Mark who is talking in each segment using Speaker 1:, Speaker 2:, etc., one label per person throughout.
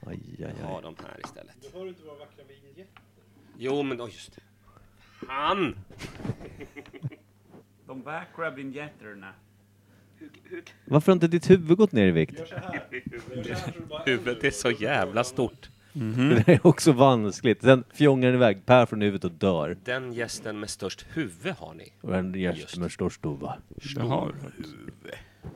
Speaker 1: Aj, aj,
Speaker 2: ha
Speaker 1: aj.
Speaker 2: dem här istället.
Speaker 3: Hör du inte våra vackra vinjetter?
Speaker 2: Jo, men då just det. Han!
Speaker 4: De vackra vinjetterna.
Speaker 1: Varför har inte ditt huvud gått ner i vikt?
Speaker 3: Gör så här. Gör så här så du bara
Speaker 2: Huvudet är så jävla stort.
Speaker 1: Det där är också vanskligt. Sen fjongar den iväg Per från huvudet och dör.
Speaker 2: Den gästen med störst huvud har ni.
Speaker 1: Och en
Speaker 2: Just.
Speaker 1: gäst med stor stova.
Speaker 5: Det har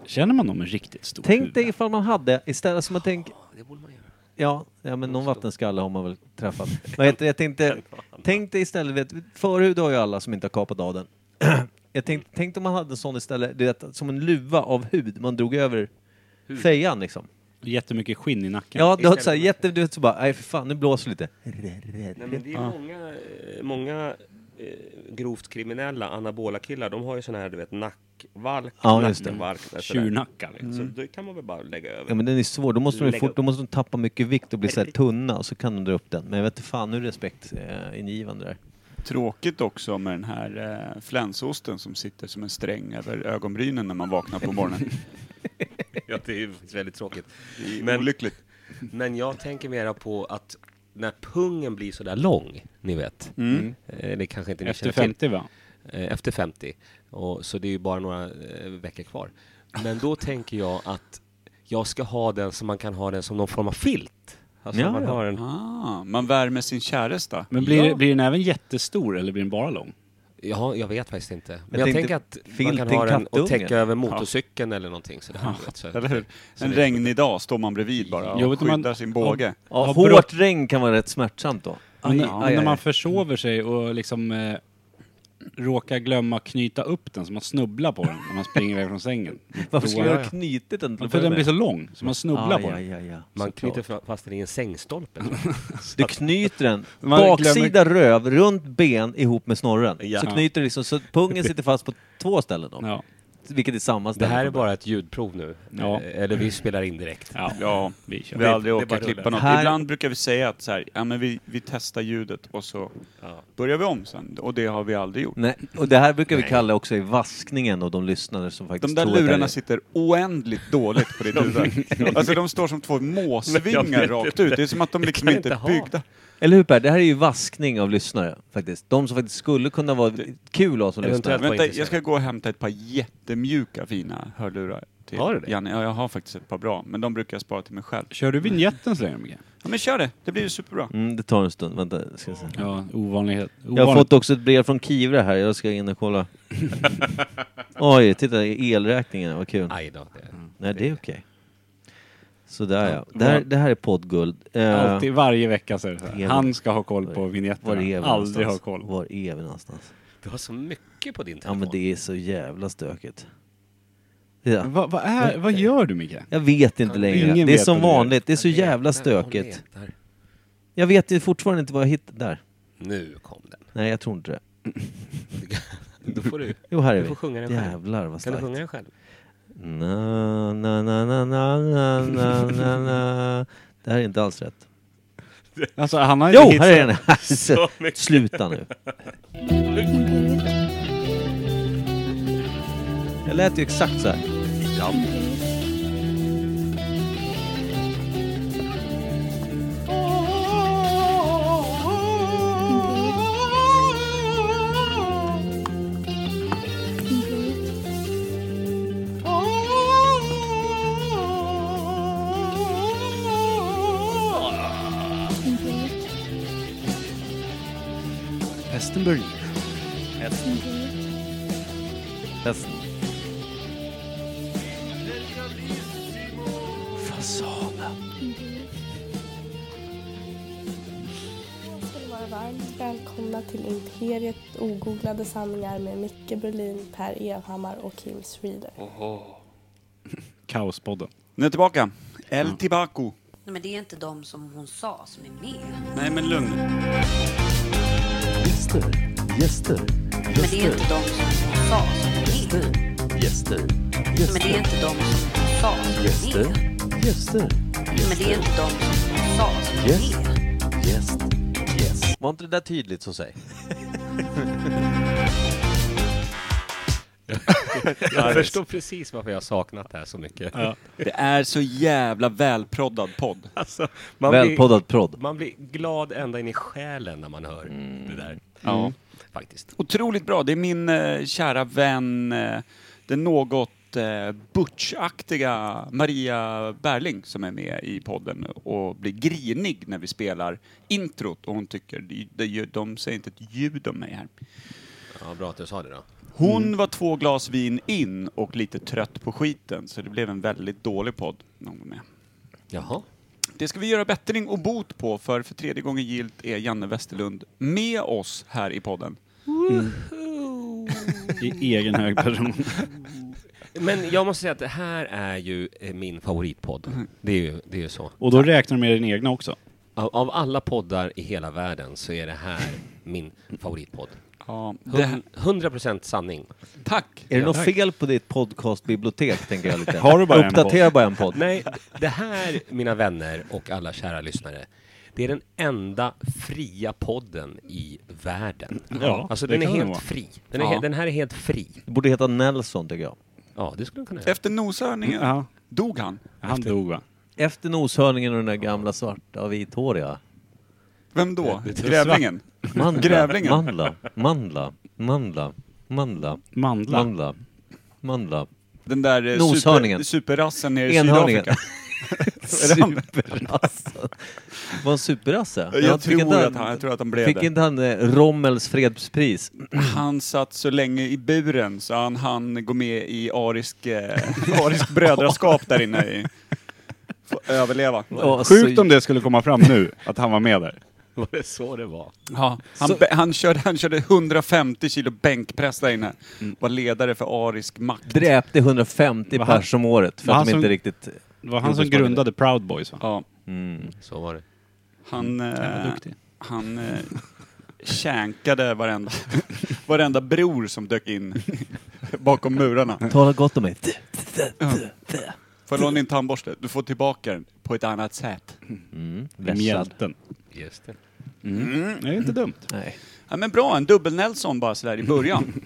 Speaker 5: Känner man dem med riktigt stor
Speaker 1: Tänk
Speaker 5: huvud?
Speaker 1: dig ifall man hade, istället som man tänker,
Speaker 2: Det borde man göra.
Speaker 1: ja, ja men någon vattenskalle har man väl träffat. Vad heter det? Jag tänkte, tänk dig istället, vet, förhud har ju alla som inte har kapat av den. Jag tänkte, tänk om man hade en sån istället, du vet, som en luva av hud, man drog över fejan liksom.
Speaker 5: Jättemycket skinn i nacken.
Speaker 1: Ja, du har
Speaker 2: Istället
Speaker 1: såhär
Speaker 2: för-
Speaker 1: jätte, du vet så bara, nej för fan, nu blåser det lite.
Speaker 2: Nej, men det är många, eh, många eh, grovt kriminella anabola killar. De har ju sån här, du vet, nackvalk,
Speaker 1: Ja, just det.
Speaker 2: nackenvalk. där, sådär.
Speaker 5: Tjurnackar. Liksom.
Speaker 2: Så det kan man väl bara lägga över.
Speaker 1: Ja men den är svår, då måste, de ju
Speaker 2: Lägg
Speaker 1: fort,
Speaker 2: upp.
Speaker 1: då måste de tappa mycket vikt och bli såhär tunna och så kan de dra upp den. Men jag vet inte fan hur respektingivande det är.
Speaker 6: Tråkigt också med den här eh, flänsosten som sitter som en sträng över ögonbrynen när man vaknar på morgonen.
Speaker 2: Ja, det är ju faktiskt väldigt tråkigt.
Speaker 6: Det är
Speaker 2: Men-
Speaker 6: olyckligt.
Speaker 2: Men jag tänker mera på att när pungen blir sådär lång, ni vet.
Speaker 6: Mm.
Speaker 2: Eh, Det kanske inte ni känner
Speaker 5: Efter
Speaker 2: till.
Speaker 5: 50 va?
Speaker 2: Eh, efter 50. Och, så det är ju bara några eh, veckor kvar. Men då tänker jag att jag ska ha den som man kan ha den som någon form av filt. Alltså
Speaker 1: Ja,
Speaker 2: man
Speaker 1: ja.
Speaker 2: har en,
Speaker 6: Ah, man värmer sin käresta.
Speaker 5: Men blir,
Speaker 2: Ja.
Speaker 5: blir den även jättestor eller blir den bara lång?
Speaker 2: ja, jag vet faktiskt inte. Men
Speaker 1: Jag
Speaker 2: jag,
Speaker 1: tänkte
Speaker 2: tänker att man
Speaker 1: filt
Speaker 2: kan
Speaker 1: till
Speaker 2: ha den och
Speaker 1: kattunge.
Speaker 2: täcka över motorcykeln eller någonting sådär. du vet, så.
Speaker 6: Eller hur?
Speaker 2: Så
Speaker 6: En
Speaker 2: det-
Speaker 6: regnig dag står man bredvid bara
Speaker 5: Jag
Speaker 6: och
Speaker 5: vet inte, man-
Speaker 6: skyddar sin båge.
Speaker 1: Ja,
Speaker 5: Ja,
Speaker 1: hårt
Speaker 5: brått-
Speaker 1: regn kan vara rätt smärtsamt då.
Speaker 5: Men när-
Speaker 1: aj,
Speaker 5: när
Speaker 1: aj.
Speaker 5: man försover sig och liksom eh, råkar glömma knyta upp den så man snubblar på den när man springer iväg från sängen.
Speaker 1: Varför skulle jag
Speaker 5: Ja,
Speaker 1: ha knutit den till
Speaker 5: ja.
Speaker 1: att
Speaker 5: För
Speaker 1: börja
Speaker 5: den blir
Speaker 1: med?
Speaker 5: så lång så man snubblar på
Speaker 1: Aj, aj,
Speaker 5: den.
Speaker 1: aj, aj.
Speaker 2: Man
Speaker 1: Såklart.
Speaker 2: knyter fa- fast den i en sängstolpe.
Speaker 1: Du knyter den,
Speaker 5: Man
Speaker 1: baksida röv, runt ben ihop med snorren.
Speaker 2: Ja.
Speaker 1: Så knyter du liksom, så pungen sitter fast på två ställen då.
Speaker 5: Ja.
Speaker 1: Vilket är samma
Speaker 2: Det
Speaker 1: ställe.
Speaker 2: här är bara ett ljudprov nu.
Speaker 5: Ja.
Speaker 2: Eh, Eller vi spelar in direkt.
Speaker 5: Ja.
Speaker 6: Ja,
Speaker 5: vi kör.
Speaker 6: vi har aldrig
Speaker 2: det bara
Speaker 6: orkat klippa
Speaker 2: rullar.
Speaker 6: något.
Speaker 1: Här-
Speaker 6: Ibland brukar vi säga att så här, ja, men vi, vi testar ljudet och så
Speaker 2: Ja.
Speaker 6: börjar vi om sen. Och det har vi aldrig gjort.
Speaker 1: Nej, och det här brukar vi
Speaker 2: Nej.
Speaker 1: kalla också i vaskningen och de lyssnare som faktiskt
Speaker 6: De där
Speaker 1: tror att det här
Speaker 6: lurarna
Speaker 1: är-
Speaker 6: sitter oändligt dåligt på ditt huvud. Alltså de står som två
Speaker 2: Men jag
Speaker 6: måsvingar
Speaker 2: vet
Speaker 6: rakt
Speaker 2: inte.
Speaker 6: ut. Det är som att de liksom
Speaker 2: kan
Speaker 6: inte
Speaker 2: inte
Speaker 6: är
Speaker 2: ha.
Speaker 6: byggda.
Speaker 1: Eller hur Per? Det här är ju vaskning av lyssnare faktiskt. De som faktiskt skulle kunna vara kul att ha som
Speaker 2: Eventuellt
Speaker 1: lyssnare.
Speaker 2: var
Speaker 6: Vänta,
Speaker 2: intresserad.
Speaker 6: jag ska gå och hämta ett par jättemjuka fina hörlurar. Till
Speaker 2: Har du det?
Speaker 6: Janne. Ja, jag har faktiskt ett par bra, men de brukar jag spara till mig själv.
Speaker 5: Kör du vignetten så länge Micke?
Speaker 6: Ja, men kör det, det blir ju superbra.
Speaker 1: Mm, det tar en stund. Vänta, ska jag se.
Speaker 5: Ja, ovanlighet.
Speaker 1: Jag har
Speaker 5: Ovanligt.
Speaker 1: fått också ett brev från Kivra här, jag ska in och kolla. Oj, titta elräkningen, vad kul.
Speaker 2: Aj då. Det.
Speaker 1: Nej, det är okej. Sådär ja. Det här, det här är poddguld. Eh,
Speaker 5: Alltid, varje vecka så är det så här.
Speaker 1: Evigt.
Speaker 5: Han ska ha koll på
Speaker 1: Var är vi
Speaker 5: vinjetterna. Aldrig ha
Speaker 1: någonstans?
Speaker 5: koll.
Speaker 1: Var är vi någonstans?
Speaker 2: Du har så mycket på din
Speaker 1: Ja
Speaker 2: telefon.
Speaker 1: men det är så jävla stökigt. Ja.
Speaker 5: Vad vad är, vad gör du Micke?
Speaker 1: Jag vet inte längre.
Speaker 5: Ingen
Speaker 1: det är
Speaker 5: vet
Speaker 1: som
Speaker 5: vad det är.
Speaker 1: vanligt, det är så
Speaker 2: Jag letar
Speaker 1: jävla
Speaker 2: och
Speaker 1: stökigt.
Speaker 2: letar.
Speaker 1: Jag vet ju fortfarande inte vad jag hittade där.
Speaker 2: Nu kom den.
Speaker 1: Nej, jag tror inte det.
Speaker 2: Då får du,
Speaker 1: Jo, här är
Speaker 2: du får
Speaker 1: vi.
Speaker 2: sjunga den själv.
Speaker 1: Jävlar vad
Speaker 2: Kan du
Speaker 1: starkt.
Speaker 2: sjunga den själv?
Speaker 1: Na, na, na, na, na, na, na, na, na. Det här är inte alls rätt.
Speaker 5: Alltså, han har
Speaker 1: Jo,
Speaker 5: inte
Speaker 1: här är den!
Speaker 5: hittat-
Speaker 1: Alltså, Sluta nu. Jag lät ju exakt så här.
Speaker 5: Pesten börjar.
Speaker 1: Fast- Fasanen.
Speaker 7: ska ni vara varmt välkomna till Imperiet ogooglade sanningar med Micke Berlin, Per Evhammar och Kim Schreeder.
Speaker 5: Kaospodden.
Speaker 6: Nu är jag tillbaka. El Tibaco.
Speaker 8: Nej, men det är inte de som hon sa som är med.
Speaker 6: Nej men lugn.
Speaker 9: Gäster, gäster,
Speaker 8: Nej, men det är
Speaker 9: gäster,
Speaker 8: inte de som hon sa som är med.
Speaker 9: gäster,
Speaker 8: Nej, men det är
Speaker 9: gäster,
Speaker 8: inte de som hon sa som är
Speaker 9: gäster,
Speaker 8: med.
Speaker 9: gäster,
Speaker 8: Nej, men det är inte de som hon sa som
Speaker 9: Yes.
Speaker 8: är med.
Speaker 9: gäst, gäst.
Speaker 1: Var inte det där tydligt så säg?
Speaker 2: Jag förstår precis varför jag har saknat det här så mycket.
Speaker 6: Det är så jävla välproddad podd.
Speaker 2: Alltså, man, blir,
Speaker 1: Välpoddad prodd.
Speaker 2: man blir glad ända in i själen när man hör det där.
Speaker 6: Ja.
Speaker 2: Faktiskt.
Speaker 6: Otroligt bra. Det är min eh, kära vän, eh, den något eh, butchaktiga Maria Berling som är med i podden och blir grinig när vi spelar introt och hon tycker de, de, de säger inte ett ljud om mig här.
Speaker 2: Mm. Ja, bra att du sa det då.
Speaker 6: Hon var två glas vin in och lite trött på skiten så det blev en väldigt dålig podd. Någon gång med.
Speaker 2: Jaha.
Speaker 6: Det ska vi göra bättring och bot på för för tredje gången gilt är Janne Westerlund med oss här i podden.
Speaker 5: I egen hög person.
Speaker 2: Men jag måste säga att det här är ju eh, min
Speaker 6: Mm.
Speaker 2: favoritpodd. Det är ju, det är ju så.
Speaker 5: Och då räknar du med din egna också.
Speaker 2: Av, av alla poddar i hela världen så är det här min favoritpodd.
Speaker 6: Ja, det här,
Speaker 2: Hun- 100% sanning.
Speaker 6: tack!
Speaker 1: Är det något fel på ditt podcastbibliotek, tänker jag lite.
Speaker 5: Har du bara en
Speaker 1: Uppdatera bara en podd.
Speaker 2: Nej, det här, mina vänner och alla kära lyssnare, det är den enda fria podden i världen.
Speaker 5: Ja,
Speaker 2: alltså
Speaker 5: det
Speaker 2: den är
Speaker 5: kan den
Speaker 2: helt
Speaker 5: vara.
Speaker 2: fri. Den, är, he- den här är helt fri.
Speaker 1: Det borde heta Nelson, tycker jag.
Speaker 2: Ja, det skulle den kunna göra.
Speaker 6: Efter noshörningen
Speaker 5: Ja.
Speaker 6: dog han.
Speaker 5: Han dog va?
Speaker 1: Efter noshörningen och den där gamla svarta och vithåriga.
Speaker 6: Vem då?
Speaker 5: det är
Speaker 6: Grävlingen?
Speaker 1: Mandla,
Speaker 6: Grävlingen.
Speaker 1: mandla, mandla, mandla, mandla,
Speaker 5: Mandla.
Speaker 1: mandla, mandla.
Speaker 6: Den där eh, super,
Speaker 1: Noshörningen.
Speaker 6: superrassen nere i
Speaker 1: Enhörningen.
Speaker 6: Sydafrika? Är det han?
Speaker 1: Superrassen. Var han superrasse?
Speaker 6: Jag
Speaker 1: Ja, fick
Speaker 6: tror
Speaker 1: inte
Speaker 6: att han- jag tror att han blev
Speaker 1: Fick
Speaker 6: det.
Speaker 1: inte han eh, Rommels fredspris?
Speaker 6: Han satt så länge i buren så han hann gå med i arisk, eh, arisk brödraskap där inne i... Få överleva.
Speaker 1: Och så-
Speaker 5: Sjukt om det skulle komma fram nu, att han var med där.
Speaker 2: Var det så det var?
Speaker 6: Ja, han, be- han, körde, han körde 150 kilo bänkpress där inne. Var ledare för arisk makt.
Speaker 1: Dräpte 150
Speaker 5: Var han-
Speaker 1: pers om året för
Speaker 5: var
Speaker 1: att
Speaker 5: han
Speaker 1: de inte
Speaker 5: som-
Speaker 1: riktigt...
Speaker 5: Det var han som grundade Proud Boys va?
Speaker 6: Ja,
Speaker 2: Så var det.
Speaker 6: han...
Speaker 5: Han var
Speaker 6: Eh,
Speaker 5: duktig.
Speaker 6: han eh, känkade varenda, varenda bror som dök in bakom murarna.
Speaker 1: Tala gott om mig.
Speaker 6: Får jag låna din tandborste? Du får tillbaka den på ett annat sätt.
Speaker 1: Vässad.
Speaker 5: Mjälten.
Speaker 2: Just det.
Speaker 5: Det är inte dumt.
Speaker 1: Nej.
Speaker 6: Ja, men bra, en dubbel-Nelson bara sådär i början.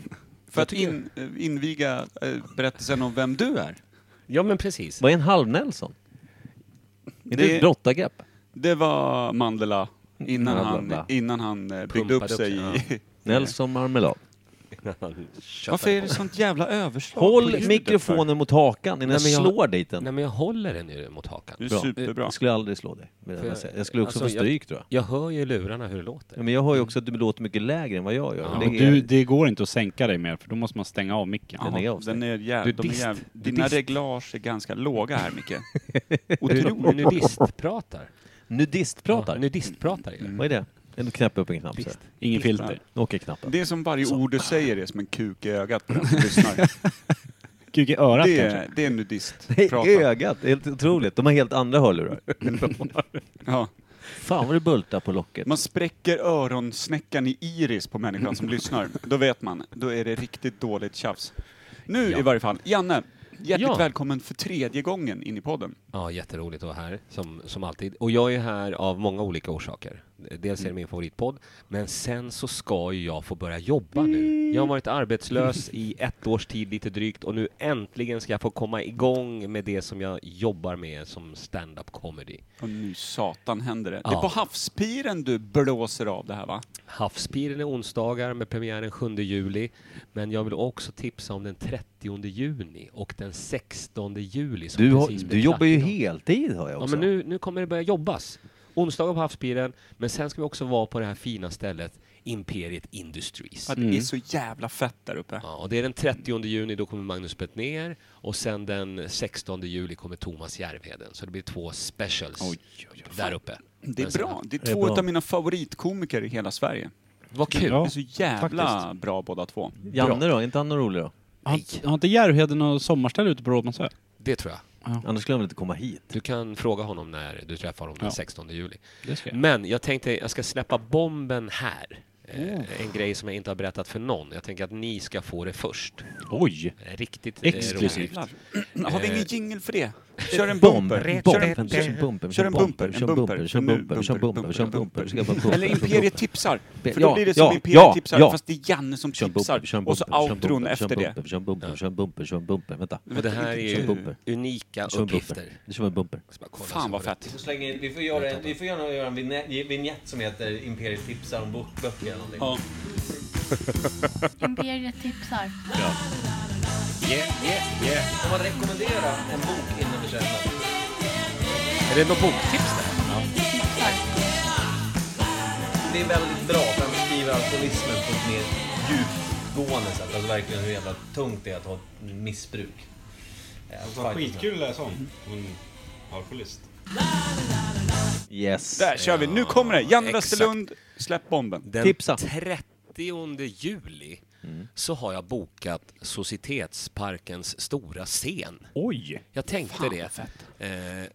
Speaker 6: För att in, eh, inviga eh, berättelsen om vem du är.
Speaker 2: Ja, men precis.
Speaker 1: Vad är en halv-Nelson? Är
Speaker 6: Det-
Speaker 1: det ett brottargrepp?
Speaker 6: Det var Mandela innan
Speaker 1: Bla, bla,
Speaker 6: han,
Speaker 1: bla.
Speaker 6: innan han eh, byggde
Speaker 2: Pumpade
Speaker 6: upp
Speaker 2: upp
Speaker 6: sig
Speaker 2: sig,
Speaker 6: i...
Speaker 1: Nelson Marmelad.
Speaker 6: Varför är det sånt jävla överslag? på
Speaker 1: Håll
Speaker 6: ljudet
Speaker 1: mikrofonen mot hakan innan
Speaker 2: men
Speaker 1: jag
Speaker 2: jag-
Speaker 1: slår dit den.
Speaker 2: Nej, men jag håller den ju mot
Speaker 6: för?
Speaker 2: hakan.
Speaker 6: Du är superbra.
Speaker 1: Jag skulle aldrig slå dig. vill
Speaker 2: För
Speaker 1: Jag,
Speaker 2: jag-
Speaker 1: säga. jag skulle också
Speaker 2: alltså,
Speaker 1: få
Speaker 2: jag-
Speaker 1: stryk tror jag.
Speaker 2: Jag hör ju i lurarna hur det
Speaker 1: Ja,
Speaker 2: låter.
Speaker 1: men jag hör ju också att du låter mycket lägre än vad jag gör.
Speaker 2: Ja,
Speaker 1: det
Speaker 5: Och
Speaker 1: är,
Speaker 5: du, det går inte att sänka dig mer för då måste man stänga av micken.
Speaker 1: Den är
Speaker 6: Ja,
Speaker 1: av sig.
Speaker 6: den är
Speaker 2: Du är
Speaker 6: jäv, de är
Speaker 2: dist.
Speaker 6: jäv,
Speaker 2: Du är
Speaker 6: dina
Speaker 2: dist.
Speaker 6: reglage är ganska låga här, Micke.
Speaker 2: Nu
Speaker 6: Otroligt.
Speaker 2: nudistpratar.
Speaker 1: Nudistpratar?
Speaker 2: Ja, nudistpratar ju.
Speaker 1: Vad är det? En knäpp upp en knapp. så här.
Speaker 5: Ingen filter.
Speaker 1: Nu åker knappen.
Speaker 6: Det är som varje ord du säger är som en kuk i ögat på den som lyssnar.
Speaker 5: Kuk i örat
Speaker 6: Det
Speaker 5: kanske.
Speaker 6: är, det är en nudist.
Speaker 1: Det
Speaker 6: Prata.
Speaker 1: är ögat, det är helt otroligt. De har helt andra hörlurar.
Speaker 6: Ja.
Speaker 1: Fan vad det bultar på locket.
Speaker 6: Man spräcker öronsnäckan i iris på människan som lyssnar. Då vet man. Då är det riktigt dåligt tjafs. Nu i varje fall. Janne, hjärtligt
Speaker 2: Ja.
Speaker 6: välkommen för tredje gången in i podden.
Speaker 2: Ja, jätteroligt att vara här, som, som alltid. Och jag är här av många olika orsaker. Dels
Speaker 1: Mm.
Speaker 2: är det min favoritpodd, men sen så ska ju jag få börja jobba
Speaker 1: Mm.
Speaker 2: nu. Jag har varit arbetslös i ett års tid lite drygt och nu äntligen ska jag få komma igång med det som jag jobbar med som stand-up comedy.
Speaker 6: Och nu satan händer det. Det är
Speaker 2: Ja.
Speaker 6: på havspiren du blåser av det här va?
Speaker 2: Havspiren är onsdagar med premiär den 7 juli, men jag vill också tipsa om den 30 juni och den 16 juli. Som
Speaker 1: Du, har,
Speaker 2: precis blev
Speaker 1: du jobbar ju
Speaker 2: klart idag.
Speaker 1: heltid hör jag också.
Speaker 2: Ja, men nu, nu kommer det börja jobbas. Onsdagar på Havspiren, men sen ska vi också vara på det här fina stället Imperiet Industries.
Speaker 6: Ja, det är så jävla fett där uppe.
Speaker 2: Ja, och det är den 30 juni, då kommer Magnus Bettner och sen den 16 juli kommer Thomas Järvheden. Så det blir två specials där uppe. Alltså,
Speaker 6: Det är
Speaker 2: Men sen-
Speaker 6: bra. Det är
Speaker 1: är
Speaker 6: två
Speaker 1: bra.
Speaker 6: av mina favoritkomiker i hela Sverige.
Speaker 2: Vad kul!
Speaker 5: Ja.
Speaker 6: Det är så jävla bra båda två.
Speaker 1: Janne då? Är inte han rolig då?
Speaker 5: Har, har inte Järvheden något sommarställe ute på Rådmansö?
Speaker 2: Det tror jag.
Speaker 1: Annars skulle han väl inte komma hit?
Speaker 2: Du kan fråga honom när du träffar honom den
Speaker 5: Ja.
Speaker 2: 16 juli.
Speaker 5: Det ska jag.
Speaker 2: Men jag tänkte jag ska släppa bomben här. Eh, en grej som jag inte har berättat för någon. Jag tänker att ni ska få det först.
Speaker 5: Oj!
Speaker 2: Riktigt eh,
Speaker 5: Exklusivt.
Speaker 2: roligt.
Speaker 6: Har vi ingen jingle för det? Kör en
Speaker 1: Eh, Bomb,
Speaker 6: bumper.
Speaker 1: bomb,
Speaker 6: Kör en-
Speaker 1: vänta, kör en bumper,
Speaker 6: Kör en bumper.
Speaker 1: kör en bumper, kör en bumper, kör en bumper, kör en bumper, kör en bumper.
Speaker 6: Eller Imperiet tipsar. För då
Speaker 1: Ja,
Speaker 6: blir det som
Speaker 1: ja,
Speaker 6: Imperiet
Speaker 1: ja,
Speaker 6: tipsar,
Speaker 1: ja.
Speaker 6: fast det är Janne som
Speaker 1: Kör en
Speaker 6: tipsar.
Speaker 1: bumper, kör en
Speaker 6: Och så
Speaker 1: bumper, kör en
Speaker 6: outron
Speaker 1: bumper, kör
Speaker 6: efter
Speaker 1: en
Speaker 6: det.
Speaker 1: bumper, Kör en bumper, kör en bumper, kör en bumper, vänta.
Speaker 2: Och det här är
Speaker 1: Kör
Speaker 2: ju
Speaker 1: bumper.
Speaker 2: unika
Speaker 1: Kör en
Speaker 2: uppgifter.
Speaker 1: bumper. Vi kör en bumper.
Speaker 2: Jag ska bara kolla
Speaker 6: Fan
Speaker 2: så
Speaker 6: vad
Speaker 2: var det-
Speaker 6: fett.
Speaker 1: Vi får slänga in, vi får göra en, vi får göra, göra en vignett, vignett som heter Imperiet tipsar om bok- böcker eller någonting.
Speaker 10: Imperiet tipsar.
Speaker 1: Om man rekommenderar en bok innan vi köper den.
Speaker 2: Är det något boktips där?
Speaker 1: Det är väldigt bra för han beskriver alkoholismen på ett mer djupgående sätt. Alltså verkligen hur jävla tungt det är att ha ett missbruk. Eh, fight.
Speaker 11: Skitkul att läsa om. En alkoholist.
Speaker 1: Yes.
Speaker 6: Där kör vi. Nu kommer det. Janne
Speaker 2: Exakt.
Speaker 6: Westerlund, släpp bomben.
Speaker 2: Den
Speaker 1: Tipsa. Mm.
Speaker 2: 30 juli så har jag bokat Societetsparkens stora scen.
Speaker 5: Oj!
Speaker 2: Jag tänkte det. Eh, eh,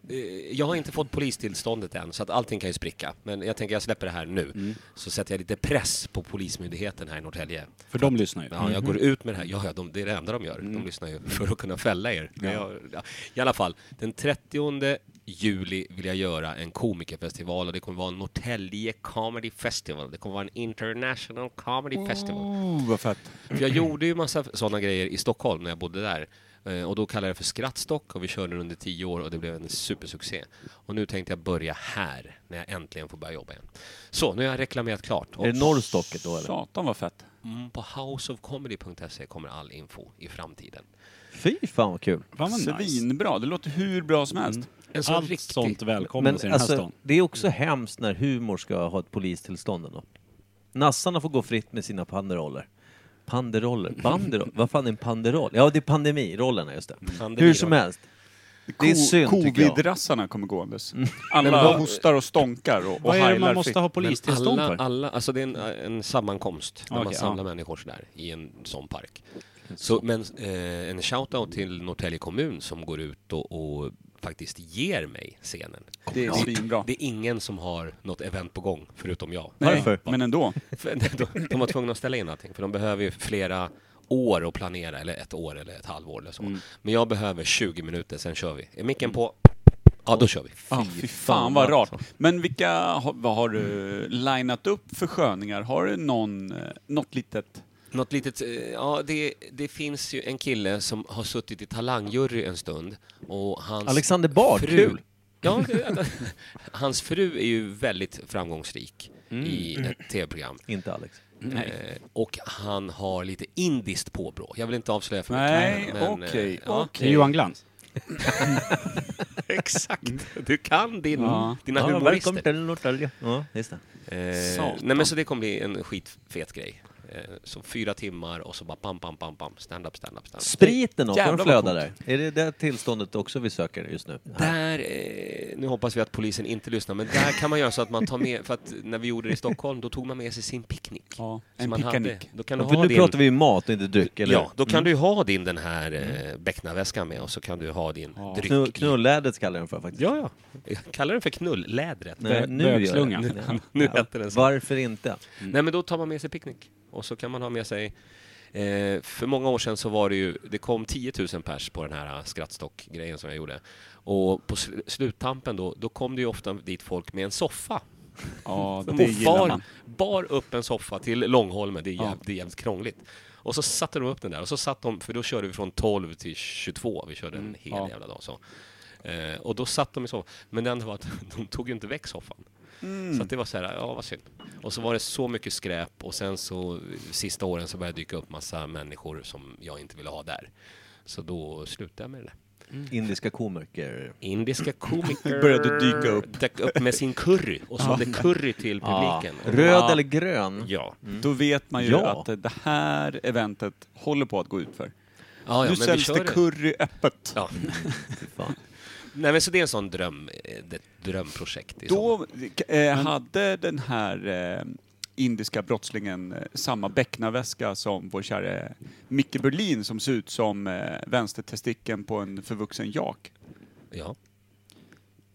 Speaker 2: jag har inte fått polistillståndet än, så att allting kan ju spricka. Men jag tänker jag släpper det här nu.
Speaker 1: Mm.
Speaker 2: Så sätter jag lite press på Polismyndigheten här i Norrtälje.
Speaker 5: För de lyssnar ju.
Speaker 2: Ja, jag
Speaker 1: Mhm.
Speaker 2: går ut med det här. Ja, ja, de, det är det enda de gör.
Speaker 1: Mm.
Speaker 2: De lyssnar ju för att kunna fälla er. Men Jag, ja. I alla fall, den 30 juli vill jag göra en komikerfestival och det kommer vara en Norrtälje Comedy Festival. Det kommer vara en International Comedy Festival.
Speaker 6: Oh, vad fett.
Speaker 2: För jag gjorde ju massa sådana grejer i Stockholm när jag bodde där. Eh, Och då kallade jag det för Skrattstock och vi körde den under tio år och det blev en supersuccé. Och nu tänkte jag börja här, när jag äntligen får börja jobba igen. Så, nu har jag reklamerat klart. Och
Speaker 1: Är det Norrstocket då eller?
Speaker 6: Satan vad fett.
Speaker 2: mm, på houseofcomedy.se E kommer all info i framtiden.
Speaker 1: Fy fan vad kul.
Speaker 5: Fan vad nice.
Speaker 6: Svinbra. Det låter hur bra som helst.
Speaker 1: Mm.
Speaker 2: En sån
Speaker 5: Allt
Speaker 2: riktig-
Speaker 5: sånt välkomnas
Speaker 1: Men
Speaker 5: i den här
Speaker 1: alltså,
Speaker 5: stan.
Speaker 1: det är också hemskt när humor ska ha ett polistillstånd ändå. Nassarna får gå fritt med sina panderoller. Panderoller? Banderoll? Vad fan är en panderoll? Ja, det är pandemirollerna, just det.
Speaker 2: Pandemirollen.
Speaker 1: Hur som helst. Det är synd, tycker jag.
Speaker 6: Covid-rassarna kommer gåendes. Alla hostar och stånkar och, och
Speaker 5: Vad är det man
Speaker 6: heilar
Speaker 5: måste
Speaker 6: fritt.
Speaker 5: ha
Speaker 2: Men
Speaker 5: polistillstånd
Speaker 2: alla,
Speaker 5: för?
Speaker 2: alla, alltså det är en, en sammankomst när man
Speaker 5: Okej,
Speaker 2: samlar människor sådär i en sån park. Så, men eh, en shout-out till Norrtälje kommun som går ut och, och faktiskt ger mig scenen.
Speaker 6: Det är svinbra.
Speaker 2: Det är ingen som har något event på gång, förutom jag.
Speaker 6: Nej,
Speaker 1: Varför?
Speaker 6: Men ändå.
Speaker 2: För de, de var tvungna att ställa in allting, för de behöver ju flera år att planera, eller ett år eller ett halvår eller så.
Speaker 5: Mm.
Speaker 2: Men jag behöver 20 minuter, sen kör vi. Är micken på? Ja, då kör vi.
Speaker 6: Ah, fy fan vad rart. Men vilka, ha- vad har du linat upp för sköningar? Har du någon, eh, något litet?
Speaker 2: Något litet, eh, ja det, det finns ju en kille som har suttit i talangjury en stund och hans
Speaker 1: Alexander Bard,
Speaker 2: fru,
Speaker 1: kul.
Speaker 2: Ja, det- hans fru är ju väldigt framgångsrik
Speaker 1: Mm.
Speaker 2: i ett tv-program.
Speaker 1: Inte Alex.
Speaker 2: Eh, och han har lite indiskt påbrå. Jag vill inte avslöja för mycket.
Speaker 6: Nej,
Speaker 2: men, eh,
Speaker 6: okej,
Speaker 2: ja.
Speaker 5: Det är Johan Glans.
Speaker 2: Exakt. Du kan din,
Speaker 6: Ja.
Speaker 2: dina
Speaker 1: Ja,
Speaker 2: humorister.
Speaker 1: välkommen till Norrtälje. Ja, just det.
Speaker 2: Eh,
Speaker 6: Satan.
Speaker 2: nej men så det kommer bli en skitfet grej. Eh, så fyra timmar och så bara pam, pam, pam, pam. Stand-up, stand-up, stand-up.
Speaker 1: Spriten också, de
Speaker 6: Jävlar vad
Speaker 1: flödar där.
Speaker 6: coolt.
Speaker 1: Är det det tillståndet också vi söker just nu?
Speaker 2: Där, eh, nu hoppas vi att polisen inte lyssnar, men där kan man göra så att man tar med, för att när vi gjorde det i Stockholm, då tog man med sig sin picknick.
Speaker 6: Ja,
Speaker 2: Så
Speaker 6: en
Speaker 2: man hade-
Speaker 6: picknick.
Speaker 2: Då kan du
Speaker 1: För
Speaker 2: ha
Speaker 1: nu
Speaker 2: din,
Speaker 1: pratar vi ju mat och inte dryck, eller Mm.
Speaker 2: Ja, då kan du ju ha din den här eh, becknarväskan med och så kan du ha din
Speaker 1: hur?
Speaker 2: dryck.
Speaker 1: Knu-
Speaker 2: i.
Speaker 1: Knullädret kallar jag den för faktiskt.
Speaker 2: Ja, ja. Jag kallar den för knullädret.
Speaker 1: Nej, nu gör jag det.
Speaker 5: Bögslunga.
Speaker 1: Ja.
Speaker 2: Nu heter den så.
Speaker 1: Varför inte?
Speaker 2: Mm. Nej, men då tar man med sig picknick. Och så kan man ha med sig... Eh, för många år sedan så var det ju... Det kom 10 000 pers på den här eh, skrattstock-grejen som jag gjorde. Och på sl- sluttampen då, då kom det ju ofta dit folk med en soffa.
Speaker 6: Ja,
Speaker 2: De
Speaker 6: det gillar
Speaker 2: bar,
Speaker 6: man.
Speaker 2: bar upp en soffa till Långholmen, det är, jävligt, det är jävligt krångligt. Och så satte de upp den där, och så satt de, för då körde vi från 12 till 22, vi körde en hel
Speaker 6: Mm, Ja.
Speaker 2: jävla dag så. Eh, och då satt de i soffan, men det enda var att de tog ju inte väck soffan.
Speaker 6: Mm.
Speaker 2: Så att det var så här, ja vad synd. Och så var det så mycket skräp och sen så sista åren så började det dyka upp massa människor som jag inte ville ha där. Så då slutade jag med det där.
Speaker 1: Indiska komiker.
Speaker 2: Indiska komiker
Speaker 6: Började dyka upp.
Speaker 2: dök upp med sin curry och så hade curry till publiken.
Speaker 1: Ja. Röd eller grön?
Speaker 2: Ja.
Speaker 6: Då vet man ju
Speaker 1: Ja.
Speaker 6: att eh, det här eventet håller på att gå ut för.
Speaker 2: Ja, ja,
Speaker 6: nu
Speaker 2: men vi
Speaker 6: säljs
Speaker 2: kör
Speaker 6: det curry öppet.
Speaker 2: Ja.
Speaker 1: Fy fan.
Speaker 2: Mm. Nej, men så det är en sån dröm, eh, det, drömprojekt. i sommar.
Speaker 6: Då eh, hade den här eh, indiska brottslingen eh, samma becknarväska som vår käre Micke Berlin som ser ut som eh, vänstertestikeln på en förvuxen jak.
Speaker 2: Ja.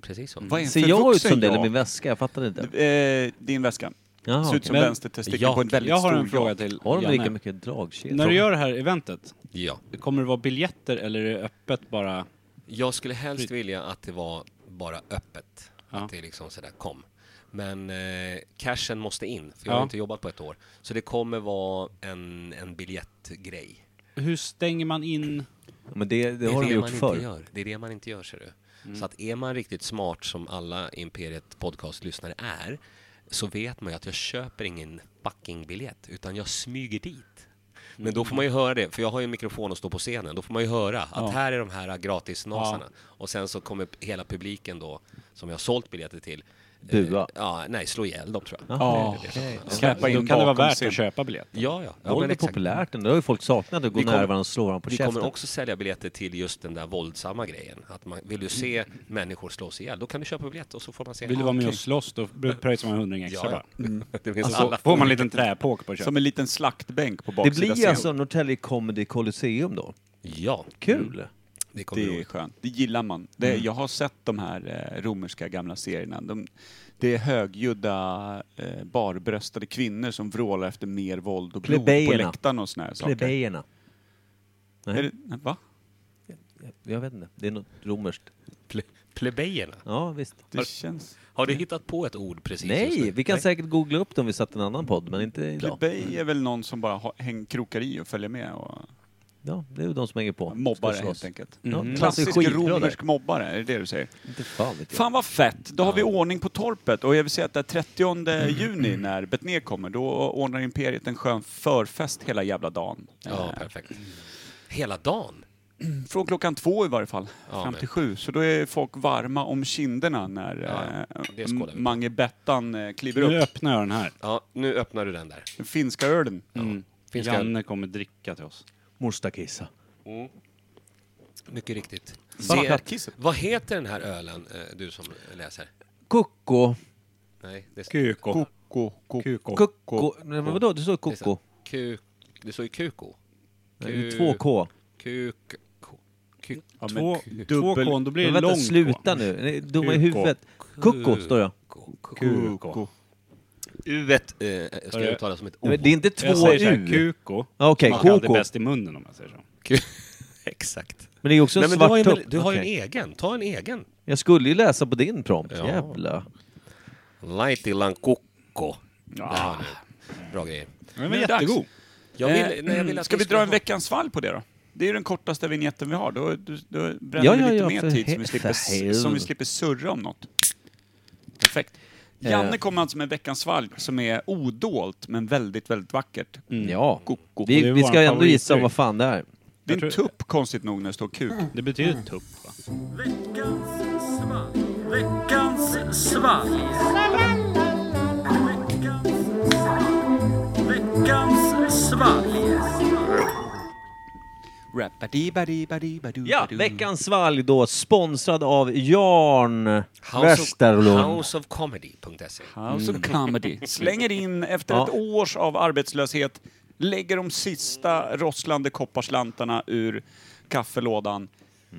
Speaker 2: Precis så.
Speaker 6: Vad är en
Speaker 1: Ser jag ut
Speaker 6: förvuxen
Speaker 1: som det eller
Speaker 6: jak?
Speaker 1: min väska? Jag fattar inte.
Speaker 6: Eh, din väska.
Speaker 1: Jaha,
Speaker 6: Ser ut som
Speaker 1: okej.
Speaker 6: vänstertestikeln
Speaker 2: Ja,
Speaker 6: på en väldigt
Speaker 5: Jag har
Speaker 6: stor
Speaker 5: en fråga
Speaker 6: jak.
Speaker 5: till
Speaker 1: Har de lika
Speaker 5: Janne.
Speaker 1: mycket dragkedjor?
Speaker 5: När du gör det här eventet,
Speaker 2: Ja.
Speaker 5: kommer det vara biljetter eller är det öppet bara?
Speaker 2: Jag skulle helst
Speaker 5: Fri-
Speaker 2: vilja att det var bara öppet.
Speaker 5: Ja.
Speaker 2: Att det är liksom sådär, kom. Men eh, cashen måste in, för jag
Speaker 5: Ja.
Speaker 2: har inte jobbat på ett år. Så det kommer vara en, en biljettgrej.
Speaker 5: Hur stänger man in?
Speaker 1: Men det, det
Speaker 2: är
Speaker 1: har de gjort
Speaker 2: man inte
Speaker 1: förr. Mm.
Speaker 2: Gör. Det är det man inte gör, ser du. Så att är man riktigt smart, som alla Imperiet podcastlyssnare är, så vet man ju att jag köper ingen fucking biljett, utan jag smyger dit. Men då får man ju
Speaker 1: Mm.
Speaker 2: höra det, för jag har ju en mikrofon och står på scenen. Då får man ju höra att
Speaker 5: Ja.
Speaker 2: här är de här gratisnasarna. Och sen så kommer hela publiken då, som jag har sålt biljetter till,
Speaker 1: Bua.
Speaker 2: Eh, ja, nej, slå ihjäl dem tror jag.
Speaker 5: Ja,
Speaker 6: Släppa
Speaker 5: då
Speaker 6: in
Speaker 5: kan det vara
Speaker 6: bakom
Speaker 5: värt
Speaker 6: scen.
Speaker 5: att köpa biljett.
Speaker 2: Ja, ja. ja
Speaker 1: Våld
Speaker 2: men
Speaker 1: är
Speaker 2: exakt.
Speaker 1: populärt ändå. Det har ju folk saknat att gå
Speaker 2: Vi kommer-
Speaker 1: nära varandra och slå varandra på
Speaker 2: Vi
Speaker 1: käften.
Speaker 2: kommer också sälja biljetter till just den där våldsamma grejen. Att man, vill du se människor slås ihjäl, då kan du köpa biljett och så får man se.
Speaker 5: Vill du
Speaker 2: Ah,
Speaker 5: vara med
Speaker 2: okej.
Speaker 5: och slåss då pröjsar man en hundring
Speaker 2: Ja,
Speaker 5: extra bara.
Speaker 2: ja.
Speaker 1: Mm.
Speaker 2: Det finns
Speaker 5: Och så
Speaker 2: alla
Speaker 5: får man en liten träpåk på köpet.
Speaker 6: Som en liten slaktbänk på
Speaker 1: Det
Speaker 6: baksidan.
Speaker 1: blir
Speaker 6: scenen.
Speaker 1: alltså Norrtälje Comedy Colosseum då.
Speaker 2: Ja, mm,
Speaker 1: Kul!
Speaker 2: det kommer
Speaker 6: Det är
Speaker 2: det...
Speaker 6: skönt. Det gillar man. Det,
Speaker 1: Mm.
Speaker 6: Jag har sett de här eh, romerska gamla serierna. De, det är högljudda eh, barbröstade kvinnor som vrålar efter mer våld och blod på
Speaker 1: Plebejerna.
Speaker 6: läktaren och såna här saker.
Speaker 1: Plebejerna.
Speaker 6: Är det, nej, va?
Speaker 1: Jag vet inte, det är något romerskt.
Speaker 2: Ple Plebejerna.
Speaker 1: Ja, visst.
Speaker 6: Det känns...
Speaker 2: Har du hittat på ett ord precis just
Speaker 1: Mm. Nej,
Speaker 2: nu?
Speaker 1: vi kan säkert googla upp det om vi satt en annan podd, men inte idag.
Speaker 6: Plebej är väl någon som bara har, häng, krokar i och följer med och
Speaker 1: Ja, det är ju de som hänger på.
Speaker 6: mobbare
Speaker 1: Ska slåss.
Speaker 6: helt enkelt.
Speaker 1: Ja, de dansar ju
Speaker 6: Klassisk
Speaker 1: skitbra där.
Speaker 6: romersk mobbare, är det det du säger?
Speaker 1: Inte fan vet jag.
Speaker 6: Fan vad fett! Då har vi ordning på torpet och jag vill säga att den 30 juni när Betnér kommer, då ordnar Imperiet en skön förfest hela jävla dagen.
Speaker 2: Ja,
Speaker 6: Eh,
Speaker 2: perfekt. Hela dagen?
Speaker 6: Från klockan två i varje fall,
Speaker 2: Ja,
Speaker 6: fram
Speaker 2: men-
Speaker 6: till sju. Så då är folk varma om kinderna när
Speaker 2: Ja,
Speaker 6: eh,
Speaker 2: det skålar vi på.
Speaker 6: Mange Bettan eh, kliver
Speaker 5: Nu
Speaker 6: upp.
Speaker 5: öppnar jag den här.
Speaker 2: Ja, nu öppnar du den där.
Speaker 6: Den finska ölen.
Speaker 5: Mm.
Speaker 2: Finns
Speaker 5: Janne kommer dricka till oss.
Speaker 1: Morstakissa.
Speaker 2: det- Mycket riktigt.
Speaker 1: Fan,
Speaker 2: Se, vad heter den här ölen, eh, du som läser?
Speaker 1: Koko.
Speaker 2: Nej, det är
Speaker 5: Kuko.
Speaker 6: Ko- ko-
Speaker 5: Kuko.
Speaker 1: Koko. Nej, men vadå? Du sa koko.
Speaker 2: Ku... Det står ju kuko.
Speaker 1: Det är ju två K.
Speaker 2: Kuk... ko- Kuk...
Speaker 5: Ja, men två två
Speaker 6: dubbel-
Speaker 5: kon, då blir
Speaker 1: Men
Speaker 5: det
Speaker 1: vänta,
Speaker 5: lång
Speaker 1: sluta nu. Ni är dumma i huvudet. Koko står
Speaker 2: Oh.
Speaker 1: jag.
Speaker 5: Kuko.
Speaker 2: Uet eh, ska uttalas som ett O.
Speaker 1: Nej, men Det är inte
Speaker 5: Jag
Speaker 1: två
Speaker 5: säger så här,
Speaker 1: U.
Speaker 5: kuko.
Speaker 1: Ja, Okej,
Speaker 5: Smakar aldrig
Speaker 1: koko.
Speaker 5: bäst i munnen om man säger så.
Speaker 2: Exakt.
Speaker 1: Men det är ju också
Speaker 2: Nej,
Speaker 1: en
Speaker 2: men du har,
Speaker 1: svart
Speaker 2: ju
Speaker 1: tupp.
Speaker 2: en, du har ju
Speaker 1: Okej.
Speaker 2: en egen. Ta en egen.
Speaker 1: Jag skulle ju läsa på din prompt.
Speaker 2: Ja. Mm.
Speaker 1: Jävla.
Speaker 2: Laitilan kokko. Ja. Ah, Bra grejer.
Speaker 5: Den var
Speaker 6: Nu är det dags.
Speaker 5: jättegod.
Speaker 2: Jag vill, nej, jag vill
Speaker 6: Eh,
Speaker 2: att
Speaker 6: Ska vi
Speaker 2: ska
Speaker 6: dra en
Speaker 2: ha-
Speaker 6: veckans fall på det då? Det är ju den kortaste vignetten vi har. Då, då, då bränner
Speaker 1: Ja,
Speaker 6: vi
Speaker 1: ja,
Speaker 6: lite
Speaker 1: ja,
Speaker 6: mer
Speaker 1: för
Speaker 6: tid som
Speaker 1: he-
Speaker 6: vi, slipper,
Speaker 1: för helvete.
Speaker 6: s- som vi slipper surra om något. Perfekt. Janne kommer alltså med en veckans fall som är odolt men väldigt, väldigt vackert.
Speaker 2: Mm.
Speaker 1: Ja.
Speaker 6: Koko.
Speaker 5: Det är
Speaker 1: Vi,
Speaker 5: ju
Speaker 1: vi
Speaker 5: våran
Speaker 1: ska ändå gissa
Speaker 5: favoritdryck.
Speaker 1: vad fan det är.
Speaker 6: Det är
Speaker 5: Jag
Speaker 6: en
Speaker 5: tror-
Speaker 6: tupp konstigt nog när det står kuk.
Speaker 5: Det
Speaker 2: Mm.
Speaker 5: betyder tupp va?
Speaker 1: Ja, veckans svalg då sponsrad av Jarn
Speaker 2: House of,
Speaker 1: Westerlund.
Speaker 2: houseofcomedy.se.
Speaker 6: House of Comedy. Slänger in efter
Speaker 1: Ja.
Speaker 6: ett års av arbetslöshet, lägger de sista rosslande kopparslantarna ur kaffelådan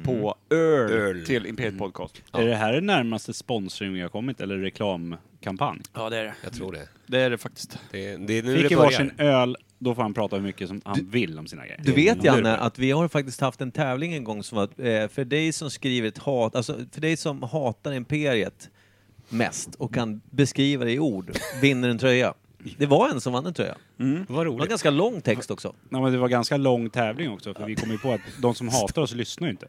Speaker 6: på öl,
Speaker 2: Öl.
Speaker 6: till Imperiet Podcast.
Speaker 5: Är det här den närmaste sponsring vi har kommit eller reklamkampanj?
Speaker 6: Ja, det är det.
Speaker 2: Jag tror det.
Speaker 6: Det är det faktiskt.
Speaker 2: Det, är- det är nu
Speaker 5: Fick
Speaker 2: det
Speaker 5: ju
Speaker 2: börjar.
Speaker 5: varsin öl, då får han prata hur mycket som han vill om sina grejer.
Speaker 1: Du vet Janne att vi har faktiskt haft en tävling en gång som var eh, för dig som skriver ett hat, alltså för dig som hatar Imperiet mest och kan beskriva det i ord, vinner en tröja. Det var en som vann en tröja.
Speaker 5: Vad
Speaker 1: Det var en
Speaker 5: roligt.
Speaker 1: ganska lång text också.
Speaker 5: Nej, men det var ganska lång tävling också, för vi kom ju på att de som hatar oss lyssnar ju inte.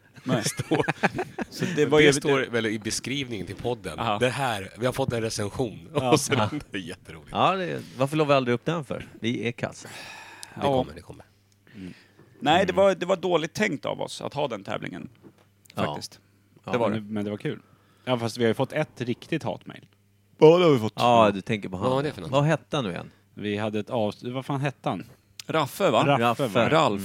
Speaker 6: Så det
Speaker 2: Det,
Speaker 6: var ju...
Speaker 2: står väl i beskrivningen till podden.
Speaker 6: Aha.
Speaker 2: Det här, vi har fått en recension. Och sen, det är jätteroligt.
Speaker 1: Ja, det, varför la vi aldrig upp den för? Vi är kass.
Speaker 2: Det kommer, det kommer.
Speaker 6: Nej, det var, det var dåligt tänkt av oss att ha den tävlingen. Faktiskt.
Speaker 1: Ja,
Speaker 6: det var det.
Speaker 5: Men, men det var kul. Ja, fast vi har ju fått ett riktigt hatmejl.
Speaker 6: Ja, det har vi fått.
Speaker 1: Ja, du tänker på han.
Speaker 2: Vad var det för något?
Speaker 1: Vad hette han nu igen?
Speaker 5: Vi hade ett avsnitt, vad fan hette han?
Speaker 6: Raffe, va?
Speaker 5: Raffe.
Speaker 1: Raffe.
Speaker 6: Ralf.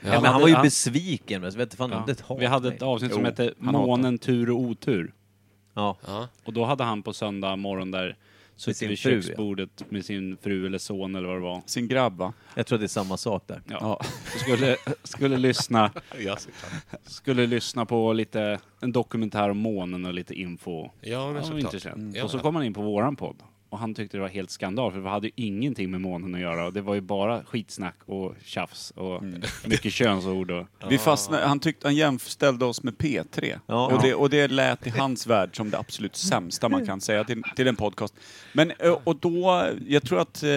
Speaker 1: Ja, men han var ju besviken. Men jag vet inte fan om det är ett hat,
Speaker 5: Vi hade
Speaker 1: nej.
Speaker 5: ett avsnitt som
Speaker 6: Jo,
Speaker 5: hette
Speaker 6: han hatar.
Speaker 5: Månen, tur och otur.
Speaker 1: Ja.
Speaker 2: Ja.
Speaker 5: Och då hade han på söndag morgon där suttit
Speaker 1: sin
Speaker 5: vid
Speaker 1: fru, ja.
Speaker 5: köksbordet med sin fru eller son eller vad det var.
Speaker 6: Sin grabb, va?
Speaker 1: Jag tror det är samma sak där.
Speaker 5: Ja. Skulle, skulle, lyssna,
Speaker 2: Ja, såklart.
Speaker 5: skulle lyssna på lite, en dokumentär om månen och lite info.
Speaker 2: Ja, men
Speaker 5: Han var
Speaker 2: såklart.
Speaker 5: intresserad.
Speaker 2: Ja,
Speaker 5: Och så
Speaker 2: ja.
Speaker 5: kom han in på våran podd. Och han tyckte det var helt skandal för det hade ju ingenting med månen att göra. Och det var ju bara skitsnack och tjafs och
Speaker 2: Mm.
Speaker 5: mycket könsord och...
Speaker 6: Vi fastnade, han, tyckte, han jämställde oss med P3.
Speaker 1: Ah. Ja.
Speaker 6: och, det, och det lät i hans värld som det absolut sämsta man kan säga till, till en podcast. Men, ö, och då, jag tror att eh,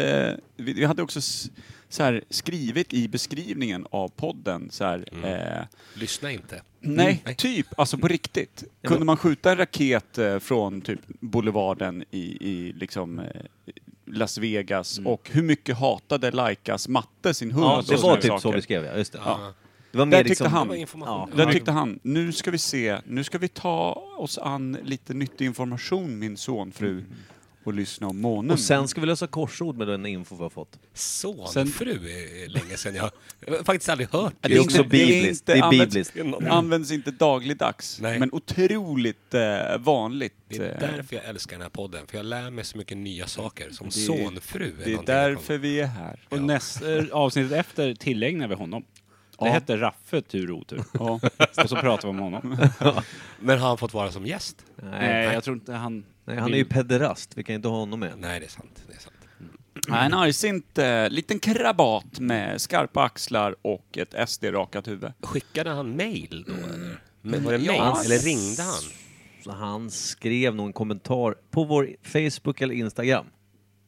Speaker 6: vi, vi hade också s, så här, skrivit i beskrivningen av podden så här,
Speaker 1: Mm.
Speaker 6: eh,
Speaker 2: Lyssna inte.
Speaker 6: Nej, typ. Alltså på riktigt. Kunde man skjuta en raket eh, från typ boulevarden i, i liksom eh, Las Vegas och hur mycket hatade, likas matte sin hund?
Speaker 1: Mm. Ja,
Speaker 6: och
Speaker 1: det
Speaker 6: såna
Speaker 1: var typ
Speaker 6: saker.
Speaker 1: så vi skrev, ja. Just det.
Speaker 2: Ja.
Speaker 1: Det var mer
Speaker 6: Där tyckte
Speaker 1: liksom...
Speaker 6: han.
Speaker 2: Det var information.
Speaker 1: Ja.
Speaker 6: Där tyckte han, nu ska vi se, nu ska vi ta oss an lite nyttig information min sonfru och lyssna om månen.
Speaker 1: Och sen ska vi lösa korsord med den info vi har fått.
Speaker 2: Sonfru är länge sedan jag... jag har faktiskt aldrig hört
Speaker 1: Det är också
Speaker 6: inte- det är
Speaker 1: bibliskt.
Speaker 6: inte
Speaker 1: Det är
Speaker 6: använt-
Speaker 1: bibliskt.
Speaker 6: Används inte dagligdags,
Speaker 2: Nej.
Speaker 6: men otroligt eh, vanligt.
Speaker 2: Det är
Speaker 6: eh,
Speaker 2: därför jag älskar den här podden, för jag lär mig så mycket nya saker. Som sonfru. är
Speaker 6: det är
Speaker 2: någonting jag
Speaker 6: därför vi är här.
Speaker 5: Och näst, eh, avsnittet efter tillägnar vi honom. Det hette Raffe tur och otur.
Speaker 6: Ja.
Speaker 5: Och så pratar vi om honom.
Speaker 2: kommer- Men har han fått vara som gäst?
Speaker 5: Nej, jag tror inte han...
Speaker 1: Nej, han är ju pederast, vi kan inte ha honom med.
Speaker 2: Nej, det är sant. Det är sant.
Speaker 6: Nej, en argsint eh, liten krabat med skarpa axlar och ett SD-rakat huvud.
Speaker 2: Skickade han mail då, eller? Men var det mail?
Speaker 1: Ja.
Speaker 2: Eller ringde han?
Speaker 1: Så han skrev någon kommentar på vår Facebook eller Instagram.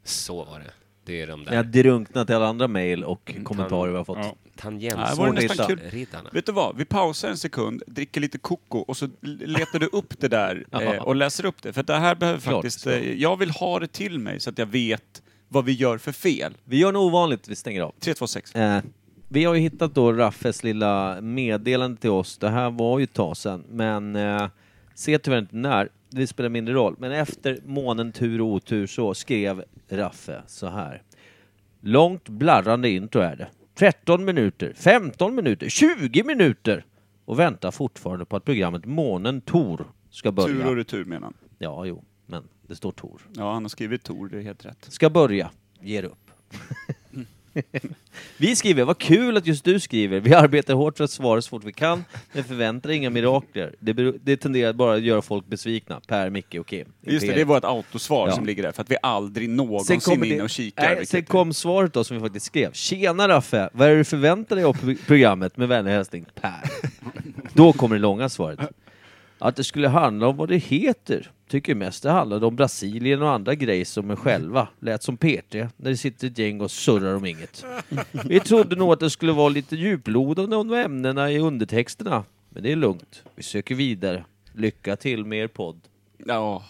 Speaker 2: Så var det. Det är de
Speaker 1: Jag har
Speaker 2: där.
Speaker 1: drunknat i alla andra mejl och kommentarer vi har fått.
Speaker 5: Ja.
Speaker 6: Ja, det vore nästan kul.
Speaker 2: Tangentsordsriddarna.
Speaker 6: Vet du vad? Vi pausar en sekund, dricker lite koko och så l- letar du upp det där eh, och läser upp det. För det här behöver
Speaker 1: Klart.
Speaker 6: faktiskt... Eh, jag vill ha det till mig så att jag vet vad vi gör för fel.
Speaker 1: Vi gör något ovanligt, vi stänger av.
Speaker 6: 326.
Speaker 1: Eh, vi har ju hittat då Raffes lilla meddelande till oss. Det här var ju ett tag sedan, men eh, ser tyvärr inte när. Det spelar mindre roll. Men efter månen tur och otur så skrev Raffe så här. Långt blarrande intro är det. 13 minuter, 15 minuter, 20 minuter! Och väntar fortfarande på att programmet Månen Tor ska
Speaker 6: Tur och
Speaker 1: börja.
Speaker 6: retur menar han.
Speaker 1: Ja, jo, men det står Tor
Speaker 6: Ja, han har skrivit Tor, det är helt rätt.
Speaker 1: ska börja, ger upp. vi skriver, vad kul att just du skriver. Vi arbetar hårt för att svara så fort vi kan, men förväntar inga mirakler. Det, beror, det tenderar bara att göra folk besvikna. Per, Micke och Kim.
Speaker 6: Just det, det är vårt autosvar
Speaker 1: Ja.
Speaker 6: som ligger där. För att vi aldrig
Speaker 1: Sen
Speaker 6: någonsin
Speaker 1: kom,
Speaker 6: är inne
Speaker 1: det,
Speaker 6: och kikar.
Speaker 1: nej,
Speaker 6: vilket
Speaker 1: sen
Speaker 6: är-
Speaker 1: kom svaret då som vi faktiskt skrev. Tjena Raffe! Vad är det du förväntar dig av pro- programmet? Med vänlig hälsning Per. då kommer det långa svaret. Att det skulle handla om vad det heter. Tycker mest det handlade om Brasilien och andra grejer som mig själva. Lät som P3 när det sitter ett gäng och surrar om inget. Vi trodde nog att det skulle vara lite djuplodande om ämnena i undertexterna. Men det är lugnt. Vi söker vidare. Lycka till med er podd.
Speaker 6: Ja.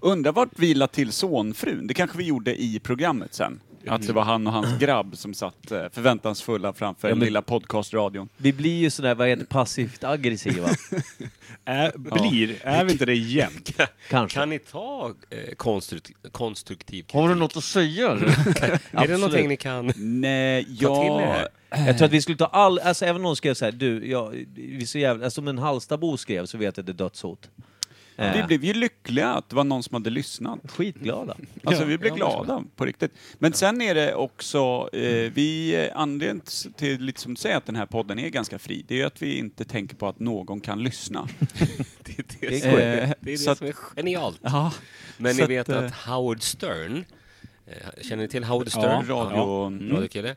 Speaker 6: Undrar vart vi la till sonfrun? Det kanske vi gjorde i programmet sen. Att det var han och hans grabb som satt eh, förväntansfulla framför den
Speaker 1: men-
Speaker 6: lilla podcastradion.
Speaker 1: Vi blir ju sådär, vad heter det, passivt aggressiva.
Speaker 5: Är, blir, är vi inte det jämt?
Speaker 1: Kanske.
Speaker 2: Kan ni ta eh, konstrukt- konstruktiv kritik?
Speaker 1: Har du något att säga eller?
Speaker 2: Är det någonting ni kan...
Speaker 6: Nej,
Speaker 2: till det här.
Speaker 6: ja...
Speaker 1: Jag tror att vi skulle ta all, alltså även om någon skrev så här, du, jag, vi är så jävla, alltså om en Hallstabo skrev så vet jag att det är dödshot. Eh,
Speaker 6: Vi blev ju lyckliga att det var någon som hade lyssnat.
Speaker 1: skitglada.
Speaker 6: Alltså vi blev glada på riktigt. Men sen är det också, eh, vi, eh, anledningen till lite som du säger att den här podden är ganska fri, det är ju att vi inte tänker på att någon kan lyssna.
Speaker 2: Det är
Speaker 1: Det
Speaker 2: det,
Speaker 1: är
Speaker 2: som,
Speaker 6: korrekt.
Speaker 2: är, det, är
Speaker 6: Så
Speaker 2: det
Speaker 6: att-
Speaker 2: som är genialt.
Speaker 6: Ja,
Speaker 2: Men
Speaker 6: så
Speaker 2: ni vet
Speaker 6: att, eh,
Speaker 2: att Howard Stern, eh, känner ni till Howard Stern?
Speaker 6: radio- mm.
Speaker 2: radiokille.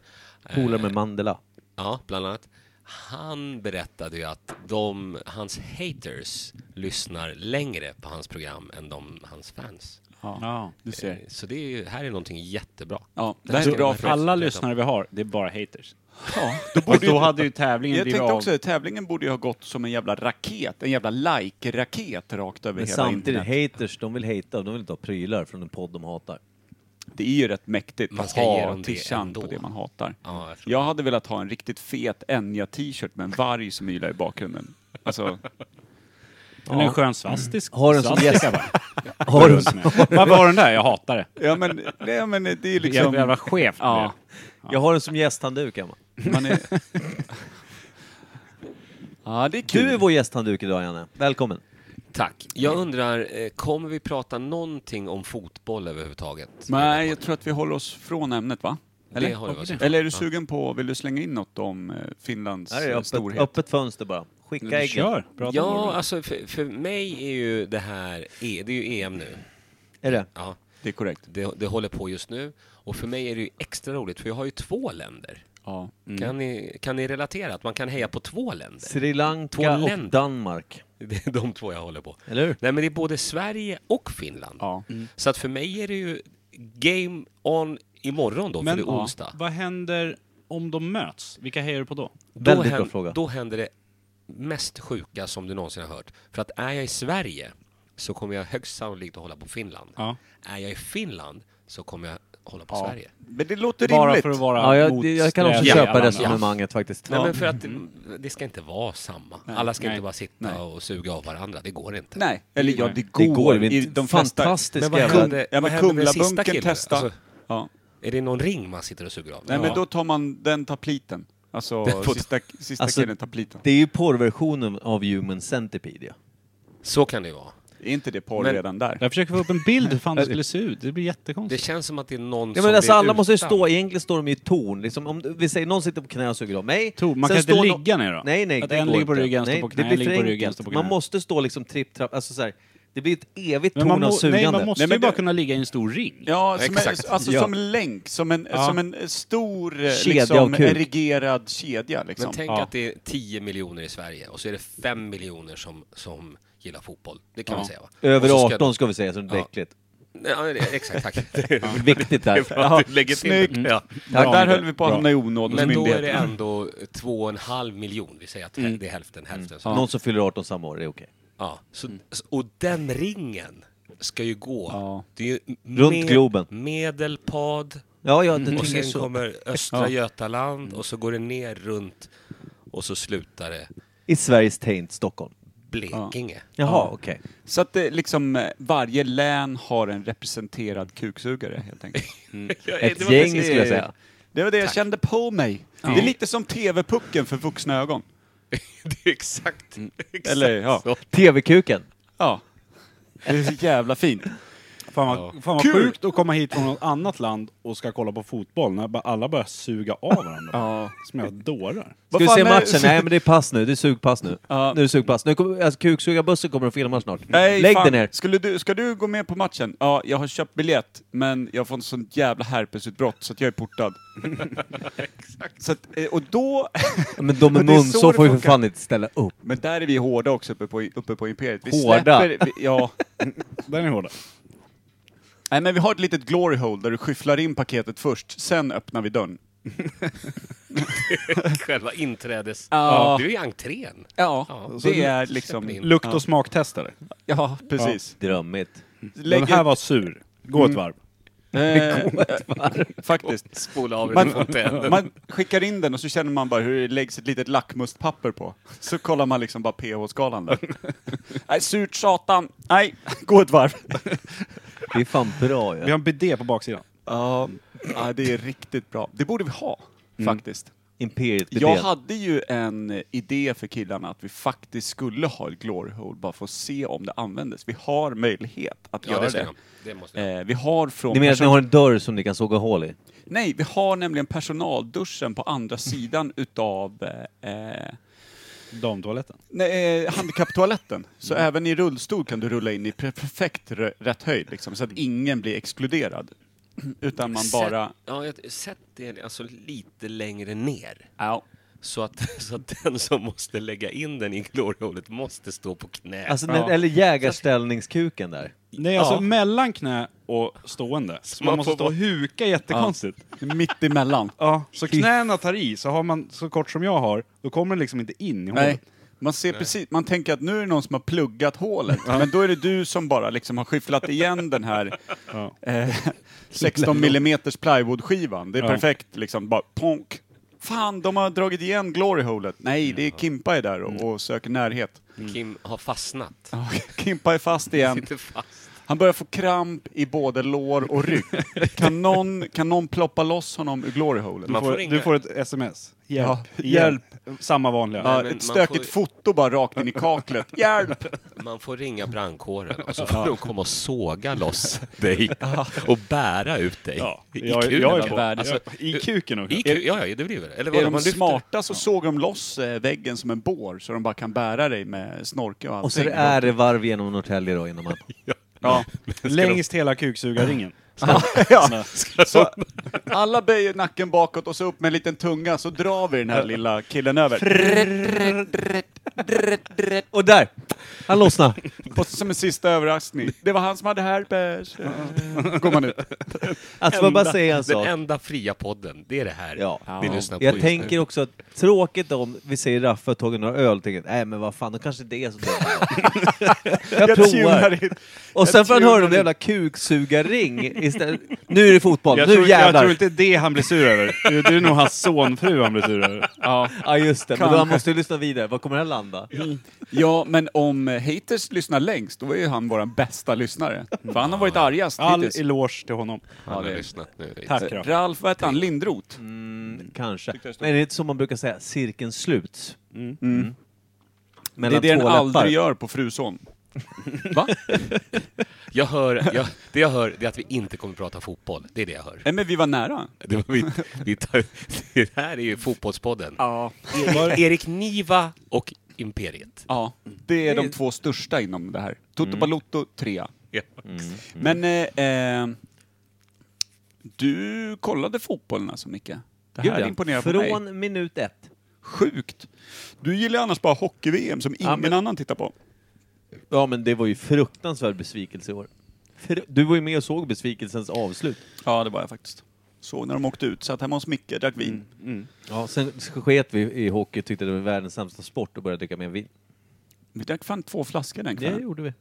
Speaker 2: Eh,
Speaker 1: Polare med Mandela.
Speaker 2: Ja, bland annat. Han berättade ju att de, hans haters lyssnar längre på hans program än de, hans fans.
Speaker 5: Ja.
Speaker 6: du
Speaker 2: Eh,
Speaker 6: ser.
Speaker 2: Så det är, ju- här är någonting jättebra.
Speaker 6: Ja,
Speaker 2: Det
Speaker 6: det här är
Speaker 2: ska
Speaker 6: bra
Speaker 2: man
Speaker 6: för
Speaker 5: Alla
Speaker 2: Precis.
Speaker 5: lyssnare vi har, det är bara haters.
Speaker 6: Ja,
Speaker 5: Och då hade ju tävlingen
Speaker 6: Jag
Speaker 5: blivit
Speaker 6: tänkte
Speaker 5: av.
Speaker 6: också, tävlingen borde ju ha gått som en jävla raket, en jävla like-raket rakt över
Speaker 1: Men
Speaker 6: hela
Speaker 1: samtidigt,
Speaker 6: internet.
Speaker 1: haters, de vill hata, de vill inte ha prylar från en podd de hatar.
Speaker 6: Det är ju rätt mäktigt
Speaker 2: Man
Speaker 6: att
Speaker 2: ska ge
Speaker 6: ha
Speaker 2: dem det
Speaker 6: tishan på
Speaker 2: ändå.
Speaker 6: det man hatar.
Speaker 2: Ja, jag förstår.
Speaker 6: jag hade velat ha en riktigt fet Enya-t-shirt med en varg som ylar i bakgrunden. Alltså,
Speaker 5: Eller en skön svastisk.
Speaker 1: Har en som
Speaker 5: svastika
Speaker 1: gäst.
Speaker 5: bara.
Speaker 1: Har du,
Speaker 5: Vad var den där? Jag hatar det.
Speaker 6: ja men, nej, men det är
Speaker 5: Liksom...
Speaker 6: liksom...
Speaker 5: Jävla chef.
Speaker 6: Ja,
Speaker 1: jag har en som gästhandduk Emma.
Speaker 6: man är... Ja, det är kul.
Speaker 1: Du är vår gästhandduk idag Janne. Välkommen.
Speaker 2: Tack. Jag undrar, eh, kommer vi prata någonting om fotboll överhuvudtaget?
Speaker 6: Nej, jag tror att vi håller oss från ämnet, va? Eller,
Speaker 2: Det har jag varit.
Speaker 6: Eller är du sugen på, vill du slänga in något om eh, Finlands
Speaker 1: Här är
Speaker 6: eh,
Speaker 1: öppet,
Speaker 6: storhet?
Speaker 1: öppet fönster bara. Skicka
Speaker 5: Du
Speaker 1: äggen.
Speaker 5: kör. Bra
Speaker 2: Ja, alltså för, för mig är ju det här, E- det är ju EM nu.
Speaker 1: Är det?
Speaker 2: Ja.
Speaker 6: Det är korrekt.
Speaker 2: Det, det håller på just nu. Och för mig är det ju extra roligt, för jag har ju två länder.
Speaker 6: Ja.
Speaker 2: Kan, ni, kan ni relatera att man kan heja på två länder?
Speaker 1: Sri
Speaker 2: Två
Speaker 1: Lanka och
Speaker 2: länder.
Speaker 1: Danmark.
Speaker 2: Det är de två jag håller på.
Speaker 1: Eller hur?
Speaker 2: Nej, men det är både Sverige och Finland.
Speaker 6: Ja.
Speaker 2: Så att för mig är det ju game on imorgon då,
Speaker 5: Men
Speaker 2: för det är
Speaker 5: ja,
Speaker 2: onsdag.
Speaker 5: vad händer om de möts? Vilka hejar du på då?
Speaker 2: Då
Speaker 1: Väldigt bra
Speaker 2: hän-
Speaker 1: fråga.
Speaker 2: Då händer det mest sjuka som du någonsin har hört. För att är jag i Sverige så kommer jag högst sannolikt att hålla på Finland.
Speaker 5: Ja.
Speaker 2: Är jag i Finland så kommer jag hålla på Sverige.
Speaker 6: Men det låter
Speaker 5: Bara
Speaker 6: rimligt.
Speaker 5: för att vara
Speaker 1: Ja, jag, det-
Speaker 5: motsträvig
Speaker 1: jag kan också
Speaker 5: i alla
Speaker 1: köpa
Speaker 5: andra.
Speaker 1: resonemanget faktiskt.
Speaker 2: Nej, men för att det- det ska inte vara samma. Alla ska
Speaker 5: Nej.
Speaker 2: inte bara sitta och suga av varandra. Det går inte.
Speaker 6: Nej, eller ja, det går.
Speaker 1: Det går ju
Speaker 6: i
Speaker 1: inte.
Speaker 6: de flesta...
Speaker 1: Fantastiska
Speaker 2: Men vad
Speaker 1: jävla-
Speaker 2: hände,
Speaker 6: Ja, men
Speaker 2: vad hände med den sista
Speaker 6: Kumlabunkern
Speaker 2: killen?
Speaker 6: testa.
Speaker 2: Alltså,
Speaker 6: Ja.
Speaker 2: är det någon ring man sitter och suger av?
Speaker 6: Nej,
Speaker 5: Ja.
Speaker 6: men då tar man, den tar pliten. Alltså, sista, sista
Speaker 1: Alltså,
Speaker 6: killen tar pliten.
Speaker 1: Det är ju porrversionen av Human Centipede. ja.
Speaker 2: Så kan det ju vara.
Speaker 6: Är inte det porr
Speaker 2: Men-
Speaker 6: redan där?
Speaker 5: Jag försöker få upp en bild hur fan det skulle se ut. Det blir
Speaker 2: Det
Speaker 5: jättekonstigt.
Speaker 2: känns som att det är någon
Speaker 1: Ja,
Speaker 2: som
Speaker 1: men alltså,
Speaker 2: blir
Speaker 1: alla måste ju
Speaker 2: utan.
Speaker 1: stå, egentligen står de i ett torn. Liksom, om du- vi säger någon sitter på knä och suger av mig.
Speaker 5: Tor,
Speaker 1: sen
Speaker 5: man kan inte
Speaker 1: står nå-
Speaker 5: ligga ner då?
Speaker 1: Nej, nej.
Speaker 5: Att
Speaker 1: det
Speaker 5: en
Speaker 1: går
Speaker 5: ligger på
Speaker 1: inte.
Speaker 5: ryggen, står
Speaker 1: Nej,
Speaker 5: på knä,
Speaker 1: det blir
Speaker 5: en
Speaker 1: för
Speaker 5: ligger på ryggen,
Speaker 1: enkelt.
Speaker 5: står på
Speaker 1: Man
Speaker 5: knä.
Speaker 1: måste stå liksom tripp, trapp, alltså så här. Det blir ett evigt
Speaker 5: Men
Speaker 1: torn
Speaker 5: man,
Speaker 1: av
Speaker 5: må, nej,
Speaker 1: sugande.
Speaker 5: man måste
Speaker 6: Nej, men
Speaker 5: ju bara
Speaker 6: det-
Speaker 5: kunna ligga i en stor ring.
Speaker 6: Ja, som en,
Speaker 2: exakt.
Speaker 6: alltså
Speaker 1: Ja.
Speaker 6: som en länk, som en,
Speaker 5: Ja.
Speaker 6: som en stor eh,
Speaker 1: Kedja
Speaker 6: liksom,
Speaker 1: och kuk.
Speaker 6: erigerad kedja.
Speaker 2: Men
Speaker 6: Liksom.
Speaker 2: tänk
Speaker 5: Ja.
Speaker 2: att det är 10 miljoner i Sverige och så är det 5 miljoner som, som gillar fotboll. Det kan
Speaker 5: Ja.
Speaker 2: vi säga va? Och så
Speaker 1: Över
Speaker 2: ska-
Speaker 1: 18 ska vi säga, så det är
Speaker 2: Ja.
Speaker 1: äckligt.
Speaker 2: Ja, men det- exakt, tack.
Speaker 1: Viktigt där.
Speaker 2: Ja, lägger till.
Speaker 6: snyggt.
Speaker 2: Mm. Ja.
Speaker 6: Där höll vi på att hamna i onåd hos
Speaker 2: Men då är det
Speaker 6: myndigheterna.
Speaker 2: ändå 2,5 miljon. Vi säger att det är hälften, hälften. Så.
Speaker 1: Någon som fyller 18 samma år, det är okej.
Speaker 2: Mm. Ja. Så, så- och den ringen ska ju gå.
Speaker 5: Ja.
Speaker 2: Det är ju
Speaker 1: Runt Globen.
Speaker 2: Medelpad
Speaker 1: Ja,
Speaker 5: Mm.
Speaker 1: ja, det
Speaker 2: och
Speaker 1: tycker jag
Speaker 2: sen
Speaker 1: så.
Speaker 2: kommer Östra Götaland och så går det ner runt och så slutar det
Speaker 1: I Sveriges taint, Stockholm.
Speaker 2: Blekinge.
Speaker 1: Jaha, okej.
Speaker 6: Så att det, liksom, eh, varje län har en representerad kuksugare, helt enkelt.
Speaker 1: Ett gäng skulle jag säga.
Speaker 6: Det var det jag kände på mig. Det är lite som TV-pucken för vuxna ögon.
Speaker 2: Det är exakt, exakt
Speaker 6: Eller, ja.
Speaker 2: så.
Speaker 1: TV-kuken.
Speaker 6: Ja. Det är så jävla fint.
Speaker 5: Fan vad, fan vad
Speaker 6: Kul!
Speaker 5: sjukt att komma hit från något annat land och ska kolla på fotboll när bara- alla börjar suga av varandra.
Speaker 6: Ja.
Speaker 5: Som jag dårar.
Speaker 1: Ska
Speaker 6: Vad
Speaker 1: vi
Speaker 6: fan
Speaker 1: se
Speaker 6: är-
Speaker 1: matchen? Nej, men det är pass nu. Det är sugpass nu.
Speaker 6: Ja.
Speaker 1: Nu är det sugpass. Nu kommer, alltså, kuksugarbussen kommer och filmar snart.
Speaker 6: Nej,
Speaker 1: Lägg
Speaker 6: fan.
Speaker 1: dig ner.
Speaker 6: Skulle du, ska du gå med på matchen? Ja, jag har köpt biljett, men jag får en sån jävla herpesutbrott så att jag är portad. så att, eh, och då...
Speaker 1: Men de
Speaker 6: Men
Speaker 1: med
Speaker 6: det är
Speaker 1: mun,
Speaker 6: så
Speaker 1: så
Speaker 6: det
Speaker 1: får ju för
Speaker 6: funkar.
Speaker 1: fan inte ställa upp.
Speaker 6: Men där är vi hårda också uppe på, uppe på Imperiet. Vi
Speaker 1: Hårda?
Speaker 6: Släpper, vi, ja.
Speaker 5: Den är hård.
Speaker 6: Nej, men vi har ett litet glory hole där du skyfflar in paketet först, sen öppnar vi dörren.
Speaker 2: Själva inträdes...
Speaker 6: Ja.
Speaker 2: Du är i entrén.
Speaker 6: Ja, det är
Speaker 2: släpper
Speaker 6: liksom...
Speaker 2: in.
Speaker 5: Lukt och smaktestare.
Speaker 6: Ja, precis.
Speaker 1: Drömmigt.
Speaker 5: Den här var sur. Gå ett varv.
Speaker 6: eh, faktiskt.
Speaker 2: Spola av
Speaker 6: Man-
Speaker 2: den från tänder.
Speaker 6: Man skickar in den och så känner man bara hur det läggs ett litet lackmustpapper på. Så kollar man liksom bara pH-skalan där. Nej, surt satan. Nej, gå ett varv.
Speaker 1: Det är fan bra
Speaker 5: Vi
Speaker 1: ju.
Speaker 5: har en bidé på baksidan.
Speaker 6: Ja, ja, det är riktigt bra. Det borde vi ha,
Speaker 1: Mm.
Speaker 6: faktiskt.
Speaker 1: Imperiet
Speaker 6: Jag
Speaker 1: bedel.
Speaker 6: hade ju en idé för killarna att vi faktiskt skulle ha ett glory hole bara för att se om det användes. Vi har möjlighet att
Speaker 2: Ja,
Speaker 6: göra
Speaker 2: det ska
Speaker 6: det.
Speaker 2: jag. Det måste jag.
Speaker 6: Eh, vi har från...
Speaker 1: Ni menar att ni
Speaker 6: person-
Speaker 1: har en dörr som ni kan såga hål i?
Speaker 6: Nej, vi har nämligen personalduschen på andra sidan utav eh,
Speaker 5: Damtoaletten.
Speaker 6: Nej, eh, handikapptoaletten. Så
Speaker 5: Mm.
Speaker 6: även i rullstol kan du rulla in i pre- perfekt r- rätt höjd, liksom, så att
Speaker 5: Mm.
Speaker 6: ingen blir exkluderad. Utan man bara...
Speaker 2: Sätt, ja, jag- sätt det alltså lite längre ner.
Speaker 6: Ja.
Speaker 2: Så att, så att den som måste lägga in den i gloryhålet måste stå på knä.
Speaker 1: Alltså, när, eller jägarställningskuken där.
Speaker 5: Nej, alltså mellan knä och stående. Så man,
Speaker 2: man
Speaker 5: måste
Speaker 2: får
Speaker 5: stå och huka jättekonstigt. Ja.
Speaker 6: Mitt emellan.
Speaker 5: så knäna tar i, så har man så kort som jag har, då kommer den liksom inte in i hålet.
Speaker 6: Nej. Man ser precis, man tänker att nu är det någon som har pluggat hålet, men då är det du som bara liksom har skyfflat igen den här
Speaker 5: Ja.
Speaker 6: eh, 16 millimeters plywoodskivan. Det är
Speaker 5: Ja.
Speaker 6: perfekt liksom, bara ponk. Fan, de har dragit igen glory holet. Nej, det är Kimpa är där
Speaker 5: Mm.
Speaker 6: och, och söker närhet.
Speaker 2: Kim har fastnat.
Speaker 6: Kimpa är fast igen.
Speaker 2: Sitter fast.
Speaker 6: Han börjar få kramp i både lår och rygg. Kan någon, kan någon ploppa loss honom ur glory
Speaker 5: Du,
Speaker 6: holen?
Speaker 2: Man
Speaker 5: får,
Speaker 2: får ringa.
Speaker 5: du får ett sms. Hjälp.
Speaker 6: Ja.
Speaker 5: Hjälp. Samma vanliga.
Speaker 6: Ja,
Speaker 2: Nej, men
Speaker 6: ett
Speaker 2: man
Speaker 6: stökigt
Speaker 2: får
Speaker 6: foto bara rakt in i kaklet. Hjälp!
Speaker 2: Man får ringa brandkåren och så får de komma och såga loss dig och bära ut dig.
Speaker 5: Ja,
Speaker 2: I
Speaker 5: jag,
Speaker 2: kuken.
Speaker 5: jag är på.
Speaker 2: Alltså,
Speaker 5: I kuken också.
Speaker 2: i ku- ja, ja, det blir det. Eller vad
Speaker 6: Är
Speaker 2: man
Speaker 6: de
Speaker 2: lyfter.
Speaker 6: smarta så såg de loss eh, väggen som en bår så de bara kan bära dig med snorke och allting.
Speaker 1: Och så är det ärevarv genom Norrtälje då innan man...
Speaker 6: Ja.
Speaker 5: Längst hela kuksugarringen.
Speaker 6: ja. Så alla böjer nacken bakåt och så upp med en liten tunga så drar vi den här lilla killen över.
Speaker 1: Och där! Han lossnade.
Speaker 6: Och som en sista överraskning. Det var han som hade herpes. Går man ut.
Speaker 1: Alltså får jag bara säga en
Speaker 2: Den
Speaker 1: sak.
Speaker 2: enda fria podden, det är det här
Speaker 1: Ja.
Speaker 2: ni lyssnar på
Speaker 1: Jag
Speaker 2: just nu.
Speaker 1: tänker också att tråkigt om vi säger Raffe har tagit några öl och tänker nej men vad fan, då kanske det är så dumt. jag provar.
Speaker 6: tunar in.
Speaker 1: Och sen får han höra om
Speaker 6: tunar
Speaker 1: den jävla kuksugarring istället. Nu är det fotboll,
Speaker 5: Jag
Speaker 1: nu
Speaker 5: tror, jag
Speaker 1: jävlar!
Speaker 5: tror inte det han blir sur över. Det är nog hans sonfru han blir sur över. Ja.
Speaker 1: Ja just det, men då han måste ju lyssna vidare. Var kommer det här landa?
Speaker 6: Ja, men om haters lyssnar längst, då är ju han vår bästa lyssnare. För han har varit argast
Speaker 5: All
Speaker 6: hittills.
Speaker 5: eloge till honom.
Speaker 2: Han har lyssnat nu. lite.
Speaker 5: Tack Raffe.
Speaker 6: Ralf, vad hette han? Lindroth?
Speaker 1: Mm. Kanske. Men det är som man brukar säga, cirkeln sluts. Mm.
Speaker 6: Det är
Speaker 1: Mellan
Speaker 6: det den
Speaker 1: två läppar.
Speaker 6: aldrig gör på Fruson. Va?
Speaker 2: Jag hör, jag, det jag hör det är att vi inte kommer prata fotboll. Det är det jag hör.
Speaker 6: Nej, men vi var nära.
Speaker 2: Det, var vi, vi tar, det här är ju fotbollspodden.
Speaker 6: Ja.
Speaker 2: Erik, Erik Niva och Imperiet.
Speaker 6: Ja, det är de två största inom det här. Toto Balotto, trea.
Speaker 2: Ja.
Speaker 6: Mm. Men, eh, eh, du kollade fotbollen alltså, Micke? Det här
Speaker 1: Gud, ja.
Speaker 6: imponerar på mig.
Speaker 1: Från minut ett.
Speaker 6: Sjukt! Du gillar ju annars bara hockey-VM som ingen
Speaker 1: men-
Speaker 6: annan tittar på.
Speaker 1: Ja men det var ju fruktansvärd besvikelse i år. Fru- Du var ju med och såg besvikelsens avslut.
Speaker 6: Ja, det var jag faktiskt. Mm. Såg när de åkte ut, satt hemma hos Micke, drack vin.
Speaker 1: Ja, sen sket vi i hockey, tyckte det var världens sämsta sport och började dricka mer vin.
Speaker 6: Vi drack fan två flaskor den
Speaker 1: Det
Speaker 6: kvällen.
Speaker 1: gjorde vi.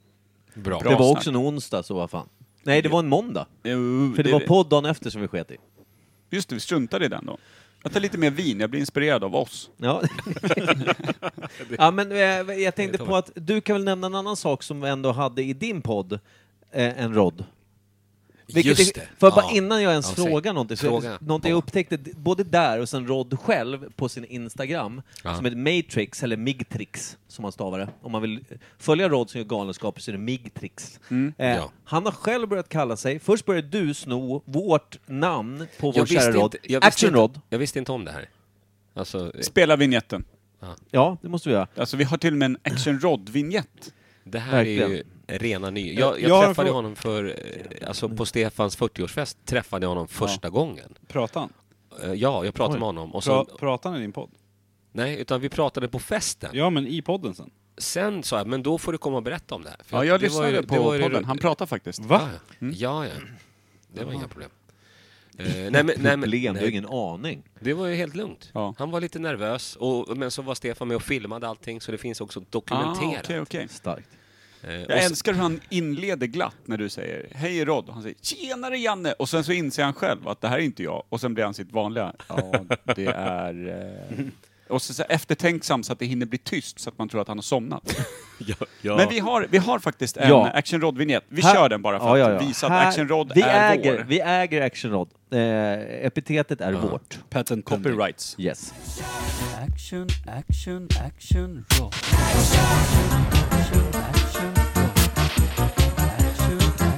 Speaker 2: Bra.
Speaker 1: det var
Speaker 6: snack.
Speaker 1: också en onsdag så vad fan. Nej, det var en måndag.
Speaker 6: Jo,
Speaker 1: För det,
Speaker 6: det-
Speaker 1: var podd dagen efter som vi sket i.
Speaker 6: Just det, vi struntade i den då. Jag tar lite mer vin, jag blir inspirerad av oss.
Speaker 1: Ja. ja, men eh, jag tänkte på att du kan väl nämna en annan sak som vi ändå hade i din podd, eh, en rodd. Vilket
Speaker 2: Just
Speaker 1: är-
Speaker 2: det.
Speaker 1: För bara
Speaker 2: Ja.
Speaker 1: innan jag ens
Speaker 2: Ja, säg.
Speaker 1: frågar någonting, så
Speaker 2: Fråga.
Speaker 1: någonting jag upptäckte d- både där och sen Rod själv på sin Instagram,
Speaker 2: Ja.
Speaker 1: som heter Matrix, eller Migtrix som man stavar det. Om man vill följa Rod som gör galenskaper så är det Migtrix.
Speaker 6: Mm.
Speaker 1: Eh,
Speaker 2: Ja.
Speaker 1: Han har själv börjat kalla sig, först började du sno vårt namn på vår kära Rod,
Speaker 2: jag visste
Speaker 1: Action
Speaker 2: inte-
Speaker 1: Rod.
Speaker 2: Jag visste inte om det här. Alltså,
Speaker 6: Spela vignetten.
Speaker 1: Ja, det måste vi göra.
Speaker 6: Alltså vi har till och med en Action Rod-vignett.
Speaker 2: det här är ju
Speaker 1: verkligen.
Speaker 2: rena ny. Jag, jag,
Speaker 5: Jag har en
Speaker 2: träffade
Speaker 5: frå-
Speaker 2: honom för, eh, alltså på Stefans 40-årsfest träffade jag honom första gången.
Speaker 5: Pratar han?
Speaker 2: Eh, Ja, jag pratade med honom och så,
Speaker 5: Pra, pratar han i din podd?
Speaker 2: nej, utan vi pratade på festen.
Speaker 5: Ja, men i podden sen.
Speaker 2: Sen sa jag, men då får du komma och berätta om det här. För
Speaker 6: Ja,
Speaker 2: att
Speaker 6: jag
Speaker 2: det var ju-
Speaker 6: lyssnade
Speaker 2: det
Speaker 6: på
Speaker 2: var ju-
Speaker 6: podden. Han Mm. pratar faktiskt.
Speaker 2: Va? Ja, ja. ja. Det var inga problem. Eh, nej, men, nej, men,
Speaker 1: Problem, du har
Speaker 2: nej,
Speaker 1: ingen aning.
Speaker 2: det var ju helt lugnt.
Speaker 6: Ja.
Speaker 2: Han var lite nervös, och, men så var Stefan med och filmade allting så det finns också
Speaker 6: Ah,
Speaker 2: dokumenterat.
Speaker 6: okej, okej.
Speaker 1: Starkt.
Speaker 2: Eh, och
Speaker 6: Jag
Speaker 2: sen-
Speaker 6: älskar hur han inleder glatt när du säger Hej Rod. Han säger Tjenare Janne! Och sen så inser han själv att det här är inte jag. Och sen blir han sitt vanliga. Ja, det är... Eh... Och så, så eftertänksam så att det hinner bli tyst så att man tror att han har somnat.
Speaker 2: ja, ja.
Speaker 6: Men vi har, vi har faktiskt en
Speaker 1: Ja.
Speaker 6: Action Rod-vinjett. Vi
Speaker 1: Här-
Speaker 6: kör den bara för
Speaker 1: Ja, ja,
Speaker 6: att
Speaker 1: ja.
Speaker 6: visa att
Speaker 1: Här-
Speaker 6: Action Rod
Speaker 1: vi
Speaker 6: är
Speaker 1: äger,
Speaker 6: vår.
Speaker 1: Vi äger Action Rod. Eh, epitetet är vårt.
Speaker 5: Patent
Speaker 6: Copyrights.
Speaker 1: Yes.
Speaker 9: Action, action, action, roll. Action, action, roll. Action, action, action, roll.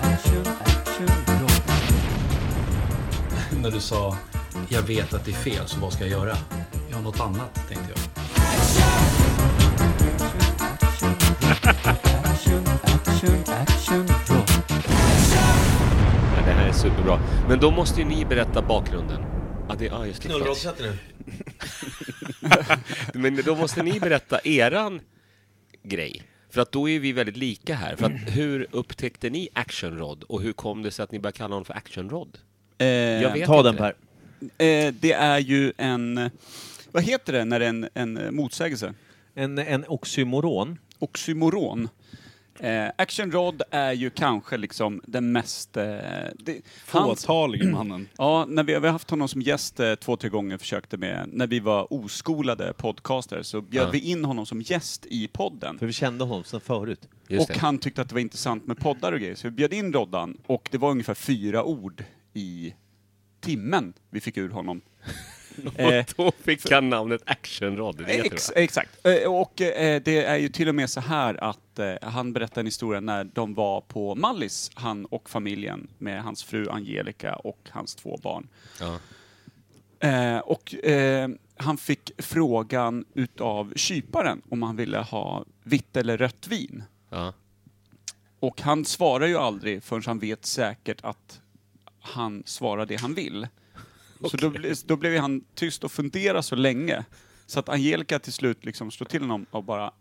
Speaker 9: Action, action, action, roll.
Speaker 10: När du sa jag vet att det är fel, så vad ska jag göra? Jag har något annat, tänkte jag.
Speaker 9: Action, action, action, roll.
Speaker 2: Ja, det här är superbra. Men då måste ju ni berätta bakgrunden. Ja, det, ah, just det. förlåt.
Speaker 11: Knullrådssätter nu.
Speaker 2: Men då måste ni berätta eran grej. För att då är vi väldigt lika här. För att hur upptäckte ni Action Rod och hur kom det sig att ni började kalla honom för Action Rod?
Speaker 6: Eh,
Speaker 2: Jag vet
Speaker 1: Ta
Speaker 2: inte
Speaker 1: den
Speaker 2: det.
Speaker 1: Per.
Speaker 6: Eh, det är ju en... Vad heter det när det är en, en eh, motsägelse?
Speaker 1: En, en oxymoron.
Speaker 6: Oxymoron. Eh, Action Rod är ju kanske liksom den mest... Eh, det, hans-
Speaker 5: Fåtalig mannen.
Speaker 6: Ja, när vi, vi har haft honom som gäst eh, två, tre gånger försökte med, när vi var oskolade podcaster så bjöd
Speaker 2: Ja.
Speaker 6: vi in honom som gäst i podden.
Speaker 1: För vi kände honom sedan förut.
Speaker 2: Just
Speaker 6: Och
Speaker 2: det.
Speaker 6: han tyckte att det var intressant med poddar och grejer, så vi bjöd in Roddan och det var ungefär fyra ord i timmen vi fick ur honom. eh,
Speaker 2: Och då fick han namnet Action Rod. Det vet
Speaker 6: Ex
Speaker 2: du, va?
Speaker 6: exakt. Eh, Och eh, det är ju till och med så här att eh, han berättar en historia när de var på Mallis, han och familjen med hans fru Angelica och hans två barn.
Speaker 2: Ja.
Speaker 6: Eh, och eh, han fick frågan utav kyparen om han ville ha vitt eller rött vin.
Speaker 2: Ja.
Speaker 6: Och han svarar ju aldrig förrän han vet säkert att han svarar det han vill. Så då, ble, då blev han tyst och funderade så länge så att Angelica till slut liksom slår till honom och bara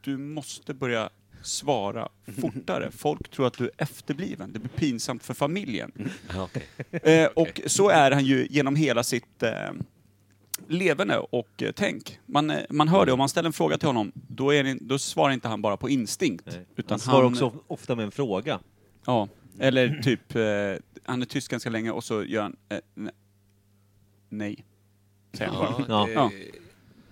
Speaker 6: Du måste börja svara
Speaker 1: Mm.
Speaker 6: fortare. Folk tror att du är efterbliven. Det blir pinsamt för familjen.
Speaker 1: Mm.
Speaker 2: Ja, okej.
Speaker 6: Eh, och så är han ju genom hela sitt eh, leverne och eh, tänk. Man, eh, man hör det, om man ställer en fråga till honom, då, är det, då svarar inte han bara på instinkt. Utan
Speaker 1: Han svarar också of- ofta med en fråga.
Speaker 6: Ja, eller typ, eh, han är tyst ganska länge och så gör han eh, ne- nej. Säger han
Speaker 1: Ja.
Speaker 6: bara. Ja.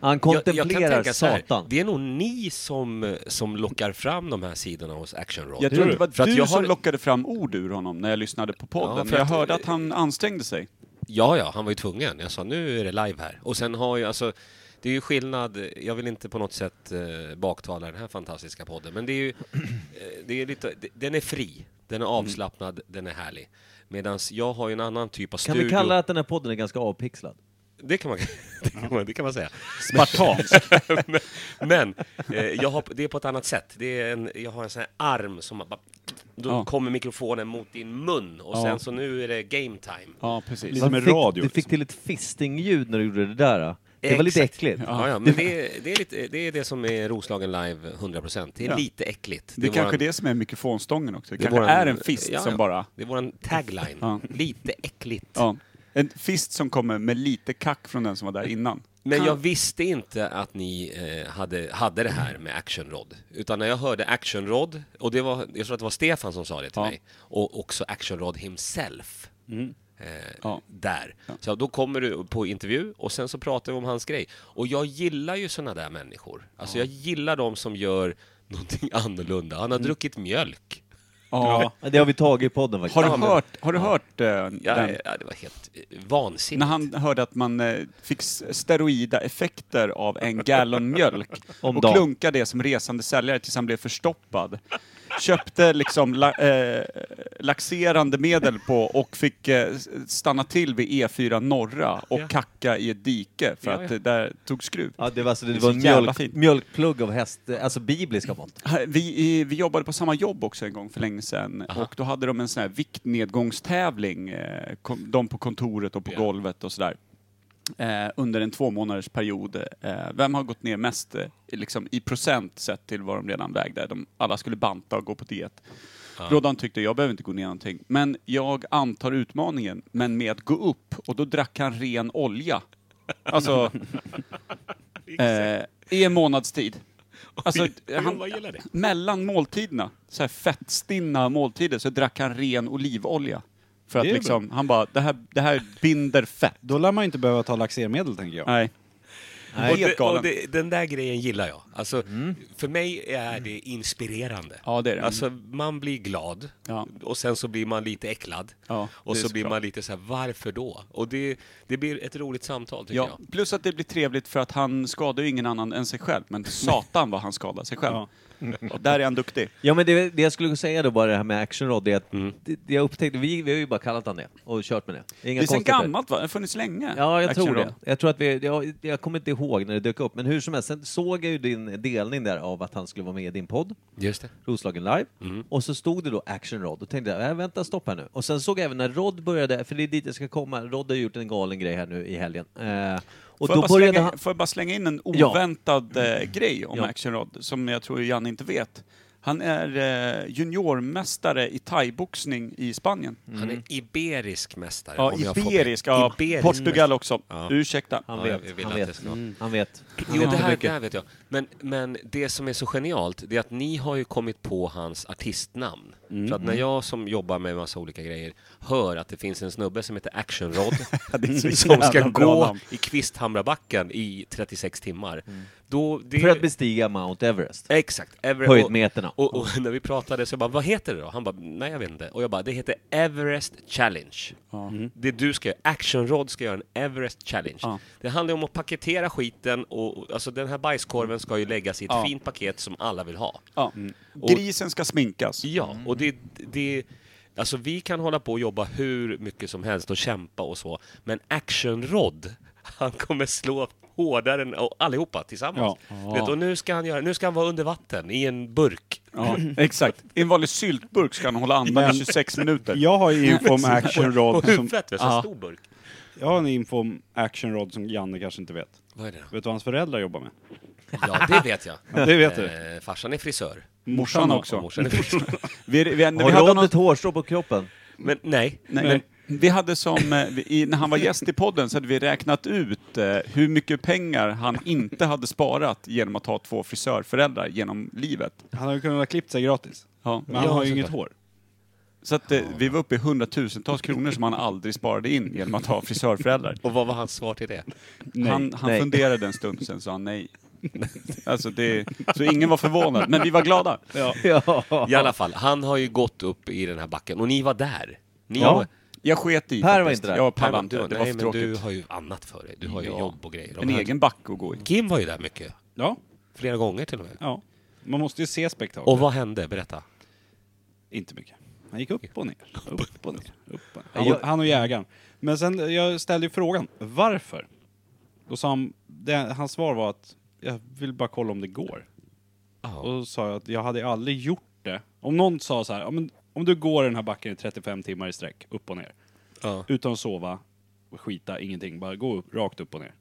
Speaker 1: Han kontemplerar
Speaker 2: så här,
Speaker 1: Satan.
Speaker 2: Det är nog ni som, som lockar fram de här sidorna hos Action Rod.
Speaker 6: Jag tror att det var
Speaker 2: För att
Speaker 6: du
Speaker 2: jag
Speaker 6: som
Speaker 2: har-
Speaker 6: lockade fram ord ur honom när jag lyssnade på podden.
Speaker 2: Ja, för
Speaker 6: för jag
Speaker 2: att-
Speaker 6: hörde att han ansträngde sig.
Speaker 2: Ja, ja, han var ju tvungen. Jag sa nu är det live här. Och sen har ju alltså, det är ju skillnad, jag vill inte på något sätt eh, baktala den här fantastiska podden, men det är ju, eh, det är lite, det- den är fri, den är avslappnad, den är härlig. Medan jag har ju en annan typ av
Speaker 1: Kan
Speaker 2: studio.
Speaker 1: vi kalla att den här podden är ganska avpixlad?
Speaker 2: Det kan man, det kan man, det kan man säga.
Speaker 6: Spartansk.
Speaker 2: men men eh, jag har, det är på ett annat sätt. Det är en, jag har en sån här arm som bara, då
Speaker 6: Ja.
Speaker 2: kommer mikrofonen mot din mun och
Speaker 6: Ja.
Speaker 2: sen så nu är det game time.
Speaker 6: Ja, precis.
Speaker 1: du, fick, du
Speaker 2: liksom.
Speaker 6: liksom.
Speaker 1: fick till ett fistingljud när du gjorde det där. då. Det var lite
Speaker 2: Exakt.
Speaker 1: äckligt.
Speaker 2: Ja, ja, men det, är- det, är lite, det är det som är Roslagen live 100%. Det är
Speaker 6: Ja.
Speaker 2: lite äckligt.
Speaker 6: Det är kanske
Speaker 2: våran-
Speaker 6: det som är mikrofonstången också. Det,
Speaker 2: det
Speaker 6: kanske
Speaker 2: våran-
Speaker 6: är en fist
Speaker 2: ja, ja.
Speaker 6: som bara...
Speaker 2: Det är våran tagline.
Speaker 6: Ja.
Speaker 2: Lite äckligt.
Speaker 6: Ja. En fist som kommer med lite kack från den som var där innan.
Speaker 2: Men jag visste inte att ni eh, hade, hade det här med actionrod. Utan när jag hörde actionrod, och det var, jag tror att det var Stefan som sa det till
Speaker 6: Ja.
Speaker 2: mig, och också actionrod himself. Eh,
Speaker 6: Ja.
Speaker 2: Där. Så då kommer du på intervju och sen så pratar vi om hans grej. Och jag gillar ju såna där människor. Alltså jag gillar de som gör någonting annorlunda. Han
Speaker 6: Mm.
Speaker 2: har druckit mjölk.
Speaker 6: Ja.
Speaker 1: Ja, Det har vi tagit i podden faktiskt.
Speaker 6: Har du
Speaker 2: Ja, men-
Speaker 6: hört, har du hört eh,
Speaker 2: Ja,
Speaker 6: den?
Speaker 2: ja, det var helt eh, vansinnigt.
Speaker 6: När han hörde att man eh, fick s- steroida effekter av en gallon mjölk
Speaker 1: Om
Speaker 6: och
Speaker 1: dagen.
Speaker 6: klunkade det som resande säljare tills han blev förstoppad. Köpte liksom la, eh, laxerande medel på och fick eh, s- stanna till vid E4 norra och
Speaker 2: Ja.
Speaker 6: kacka i ett dike för
Speaker 2: Ja,
Speaker 6: att
Speaker 2: ja.
Speaker 6: det där tog skruv.
Speaker 1: Ja, det var, alltså,
Speaker 6: Det
Speaker 1: det
Speaker 6: är
Speaker 1: var
Speaker 6: så
Speaker 1: en
Speaker 6: jävla
Speaker 1: mjölk,
Speaker 6: fint.
Speaker 1: mjölkplugg av häst, alltså bibliska mått.
Speaker 6: Här, Vi, i- vi jobbade på samma jobb också en gång för länge sedan och då hade de en sån här viktnedgångstävling, eh, kom- de på kontoret och på
Speaker 2: Ja.
Speaker 6: golvet och sådär. Eh, under en två månaders period. Eh, vem har gått ner mest eh, liksom, i procent sett till vad de redan vägde? De, alla skulle banta och gå på diet. Rodan tyckte jag behöver inte gå ner någonting. Men jag antar utmaningen, men med att gå upp. Och då drack han ren olja. Alltså... eh, I en månads tid. Alltså, han,
Speaker 2: vad gillar det.
Speaker 6: mellan måltiderna, så här fettstinna måltider, så drack han ren olivolja. För att
Speaker 12: Det är
Speaker 6: liksom, han bara, det här, det här binder fett.
Speaker 12: Då lär man ju inte behöva ta laxermedel, tänker jag.
Speaker 6: Nej.
Speaker 2: Och,
Speaker 6: Helt
Speaker 2: det, och
Speaker 6: galen.
Speaker 2: det, den där grejen gillar jag. Alltså, För mig är det inspirerande.
Speaker 6: Ja, det är det.
Speaker 2: Alltså, man blir glad
Speaker 6: Ja.
Speaker 2: och sen så blir man lite äcklad.
Speaker 6: Ja,
Speaker 2: och
Speaker 6: det är
Speaker 2: så
Speaker 6: så
Speaker 2: blir
Speaker 6: bra.
Speaker 2: man lite så här, varför då? Och det, det blir ett roligt samtal tycker
Speaker 6: Ja,
Speaker 2: jag.
Speaker 6: plus att det blir trevligt för att han skadar ju ingen annan än sig själv. Men satan vad han skadar sig själv. Och där är han duktig.
Speaker 1: Ja men det, det jag skulle säga då bara det här med Action Rod, det är att
Speaker 6: Mm.
Speaker 1: det, det jag upptäckte, vi, vi har ju bara kallat han det och kört med det. Det är
Speaker 6: Det
Speaker 1: inga
Speaker 6: är sen
Speaker 1: konstigheter.
Speaker 6: gammalt va? Det har funnits länge.
Speaker 1: Ja, jag
Speaker 6: Action
Speaker 1: tror
Speaker 6: Road.
Speaker 1: det. Jag tror att vi, jag, jag kommer inte ihåg när det dök upp, men hur som helst, sen såg jag ju din delning där av att han skulle vara med i din podd,
Speaker 2: Just det.
Speaker 1: Roslagen Live,
Speaker 6: Mm.
Speaker 1: och så stod det då Action Rod, och tänkte jag, "Nej, vänta, stopp här nu. Och sen såg jag även när Rod började, för det är dit jag ska komma, Rod har gjort en galen grej här nu i helgen. Eh, och
Speaker 6: Får jag,
Speaker 1: då
Speaker 6: bara
Speaker 1: började
Speaker 6: slänga,
Speaker 1: han...
Speaker 6: får jag bara slänga in en
Speaker 1: Ja. Mm.
Speaker 6: oväntad eh, grej om
Speaker 1: Ja.
Speaker 6: Action Rod, som jag tror Janne inte vet. Han är eh, juniormästare i thaiboxning i Spanien.
Speaker 1: Mm.
Speaker 2: Han är iberisk mästare.
Speaker 6: Mm. Ja,
Speaker 2: om jag får-
Speaker 6: iberisk. Ja,
Speaker 2: Iberisk
Speaker 6: Portugal också.
Speaker 2: Ja.
Speaker 6: Ursäkta.
Speaker 1: Han
Speaker 2: Ja,
Speaker 1: vet,
Speaker 2: jag vill
Speaker 1: han
Speaker 2: att det
Speaker 1: vet,
Speaker 2: ska-
Speaker 1: han vet.
Speaker 2: Jo,
Speaker 6: vet
Speaker 2: det
Speaker 6: inte
Speaker 2: här, det
Speaker 6: mycket.
Speaker 2: här vet jag. Men, men det som är så genialt, det är att ni har ju kommit på hans artistnamn. För att när jag som jobbar med massa olika grejer hör att det finns en snubbe som heter Action Rod som ska
Speaker 6: jävla bra
Speaker 2: gå
Speaker 6: namn.
Speaker 2: i Kvisthamrabacken i 36 timmar. Då,
Speaker 6: Mm.
Speaker 2: det...
Speaker 1: För att bestiga Mount Everest.
Speaker 2: Exakt. Ever-
Speaker 1: Höjdmeterna.
Speaker 2: Och, och, och när vi pratade så jag bara, vad heter det då? Han bara, nej jag vet inte. Och jag bara, det heter Everest Challenge. Mm. Det du ska göra, Action Rod ska göra en Everest Challenge.
Speaker 6: Mm. Ja.
Speaker 2: Det handlar om att paketera skiten och och, alltså den här bajskorven ska ju läggas i ett
Speaker 6: Ja.
Speaker 2: fint paket som alla vill ha.
Speaker 6: Ja.
Speaker 1: Mm.
Speaker 6: Grisen ska sminkas.
Speaker 2: Ja, och det, det, alltså vi kan hålla på och jobba hur mycket som helst och kämpa och så, men Action Rod han kommer slå hårdare än och allihopa tillsammans.
Speaker 6: Ja.
Speaker 2: Du Vet, och nu ska han göra, nu ska han vara under vatten i en burk.
Speaker 6: Ja, exakt. I en vanlig syltburk ska han hålla andan
Speaker 5: Men-
Speaker 6: i 26 minuter.
Speaker 5: Jag har ju info om action rod
Speaker 2: På huvudet, vet du, så
Speaker 5: Ja.
Speaker 2: stor burk.
Speaker 5: Jag har en info om action rod som Janne kanske inte vet.
Speaker 2: Vad är det då?
Speaker 5: Vet du vad hans föräldrar jobbar med?
Speaker 2: Ja, det vet jag.
Speaker 5: Ja, det vet du.
Speaker 2: Eh, farsan är frisör.
Speaker 5: Morsan också.
Speaker 2: Och Morsan är frisör.
Speaker 6: Vi, vi, vi hade
Speaker 1: Har Ronny
Speaker 6: någon-
Speaker 1: ett hårstrå på kroppen?
Speaker 2: Men nej.
Speaker 6: Nej, men Vi hade som, eh, vi- i, när han var gäst i podden så hade vi räknat ut eh, hur mycket pengar han inte hade sparat genom att ha två frisörföräldrar genom livet.
Speaker 5: Han hade ju kunnat ha klippt sig gratis.
Speaker 6: Ja.
Speaker 5: Men han har ju inget hår.
Speaker 6: Så att, eh, vi var uppe i hundratusentals kronor som han aldrig sparade in genom att ha frisörföräldrar.
Speaker 2: Och vad var hans svar till det?
Speaker 6: Han, han
Speaker 1: Nej.
Speaker 6: funderade en stund, sen sa han nej. Alltså det, så ingen var förvånad, men vi var glada.
Speaker 2: I alla fall, han har ju gått upp i den här backen och ni var där. Ni
Speaker 1: Ja.
Speaker 2: var,
Speaker 6: Jag sket i
Speaker 1: Per var
Speaker 6: faktiskt.
Speaker 1: inte där.
Speaker 6: Jag
Speaker 2: Per
Speaker 6: pallade inte,
Speaker 2: du,
Speaker 6: det var
Speaker 2: nej,
Speaker 6: för
Speaker 2: men du
Speaker 6: tråkigt.
Speaker 2: har ju annat för dig. Du har Mm. ju
Speaker 6: Ja.
Speaker 2: jobb och grejer.
Speaker 6: En
Speaker 2: Men
Speaker 6: egen back att gå i.
Speaker 2: Kim var ju där mycket.
Speaker 5: Ja.
Speaker 2: Flera gånger till och med.
Speaker 5: ja. Man måste ju se spektaklet.
Speaker 2: Och vad hände? Berätta.
Speaker 5: Inte mycket. Han gick upp och ner. Upp och ner. Upp och ner. Han,
Speaker 1: Jag-
Speaker 5: och- han och jägaren. Men sen, jag ställde ju frågan, varför? Då sa han, det, hans svar var att jag vill bara kolla om det går.
Speaker 2: Ja.
Speaker 5: Och då sa jag att jag hade aldrig gjort det. Om någon sa så här, "Ja, men om du går den här backen i 35 timmar i sträck, upp och ner.
Speaker 2: Ja.
Speaker 5: Utan att sova, skita, ingenting. Bara gå upp, rakt upp och ner.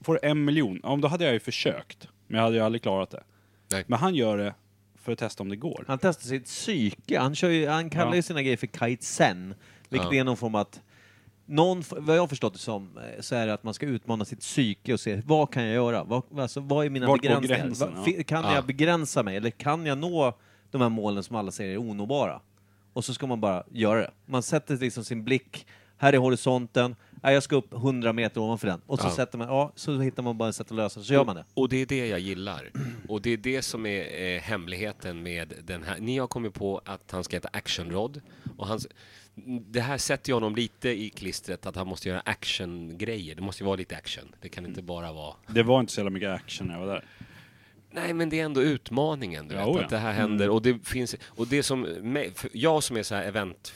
Speaker 5: Får en miljon, ja, men då hade jag ju försökt. Men jag hade ju aldrig klarat det.
Speaker 2: Nej.
Speaker 5: Men han gör det för att testa om det går.
Speaker 1: Han testar sitt psyke. Han, kör ju, han kallar
Speaker 5: Ja.
Speaker 1: ju sina grejer för kaizen, vilket
Speaker 2: Ja.
Speaker 1: är någon form av att någon, f- vad jag har förstått det som, eh, så är det att man ska utmana sitt psyke och se vad kan jag göra? Vad, alltså, vad är mina
Speaker 5: Vart går
Speaker 1: begränsningar?
Speaker 5: gränsen,
Speaker 1: Va-
Speaker 5: ja.
Speaker 1: fi- Kan
Speaker 2: Ja.
Speaker 1: jag begränsa mig? Eller kan jag nå de här målen som alla säger är onåbara? Och så ska man bara göra det. Man sätter liksom sin blick, här är horisonten, Nej, jag ska upp 100 meter ovanför den. Och så
Speaker 2: Ja.
Speaker 1: sätter man, ja, så hittar man bara ett sätt att lösa det, så gör man det.
Speaker 2: Och det är det jag gillar. Och det är det som är eh, hemligheten med den här. Ni har kommit på att han ska heta Action Rod. Och hans, det här sätter ju honom lite i klistret att han måste göra actiongrejer. Det måste ju vara lite action. Det kan inte bara vara...
Speaker 5: Det var inte så jävla mycket action när jag var där.
Speaker 2: Nej, men det är ändå utmaningen, du
Speaker 5: Ja, Mm.
Speaker 2: vet,
Speaker 5: oja.
Speaker 2: att det här händer. Och det finns... Och det som... mig- för Jag som är så här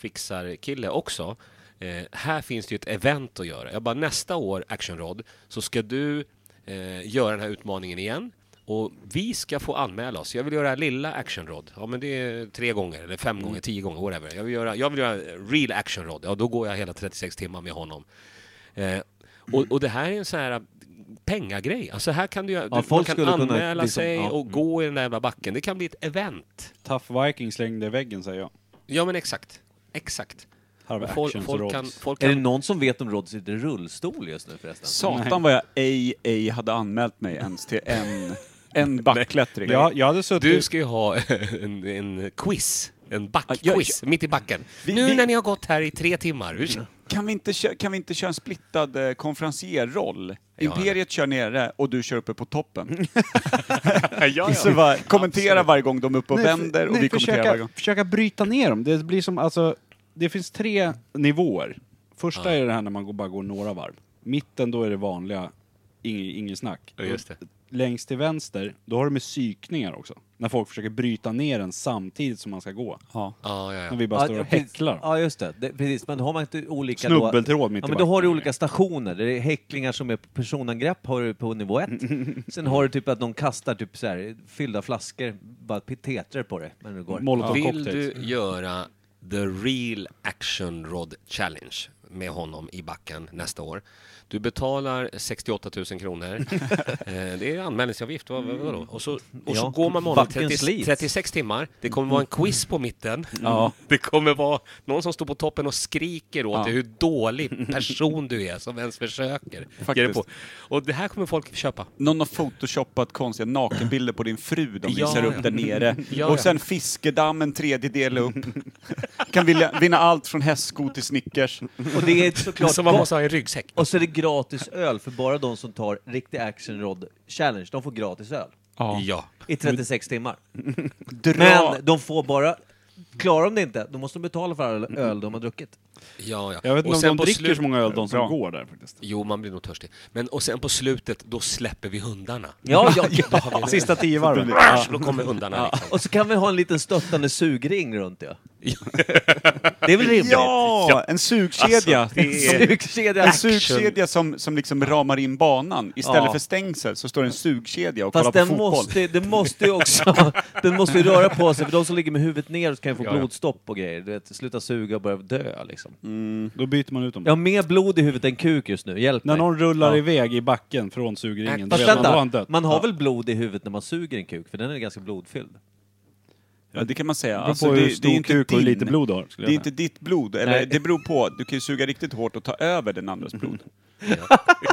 Speaker 2: eventfixarkille också, eh, här finns det ju ett event att göra. Jag bara, nästa år, Action Rod, så ska du eh, göra den här utmaningen igen. Och vi ska få anmäla oss. Jag vill göra lilla Action Rod. Ja, men det är tre gånger, eller fem
Speaker 5: Mm.
Speaker 2: gånger, tio gånger, whatever. Jag vill göra, jag vill göra real Action Rod. Ja, då går jag hela 36 timmar med honom. Eh, och, och det här är en sån här äh, pengagrej. Alltså här kan du, göra-
Speaker 1: Ja,
Speaker 2: du man
Speaker 1: folk
Speaker 2: kan
Speaker 1: skulle kunna
Speaker 2: anmäla
Speaker 1: liksom-
Speaker 2: sig
Speaker 1: ja.
Speaker 2: och gå i den där jävla backen. Det kan bli ett event.
Speaker 5: Tough Viking slängde i väggen säger jag.
Speaker 2: Ja men exakt. Exakt.
Speaker 5: Här var
Speaker 2: Och Folk,
Speaker 5: action
Speaker 2: folk,
Speaker 5: för
Speaker 2: kan,
Speaker 5: oss.
Speaker 2: folk
Speaker 1: Är det
Speaker 2: kan...
Speaker 1: någon som vet om Rod sitter i rullstol just nu förresten?
Speaker 6: Satan vad jag ej, ej hade anmält mig ens till en, en backklättring.
Speaker 5: Jag, jag hade
Speaker 2: Du
Speaker 5: suttit...
Speaker 2: ska ju ha en, en quiz. En
Speaker 6: Ja,
Speaker 2: backquiz, mitt i backen. nu
Speaker 6: vi-
Speaker 2: när ni har gått här i tre timmar, hur,
Speaker 6: Kan vi inte, kö- kan vi inte köra en splittad eh, konferencierroll?
Speaker 2: Ja.
Speaker 6: Imperiet kör nere och du kör uppe på toppen. Så bara, kommentera varje gång de är uppe och vänder och vi kommenterar varje
Speaker 5: försöka,
Speaker 6: gång.
Speaker 5: försöka bryta ner dem. Det blir som, alltså, det finns tre nivåer. Första är det här när man går, bara går några varv. Mitten, då är det vanliga, ing, ingen snack.
Speaker 2: Ja, just det.
Speaker 5: Längst till vänster, då har du med psykningar också. När folk försöker bryta ner den samtidigt som man ska gå.
Speaker 2: Ja, ja,
Speaker 5: När
Speaker 2: ja.
Speaker 5: vi bara står och
Speaker 1: precis.
Speaker 5: häcklar.
Speaker 1: Ja, just det. det precis. Men har man inte olika...
Speaker 5: Snubbeltråd mitt
Speaker 1: ja,
Speaker 5: i
Speaker 1: men då har du
Speaker 5: backen.
Speaker 1: olika stationer. Det är häcklingar som är personangrepp har du på nivå ett. Sen har du typ att någon kastar typ så här, fyllda flaskor, bara petetrar på dig när du går.
Speaker 5: Molotov
Speaker 2: Vill
Speaker 5: cocktails.
Speaker 2: du göra The Real Action Rod Challenge med honom i backen nästa år? Du betalar 68 000 kronor. Eh, det är anmälningsavgift. Vad, vad, vadå? Och så, och så
Speaker 1: Ja,
Speaker 2: går man med honom
Speaker 1: backen
Speaker 2: 30,
Speaker 1: slits.
Speaker 2: 36 timmar. Det kommer vara en
Speaker 5: Mm.
Speaker 2: quiz på mitten. Det kommer vara någon som står på toppen och skriker åt dig hur dålig person du är som ens försöker. Ge dig
Speaker 6: Faktiskt.
Speaker 2: på. Och det här kommer folk köpa.
Speaker 6: Någon har photoshopat konstiga nakenbilder på din fru de
Speaker 2: Ja,
Speaker 6: visar
Speaker 2: ja.
Speaker 6: upp där nere.
Speaker 2: Ja,
Speaker 6: och
Speaker 2: ja.
Speaker 6: sen fiskedamm en tredjedel upp. kan vilja, vinna allt från hästsko till Snickers.
Speaker 1: Och det är såklart...
Speaker 2: Som man måste ha i en ryggsäck.
Speaker 1: Och så är det gratis öl för bara de som tar riktig Action Rod Challenge. De får gratis öl
Speaker 2: Ja.
Speaker 1: i 36 timmar.
Speaker 6: Dra.
Speaker 1: Men de får bara... Klarar de det inte, då måste de betala för all öl de har druckit.
Speaker 2: Ja, ja.
Speaker 5: Jag vet
Speaker 2: Och
Speaker 5: inte
Speaker 2: sen
Speaker 5: om de
Speaker 2: på
Speaker 5: dricker
Speaker 2: slut-
Speaker 5: så många öl de som
Speaker 6: Bra.
Speaker 5: går där faktiskt.
Speaker 2: Jo, man blir nog törstig. Men och sen på slutet, då släpper vi hundarna.
Speaker 1: Ja, ja,
Speaker 2: Då
Speaker 1: ja.
Speaker 2: har vi-
Speaker 5: Sista tio varven.
Speaker 2: Asch, Då kommer hundarna. Liksom.
Speaker 1: Och så kan vi ha en liten stöttande sugring runt det. Det är väl rimligt?
Speaker 6: Ja! En sugkedja.
Speaker 1: Alltså,
Speaker 6: Det är-
Speaker 1: en sugkedja.
Speaker 6: En
Speaker 1: Action.
Speaker 6: sugkedja som, som liksom ramar in banan. Istället
Speaker 1: Ja.
Speaker 6: för stängsel så står det en sugkedja och
Speaker 1: Fast
Speaker 6: kollar
Speaker 1: den
Speaker 6: på fotboll.
Speaker 1: måste, den måste ju också den måste ju röra på sig, för de som ligger med huvudet ner kan ju få
Speaker 6: Ja, ja.
Speaker 1: blodstopp och grejer. Du vet, sluta suga och börja dö liksom.
Speaker 5: Mm. Då byter man ut dem.
Speaker 1: Jag har mer blod i huvudet än kuk just nu, hjälp
Speaker 5: När
Speaker 1: mig.
Speaker 5: någon rullar
Speaker 1: Ja.
Speaker 5: iväg i backen från sugringen, då
Speaker 1: Fast
Speaker 5: vet man, då har
Speaker 1: vänta,
Speaker 5: han dött.
Speaker 1: man har
Speaker 5: Ja. Mm.
Speaker 1: väl blod i huvudet när man suger en kuk, för den är ganska blodfylld?
Speaker 6: Ja, det kan man säga.
Speaker 5: Det beror på hur stor kuk och hur lite blod du har,
Speaker 6: Det
Speaker 5: skulle jag
Speaker 6: är
Speaker 5: säga.
Speaker 6: inte ditt blod. Eller
Speaker 5: Nej.
Speaker 6: det beror på. Du kan ju suga riktigt hårt och ta över den andras blod.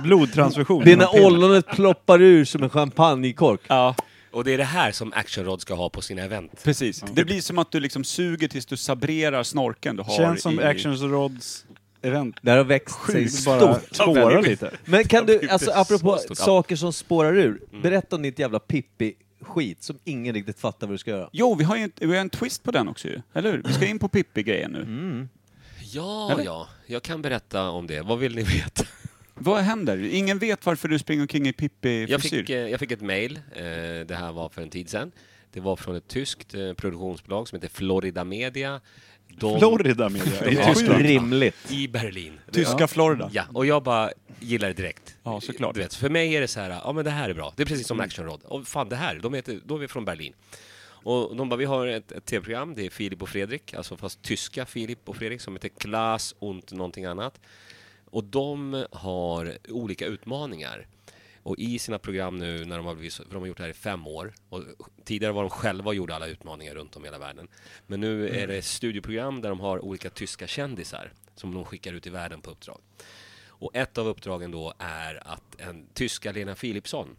Speaker 5: Blodtransfusion.
Speaker 1: Det är när ollonet ploppar ur som en champagnekork.
Speaker 6: Ja.
Speaker 2: Och det är det här som Actionrod ska ha på sina event.
Speaker 6: Precis. Det blir som att du liksom suger tills du sabrerar snorken du har
Speaker 5: Känns som
Speaker 6: i...
Speaker 5: Actions Rods event.
Speaker 1: Det här har växt sig
Speaker 5: Sjukt bara
Speaker 1: stort.
Speaker 5: spårar lite.
Speaker 1: Men kan du,
Speaker 5: Det
Speaker 1: alltså
Speaker 5: är så
Speaker 1: apropå
Speaker 5: stort.
Speaker 1: saker som spårar ur,
Speaker 5: Mm.
Speaker 1: berätta om ditt jävla Pippi-skit som ingen riktigt fattar vad du ska göra.
Speaker 6: Jo, vi har ju en, vi har en twist på den också ju. Eller hur? Vi ska in på Pippi-grejen nu.
Speaker 2: Ja,
Speaker 6: Eller?
Speaker 2: ja. Jag kan berätta om det. Vad vill ni veta?
Speaker 6: Vad händer? Ingen vet varför du springer omkring i
Speaker 2: Jag fick,
Speaker 6: Pippi-frisyr.
Speaker 2: eh, jag fick ett mejl. eh, Det här var för en tid sedan. Det var från ett tyskt eh, produktionsbolag som heter Florida Media. De-
Speaker 5: Florida Media? I
Speaker 2: Ja.
Speaker 5: Tyskland?
Speaker 1: Rimligt.
Speaker 2: I Berlin.
Speaker 6: Tyska
Speaker 2: Ja. Mm.
Speaker 6: Florida.
Speaker 2: Ja, och jag bara gillar det direkt.
Speaker 6: Ja, såklart. Mm.
Speaker 2: Du vet, för mig är det så här, ja men det här är bra. Det är precis som Action Rod. Och fan det här, de heter, då är vi från Berlin. Och de bara, vi har ett, ett tv-program, det är Filip och Fredrik, alltså fast tyska Filip och Fredrik som heter Klaas und någonting annat. Och de har olika utmaningar. Och i sina program nu, när de har, blivit, så- för de har gjort det här i fem år, och tidigare var de själva och gjorde alla utmaningar runt om i hela världen. Men nu
Speaker 6: Mm.
Speaker 2: är det studioprogram där de har olika tyska kändisar som de skickar ut i världen på uppdrag. Och ett av uppdragen då är att en tyska Lena Philipsson,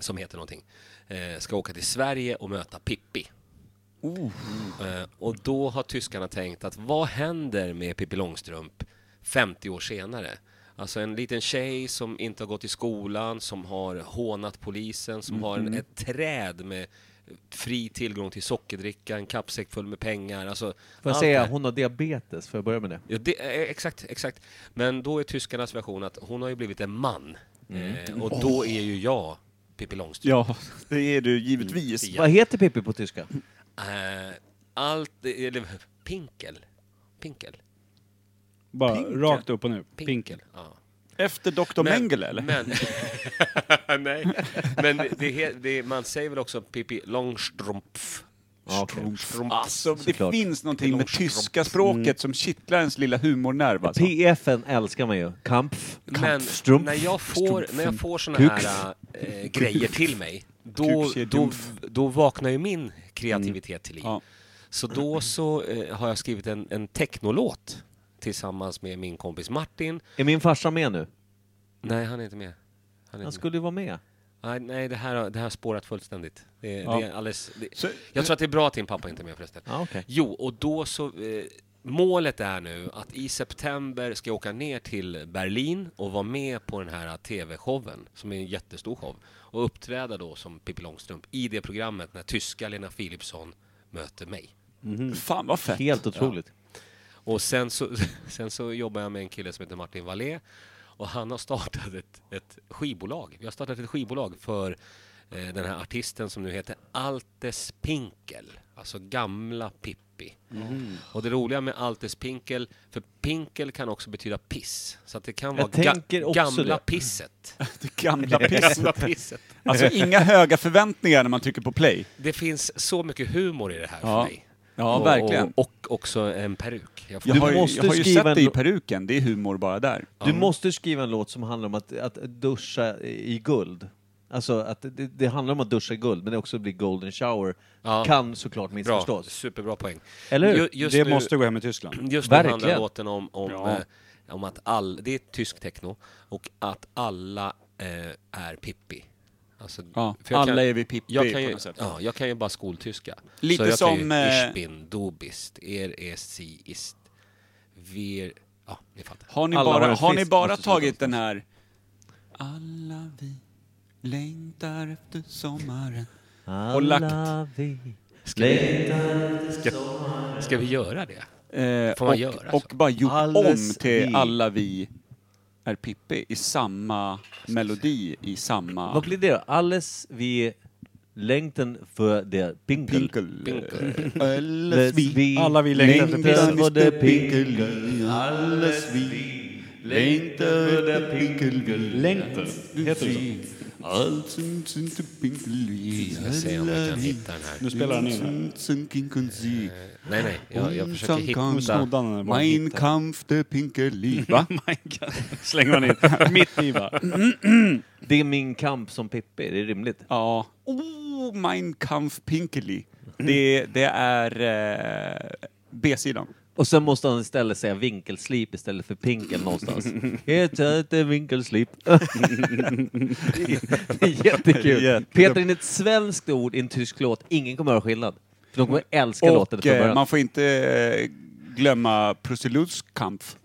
Speaker 2: som heter någonting, eh, ska åka till Sverige och möta Pippi.
Speaker 1: Oh.
Speaker 2: Eh, och då har tyskarna tänkt att vad händer med Pippi Långstrump 50 år senare? Alltså en liten tjej som inte har gått i skolan, som har hånat polisen, som har en,
Speaker 1: Mm-hmm.
Speaker 6: Mhm.
Speaker 2: ett träd med fri tillgång till sockerdricka, en kappsäck full med pengar. Alltså,
Speaker 1: Får jag
Speaker 2: allt
Speaker 1: säga,
Speaker 2: det här.
Speaker 1: hon har diabetes, får jag börja med det?
Speaker 2: Ja, det, eh, exakt, exakt. Men då är tyskarnas version att hon har ju blivit en man.
Speaker 1: Mm.
Speaker 2: Eh,
Speaker 6: Oh.
Speaker 2: och då är ju jag Pippi Långstrump.
Speaker 6: Ja, det är du givetvis.
Speaker 1: Vad heter Pippi på tyska?
Speaker 2: Eh, allt, eller Pinkel. Pinkel.
Speaker 5: Bara
Speaker 2: Pinkel.
Speaker 5: rakt upp och nu. Pinkel.
Speaker 2: Ja.
Speaker 6: Efter Dr.
Speaker 2: Men-
Speaker 6: Mengele, eller?
Speaker 2: Men, nej, men det, det, he- det, man säger väl också Pippi Långstrump.
Speaker 1: Ja, okej.
Speaker 2: Strump.
Speaker 6: Alltså, det
Speaker 1: Såklart.
Speaker 6: finns någonting med tyska språket som kittlar ens lilla humornerv. Alltså.
Speaker 1: PFn älskar man ju. Kampf,
Speaker 2: Men
Speaker 1: Kampfstrumpf.
Speaker 2: när jag får, när jag får såna
Speaker 1: Kuks.
Speaker 2: här eh, grejer till mig, då, då,
Speaker 6: Kukskedjumf.
Speaker 2: då vaknar ju min kreativitet till
Speaker 1: Mm.
Speaker 2: liv. Så då så eh, har jag skrivit en, en technolåt tillsammans med min kompis Martin.
Speaker 1: Är min farsa med nu?
Speaker 2: Nej, han är inte med. Han, är
Speaker 1: Han
Speaker 2: inte
Speaker 1: skulle ju vara med.
Speaker 2: med. Nej, nej, det här har det här har spårat fullständigt. Det,
Speaker 1: Ja.
Speaker 2: det är alldeles, det,
Speaker 6: Så-
Speaker 2: jag tror att det är bra att din pappa inte är med förresten.
Speaker 1: Ja, okej.
Speaker 2: Jo, och då så... Eh, målet är nu att i september ska jag åka ner till Berlin och vara med på den här TV-showen, som är en jättestor show, och uppträda då som Pippi Långstrump i det programmet när tyska Lena Philipsson möter mig.
Speaker 6: Fan vad fett.
Speaker 1: Helt otroligt.
Speaker 2: Och sen så, sen så jobbar jag med en kille som heter Martin Wallé och han har startat ett, ett skivbolag. Vi har startat ett skivbolag för eh, den här artisten som nu heter Altes Pinkel, alltså gamla Pippi. Och det roliga med Altes Pinkel, för Pinkel kan också betyda piss, så att det kan
Speaker 1: Jag
Speaker 2: vara
Speaker 1: tänker
Speaker 2: ga-
Speaker 1: också
Speaker 2: gamla
Speaker 1: det.
Speaker 2: pisset.
Speaker 6: Det gamla
Speaker 2: Gamla
Speaker 6: pisset.
Speaker 2: pisset.
Speaker 6: Alltså inga höga förväntningar när man trycker på play.
Speaker 2: Det finns så mycket humor i det här
Speaker 6: Ja.
Speaker 2: för mig.
Speaker 6: Ja,
Speaker 2: och,
Speaker 6: verkligen.
Speaker 2: Och, och också en peruk. Jag får-
Speaker 6: Jag har, ju-
Speaker 1: måste
Speaker 6: jag har ju
Speaker 1: skriva
Speaker 6: sett
Speaker 1: en
Speaker 6: det i
Speaker 1: lo-
Speaker 6: peruken, det är humor bara där.
Speaker 1: Du måste skriva en låt som handlar om att, att duscha i guld. Alltså, att det, det handlar om att duscha i guld, men det också blir golden shower.
Speaker 2: Ja.
Speaker 1: Kan såklart
Speaker 2: Bra,
Speaker 1: missförstås.
Speaker 2: superbra poäng.
Speaker 1: Eller hur?
Speaker 2: Ju- just
Speaker 5: det
Speaker 2: nu-
Speaker 5: måste gå hem i Tyskland.
Speaker 2: Just nu handlar
Speaker 1: Verkligen.
Speaker 2: låten om, om,
Speaker 5: Bra.
Speaker 2: eh, om att all, det är tysk techno, och att alla eh, är Pippi. Alltså,
Speaker 6: Ja,
Speaker 2: för jag
Speaker 6: alla är vi Pippi
Speaker 2: jag kan
Speaker 6: på
Speaker 2: ju,
Speaker 6: något sätt.
Speaker 2: Ja, jag kan ju bara skoltyska.
Speaker 6: Lite
Speaker 2: så jag
Speaker 6: som,
Speaker 2: Kan ju,
Speaker 6: eh,
Speaker 2: ich bin, du bist, er ist, sie ist, wir... Ja, ni fattar.
Speaker 6: Har ni
Speaker 1: Alla har
Speaker 6: bara,
Speaker 1: en
Speaker 6: har ni
Speaker 1: fisk,
Speaker 6: bara
Speaker 1: måste sluta
Speaker 6: tagit den här... Alla vi längtar efter sommaren.
Speaker 1: Alla
Speaker 6: Och lagt-
Speaker 1: vi längtar
Speaker 2: Ska vi göra det?
Speaker 6: Eh,
Speaker 2: Får man
Speaker 6: och,
Speaker 2: göra så?
Speaker 6: och bara gjort
Speaker 1: Alles
Speaker 6: om till
Speaker 1: vi.
Speaker 6: Alla vi är Pippi i samma melodi, i samma...
Speaker 1: Vad blir det då? Alles vi längten för det pinkel. Pinkel.
Speaker 6: Alles vi.
Speaker 1: Alla vi längtar
Speaker 6: Längtan
Speaker 1: efter
Speaker 6: efter
Speaker 1: det
Speaker 6: pinkel.
Speaker 1: pinkel.
Speaker 6: Alles vi. Längtar det pinkel.
Speaker 5: Längtan. Heter det
Speaker 6: så? Allt som inte pinkel. Vi
Speaker 2: ska se om jag kan hitta den här.
Speaker 5: Nu spelar den in här.
Speaker 6: in.
Speaker 2: nej, nej, Eh, jag- jag försöker hitta- snodde han den där bara
Speaker 6: Mein
Speaker 2: hitta.
Speaker 6: Kampf der Pinkel. Va?
Speaker 5: Oh Slänger man in. Mitt i va?
Speaker 1: Det är min kamp som Pippi, det är rimligt.
Speaker 6: Ja. Oh, Mein Kampf Pinkeli. Det, det är eh, B-sidan.
Speaker 1: Och sen måste han istället säga vinkelslip istället för pinkel någonstans. Ett söte vinkelslip. Det är Jättekul.
Speaker 6: Jättekul.
Speaker 1: Peter in ett svenskt ord i en tysk låt. Ingen kommer att höra skillnad. För de kommer älska låten
Speaker 6: Och
Speaker 1: från
Speaker 6: eh,
Speaker 1: början.
Speaker 6: man får inte eh, glömma Prussiluds Kampf.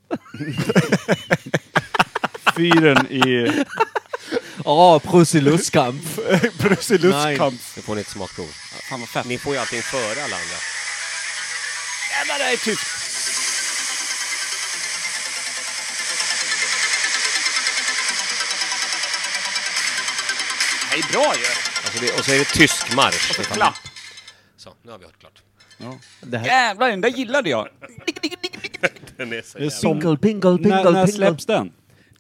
Speaker 5: Fyren i...
Speaker 1: Ja, Prussiluskamp.
Speaker 6: Prussiluds Kampf.
Speaker 2: Det får ni ett smakprov.
Speaker 6: Fan vad fett.
Speaker 2: Ni får ju allting före alla andra.
Speaker 6: Jävlar, det här är tyst! Det här är bra ju!
Speaker 2: Alltså det, och så är det tysk marsch.
Speaker 6: Och så klapp.
Speaker 2: Så, nu har vi hört klart.
Speaker 6: Jävlar, den där gillade jag.
Speaker 2: Den är så
Speaker 5: Det är
Speaker 2: jävla...
Speaker 5: som...
Speaker 1: Pinkel, pinkel, pinkel,
Speaker 5: när, när
Speaker 1: pinkel.
Speaker 5: släpps den?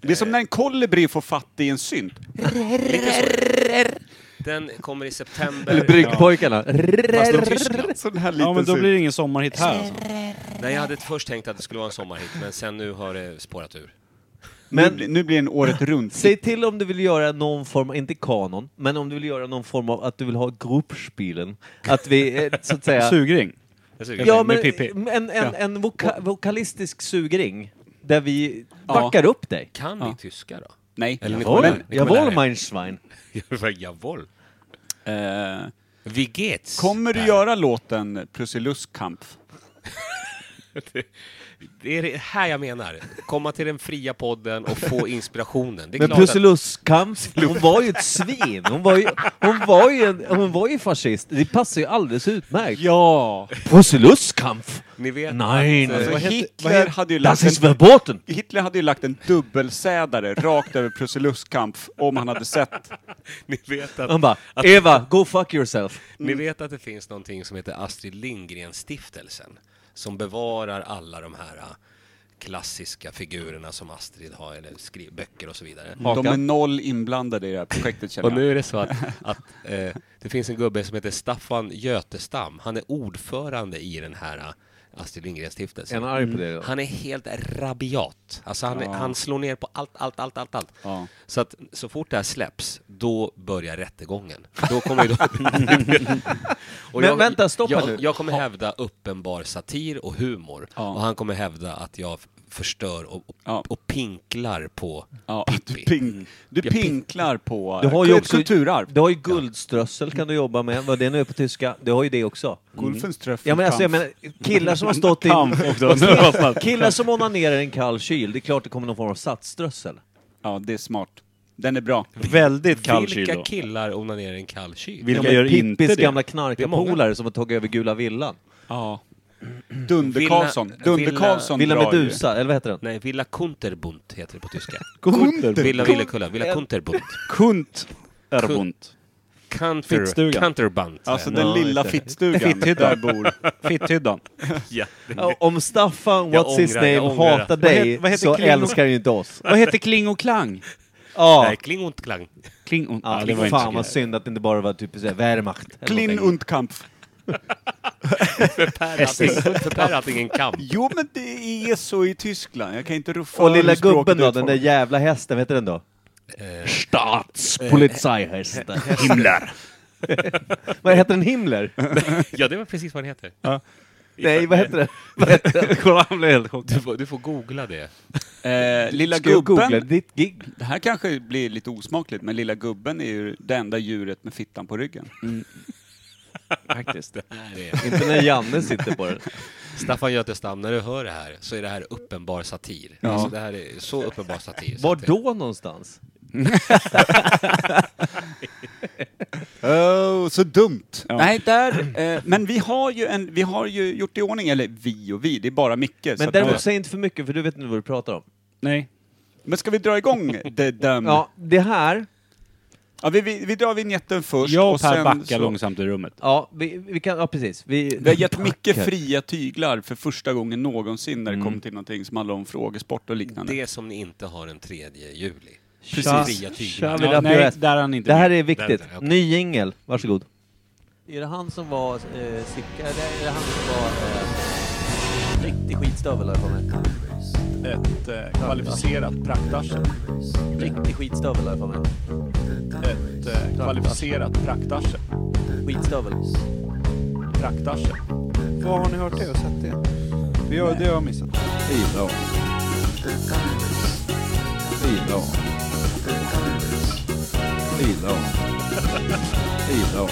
Speaker 6: Det är som när en kolibri får fatt i en synt.
Speaker 2: Den kommer i
Speaker 1: Eller
Speaker 2: september.
Speaker 1: Bryggpojkarna.
Speaker 6: Fast i Tyskland. Sån här liten
Speaker 5: Ja men då
Speaker 6: synt.
Speaker 5: blir det ingen sommarhit här alltså.
Speaker 2: Nej, jag hade först tänkt att det skulle vara en sommarhit, men sen nu har det spårat ur.
Speaker 1: Men-
Speaker 6: nu, blir- nu blir den året runt.
Speaker 1: Säg till om du vill göra någon form, inte kanon, men om du vill göra någon form av att du vill ha gruppspelen. Att vi, eh, så att säga...
Speaker 5: Sugring.
Speaker 2: Jag tycker-
Speaker 1: Ja, men
Speaker 5: med Pippi.
Speaker 1: en, en, en voka vokalistisk sugring där vi backar upp dig.
Speaker 2: Kan vi tyska då?
Speaker 6: Nej.
Speaker 2: Eller ni
Speaker 1: Jawohl,
Speaker 2: kommer lära er. Ni kommer lära
Speaker 1: Jawohl,
Speaker 2: er.
Speaker 1: mein Schwein.
Speaker 2: Jawohl.
Speaker 6: Eh,
Speaker 2: Wie geht's?
Speaker 6: kommer du göra låten Prussiluskampf?
Speaker 2: Det är det här jag menar. Komma till den fria podden och få inspirationen. Det är
Speaker 1: Men
Speaker 2: klart att...
Speaker 1: Prussiluskamp, hon var ju ett svin. Hon var ju, hon var ju, en, hon var ju fascist. Det passar ju alldeles utmärkt.
Speaker 6: Ja!
Speaker 1: Prussiluskamp!
Speaker 2: Ni vet
Speaker 1: Nej,
Speaker 6: Alltså,
Speaker 1: nej.
Speaker 6: Hitler, hade ju
Speaker 1: Das
Speaker 6: lagt
Speaker 1: ist
Speaker 6: en,
Speaker 1: verboten!
Speaker 6: Hitler hade ju lagt en dubbelsädare rakt över Prussiluskampf om han hade sett.
Speaker 2: Ni vet att...
Speaker 1: Han bara,
Speaker 2: att
Speaker 1: Eva, go fuck yourself.
Speaker 2: Ni vet att det finns någonting som heter Astrid Lindgren-stiftelsen som bevarar alla de här ah, klassiska figurerna som Astrid har, eller skri- böcker och så vidare.
Speaker 6: De är noll inblandade i det här projektet känner
Speaker 2: Och
Speaker 6: jag.
Speaker 2: nu är det så att, att eh, det finns en gubbe som heter Staffan Götestam. Han är ordförande i den här ah, Astrid
Speaker 1: Är han
Speaker 2: Lindgren-stiftelsen.
Speaker 1: arg på det? då?
Speaker 2: Han är helt rabiat. Alltså han, är- han slår ner på allt, allt, allt, allt, allt.
Speaker 6: Ja.
Speaker 2: Så att så fort det här släpps, då börjar rättegången. Då kommer ju de... Och
Speaker 1: Men vänta, stopp här
Speaker 2: jag,
Speaker 1: nu.
Speaker 2: Jag kommer hävda uppenbar satir och humor. Och han kommer hävda att jag f- förstör och, och,
Speaker 6: Ja.
Speaker 2: och pinklar på
Speaker 6: Ja, du,
Speaker 2: Pippi.
Speaker 6: ping, du
Speaker 2: Jag ping-
Speaker 6: pinklar på
Speaker 1: Du
Speaker 6: eh,
Speaker 1: har ju
Speaker 6: kul-
Speaker 1: också-
Speaker 6: kulturarv.
Speaker 1: Du har ju guldströssel kan du jobba med, vad det nu är på tyska. Du har ju det också.
Speaker 6: Gulfenströff.
Speaker 1: Ja men alltså jag menar, killar som har stått i...
Speaker 5: Kamp också. Nu har jag fastnat.
Speaker 1: Killar som onanerar i en kall kyl, det är klart det kommer någon form av satsströssel.
Speaker 6: Ja, det är smart. Den är bra.
Speaker 5: Väldigt kall kyl
Speaker 2: Vilka
Speaker 5: då.
Speaker 2: killar onanerar i en kall kyl?
Speaker 5: Vilka
Speaker 1: men
Speaker 5: gör inte
Speaker 1: Pippis
Speaker 5: det?
Speaker 1: gamla
Speaker 2: Det är många.
Speaker 1: knarkarpolare som har tagit över Gula Villan.
Speaker 6: Ja. Dunder
Speaker 2: Villa-
Speaker 6: Karlsson. Dunder
Speaker 2: Villa-
Speaker 6: Karlsson
Speaker 1: Villa
Speaker 6: drar ju.
Speaker 1: Medusa, eller vad heter den?
Speaker 2: Nej, Villa Kunterbund heter det på tyska.
Speaker 5: Kunter.
Speaker 2: Villa Villekulla, Villa Kunterbund.
Speaker 5: Kunt. Erbunt.
Speaker 2: Kanter,
Speaker 5: Fittstugan.
Speaker 2: Kanterbund.
Speaker 6: Alltså
Speaker 1: Ja,
Speaker 6: den lilla
Speaker 1: just det.
Speaker 6: fittstugan där bor.
Speaker 5: Fitthyddan.
Speaker 2: ja.
Speaker 1: Ja, Om
Speaker 2: Jag
Speaker 1: Staffan, what's his
Speaker 2: ångrar, jag
Speaker 1: name,
Speaker 2: ångrar.
Speaker 1: hatar
Speaker 5: Vad
Speaker 1: dig
Speaker 5: heter- vad heter
Speaker 1: så
Speaker 5: Klingon?
Speaker 1: älskar han ju inte oss.
Speaker 5: Vad heter Kling och Klang?
Speaker 1: Ja,
Speaker 2: Nej, kling und klang.
Speaker 5: Kling och...
Speaker 1: ja
Speaker 5: Ja, det var inte
Speaker 1: fan
Speaker 5: så
Speaker 1: vad
Speaker 5: kul.
Speaker 1: synd att det inte bara var typ såhär Wehrmacht. eller
Speaker 6: Klin
Speaker 1: någonting.
Speaker 6: und Kampf.
Speaker 2: Per allting, för per allting en kamp.
Speaker 6: Jo men det är så i Tyskland. Jag kan inte rå för
Speaker 1: Och lilla
Speaker 6: hur språket
Speaker 1: gubben då, den
Speaker 6: utformas.
Speaker 1: där jävla hästen, vad heter den då? Staatspolizeihästen. Himmler. vad heter den, Himmler?
Speaker 2: Ja, det var precis vad den heter.
Speaker 1: Nej, vad heter den? Vad heter den? Kolla, han blev helt chockad.
Speaker 2: Du, får- du får googla det.
Speaker 6: Eh, lilla
Speaker 1: Ska jag googla
Speaker 6: gubben.
Speaker 1: ditt gig?
Speaker 6: Det här kanske blir lite osmakligt, men lilla gubben är ju det enda djuret med fittan på ryggen.
Speaker 5: Faktiskt.
Speaker 1: Inte när Janne sitter på den.
Speaker 2: Staffan Götestam, när du hör det här så är det här uppenbar satir. Alltså, det här är så uppenbar satir. så
Speaker 1: Var
Speaker 2: att det-
Speaker 1: då någonstans?
Speaker 6: Oh, så dumt! Nej, där, eh, men vi har, ju en, vi har ju gjort i ordning, eller vi och vi, det är bara Micke. så
Speaker 1: Men
Speaker 6: att-
Speaker 1: däremot, säg inte för mycket för du vet inte vad du pratar om.
Speaker 5: Nej.
Speaker 6: men ska vi dra igång the dumb?
Speaker 1: Ja, det här
Speaker 6: Ja, vi, vi, vi drar vignetten först.
Speaker 5: Jag
Speaker 6: och
Speaker 5: och Per
Speaker 6: sen
Speaker 5: backar
Speaker 6: så-
Speaker 5: långsamt i rummet.
Speaker 1: Ja, vi, vi kan, ja precis. Vi,
Speaker 6: Vi har gett mycket
Speaker 1: Tackar.
Speaker 6: fria tyglar för första gången någonsin när det kom till någonting som handlar om frågesport och liknande.
Speaker 2: Det som ni inte har den 3 juli.
Speaker 6: Precis.
Speaker 1: Tja,
Speaker 2: Fria tyglar.
Speaker 1: tja, vill
Speaker 6: Ja,
Speaker 1: jag
Speaker 6: nej,
Speaker 1: berätta.
Speaker 6: där är han inte
Speaker 1: det här
Speaker 6: med.
Speaker 1: är viktigt.
Speaker 2: Där är han, okej.
Speaker 1: Ny jingel, varsågod.
Speaker 13: Är det han som var eh, Sicka? Eller är det han som var eh, riktig skitstövel har jag för mig? Ett eh,
Speaker 14: kvalificerat
Speaker 13: praktarsel. Riktig skitstövel har jag för mig. Ett eh,
Speaker 14: kvalificerat
Speaker 13: praktarsel. Skitstövel. Praktarsel.
Speaker 12: Vad har ni hört det och sett det? Vi har, det har jag missat.
Speaker 5: Ja.
Speaker 12: Ilo. Ilo. Ilo.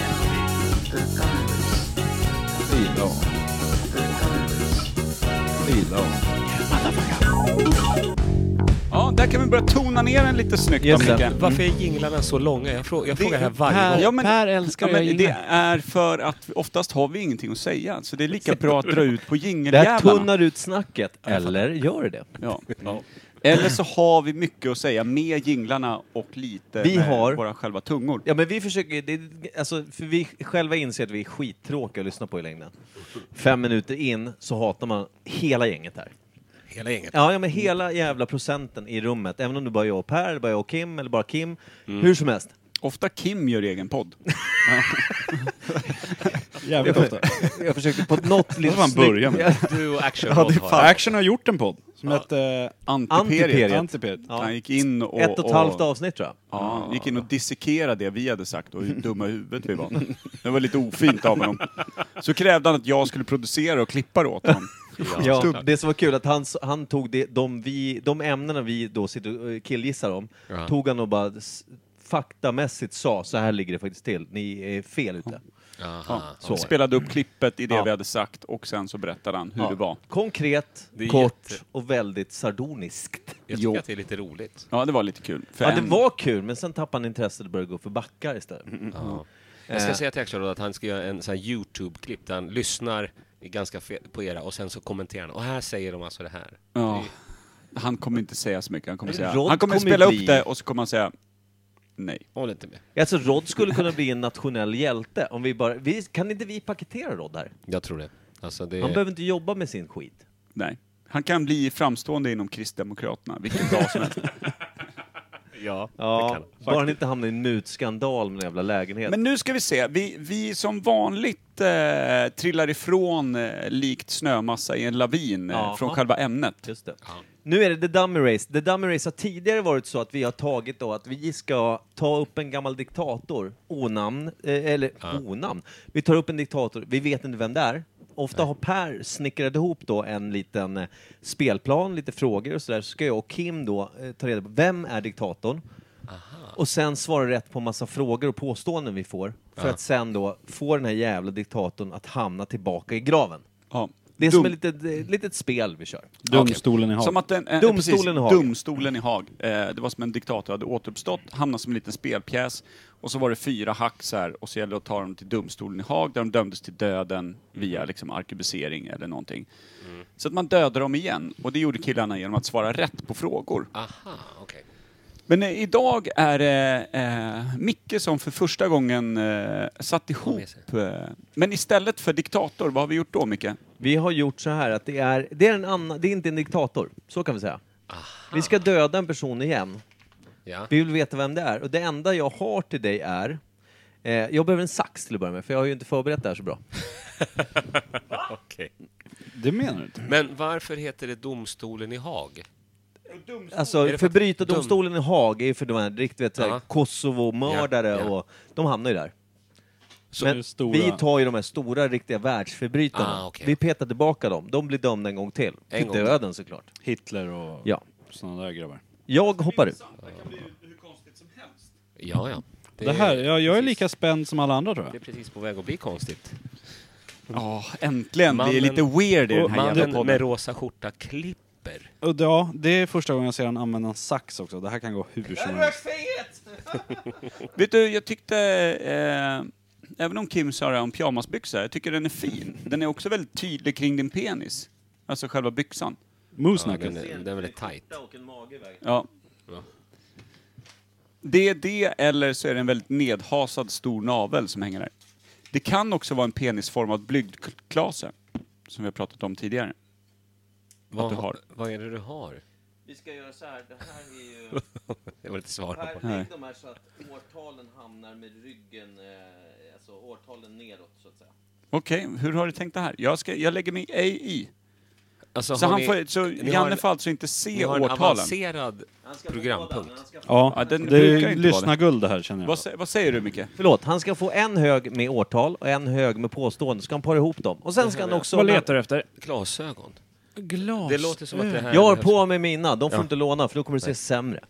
Speaker 12: Ilo. Ilo.
Speaker 6: Ja, där kan vi börja tona ner den lite snyggt
Speaker 2: Just
Speaker 6: då,
Speaker 2: det.
Speaker 6: Micke.
Speaker 2: Mm. Varför är jinglarna så långa? Jag, frå- jag
Speaker 6: Det-
Speaker 2: frågar det här varje gång.
Speaker 6: Ja, men- ja, men Det är för att vi- oftast har vi ingenting att säga, så det är lika bra att dra ut på
Speaker 1: Det här
Speaker 6: jingeljävlarna.
Speaker 1: tunnar ut snacket, eller gör det
Speaker 6: Ja. Eller så har vi mycket att säga med jinglarna och lite
Speaker 1: Vi
Speaker 6: med
Speaker 1: har-
Speaker 6: våra själva tungor.
Speaker 1: Ja, men vi försöker, det, är- alltså, för vi själva inser att vi är skittråkiga att lyssna på i längden. Fem minuter in så hatar man hela gänget här.
Speaker 2: Hela gänget?
Speaker 1: Ja, ja men hela jävla procenten i rummet. Även om det bara är jag och Per, eller bara jag och Kim, eller bara Kim.
Speaker 6: Mm.
Speaker 1: Hur som helst.
Speaker 6: Ofta Kim gör egen podd.
Speaker 5: Jävligt
Speaker 1: jag,
Speaker 5: ofta.
Speaker 1: Jag försökte på något
Speaker 5: Det
Speaker 1: lite
Speaker 5: får man börja med.
Speaker 1: snyggt-
Speaker 5: Ja, det är fan- Action har gjort en podd som eh, hette
Speaker 6: Antiperiet.
Speaker 5: Antiperiet.
Speaker 6: Han gick in och...
Speaker 1: Ett och ett halvt avsnitt tror jag.
Speaker 6: Ja, gick in och dissekerade det vi hade sagt och hur dumma i huvudet vi var. Det var lite ofint av honom. Så krävde han att jag skulle producera och klippa det åt honom.
Speaker 1: Ja, det som var kul att han, s- han tog det, de, vi, de ämnena vi då sitter och eh, killgissar om,
Speaker 2: Ja.
Speaker 1: tog han och bara s- faktamässigt sa så här ligger det faktiskt till, ni är fel ute.
Speaker 6: Ja,
Speaker 1: Så.
Speaker 6: spelade upp klippet i det
Speaker 1: Ja.
Speaker 6: vi hade sagt och sen så berättade han hur
Speaker 1: Ja.
Speaker 6: det var.
Speaker 1: Konkret,
Speaker 6: Det är
Speaker 1: kort
Speaker 6: jätte-
Speaker 1: och väldigt sardoniskt.
Speaker 2: Jag tycker att det är lite roligt.
Speaker 6: Ja, det var lite kul. För
Speaker 1: Ja, det
Speaker 6: en-
Speaker 1: var kul, men sen tappade han intresset och började gå för backar istället.
Speaker 6: Mm,
Speaker 2: Ja. Jag ska
Speaker 1: Eh,
Speaker 2: säga till Axelrod att han ska göra en sån här YouTube-klipp där han lyssnar i ganska fe- på era och sen så kommenterar han. Och här säger de alltså det här.
Speaker 6: Ja. Han kommer inte säga så mycket. Han kommer,
Speaker 2: Men
Speaker 6: säga,
Speaker 2: Rod
Speaker 6: han kommer
Speaker 2: kommer
Speaker 6: spela
Speaker 2: bli-
Speaker 6: upp det och så kommer han säga nej.
Speaker 2: Håll inte med.
Speaker 1: Alltså Rod skulle kunna bli en nationell hjälte om vi bara... Vi, kan inte vi paketera Rod här?
Speaker 2: Jag tror det. Alltså det...
Speaker 6: Eh.
Speaker 1: Han behöver inte jobba med sin skit.
Speaker 6: Nej. Han kan bli framstående inom Kristdemokraterna vilken dag som helst.
Speaker 2: Ja,
Speaker 6: det
Speaker 1: ja
Speaker 6: kan han.
Speaker 1: bara han inte hamnar i en mutskandal med en jävla lägenhet.
Speaker 6: Men nu ska vi se. Vi, vi som vanligt eh, trillar ifrån eh, likt snömassa i en lavin eh,
Speaker 1: Jaha.
Speaker 6: från själva ämnet.
Speaker 1: Just det. Nu är det The Dummy Race. The Dummy Race har tidigare varit så att vi har tagit då att vi ska ta upp en gammal diktator, onamn, eh, eller onamn. Vi tar upp en diktator, vi vet inte vem det är. Ofta har Per snickrat ihop då en liten eh, spelplan, lite frågor och sådär. Så ska jag och Kim då eh, ta reda på vem är diktatorn? Och sen svara rätt på massa frågor och påståenden vi får. För
Speaker 2: Ja.
Speaker 1: att sen då få den här jävla diktatorn att hamna tillbaka i graven.
Speaker 6: Ja.
Speaker 1: Det är som
Speaker 6: Dum-
Speaker 1: ett litet, ett litet spel vi kör.
Speaker 5: Domstolen i Haag.
Speaker 6: Som att den, eh,
Speaker 1: Domstolen
Speaker 6: precis,
Speaker 1: i Haag.
Speaker 6: Domstolen i Haag. Eh, det var som en diktator hade återuppstått, hamnade som en liten spelpjäs och så var det fyra hack så här, och så gällde det att ta dem till domstolen i Haag där de dömdes till döden
Speaker 1: Mm.
Speaker 6: via liksom arkebusering eller någonting. Så att man dödade dem igen och det gjorde killarna genom att svara rätt på frågor.
Speaker 2: Aha, okej.
Speaker 6: Men eh, idag är det eh, Micke som för första gången eh, satt ihop. Eh, men istället för diktator, vad har vi gjort då Micke?
Speaker 1: Vi har gjort så här att det är, det är, en annan, det är inte en diktator, så kan vi säga. Vi ska döda en person igen.
Speaker 2: Ja.
Speaker 1: Vi vill veta vem det är. Och det enda jag har till dig är... Eh, jag behöver en sax till att börja med, för jag har ju inte förberett det här så bra.
Speaker 2: Okej.
Speaker 5: Det menar du inte?
Speaker 2: Men varför heter det Domstolen i Haag? Är det för
Speaker 1: Alltså,
Speaker 2: att-
Speaker 1: förbrytardomstolen i Haag är ju för de här riktigt vet, såhär
Speaker 2: Ja.
Speaker 1: Kosovo-mördare
Speaker 2: Ja, ja.
Speaker 1: och... De hamnar ju där.
Speaker 2: Så det
Speaker 1: Men
Speaker 2: är stora-
Speaker 1: vi tar ju de här stora, riktiga världsförbrytarna.
Speaker 2: Ah, okej.
Speaker 1: Vi petar tillbaka dem. De blir dömda en gång till.
Speaker 2: En
Speaker 1: till
Speaker 2: gång till.
Speaker 1: döden såklart.
Speaker 5: Hitler och
Speaker 1: Ja.
Speaker 5: sådana där grabbar.
Speaker 1: Jag hoppar ut.
Speaker 2: Ja, ja.
Speaker 5: Det, här, ja, jag är lika spänd som alla andra tror jag.
Speaker 2: Det är precis på väg att bli konstigt.
Speaker 6: Ja, äntligen. det är lite weird i den här jävla
Speaker 2: Mannen
Speaker 6: podden.
Speaker 2: med rosa skjorta klipper.
Speaker 5: Och det- ja, det är första gången jag ser han använda en sax också. Det här kan gå hur som helst.
Speaker 6: Vet du, jag tyckte... Eh, även om Kim sa det här om pyjamasbyxor, jag tycker den är fin. Den är också väldigt tydlig kring din penis. Alltså själva byxan.
Speaker 2: eh,
Speaker 5: Moose knuckles.
Speaker 2: den, är- den är väldigt tight.
Speaker 6: Ja. Det är det, eller så är det en väldigt nedhasad stor navel som hänger där. Det kan också vara en penisformad blygdklase, som vi har pratat om tidigare.
Speaker 2: Vad
Speaker 6: att du
Speaker 2: ha-
Speaker 6: har.
Speaker 2: Vad är det du har?
Speaker 13: Vi ska göra så här, det här är ju...
Speaker 2: Det var lite svar på.
Speaker 13: Här,
Speaker 2: Nej.
Speaker 13: lägg de här så att årtalen hamnar med ryggen, eh, alltså årtalen neråt så att säga.
Speaker 6: Okej, hur har du tänkt det här? Jag, ska, jag lägger mig ej i.
Speaker 2: Alltså,
Speaker 6: så
Speaker 2: har
Speaker 6: han
Speaker 2: ni-
Speaker 6: får, så
Speaker 2: ni har
Speaker 6: Janne
Speaker 2: en-
Speaker 6: får alltså inte se
Speaker 2: ni har en
Speaker 6: årtalen?
Speaker 2: avancerad programpunkt.
Speaker 5: Ja,
Speaker 6: den
Speaker 5: det
Speaker 6: brukar
Speaker 5: är
Speaker 6: inte vara
Speaker 5: lyssnarguld det här, känner jag.
Speaker 6: Vad, sä- vad säger du Micke?
Speaker 1: Förlåt, han ska få en hög med årtal och en hög med påståenden. Ska han para ihop dem? Och sen ska han också...
Speaker 2: Vad letar
Speaker 1: du efter?
Speaker 2: Glasögon.
Speaker 1: Glas.
Speaker 2: Det låter som att det här...
Speaker 1: Jag har på mig mina, de får
Speaker 2: Ja.
Speaker 1: inte låna för då kommer det se
Speaker 2: Nej.
Speaker 1: sämre.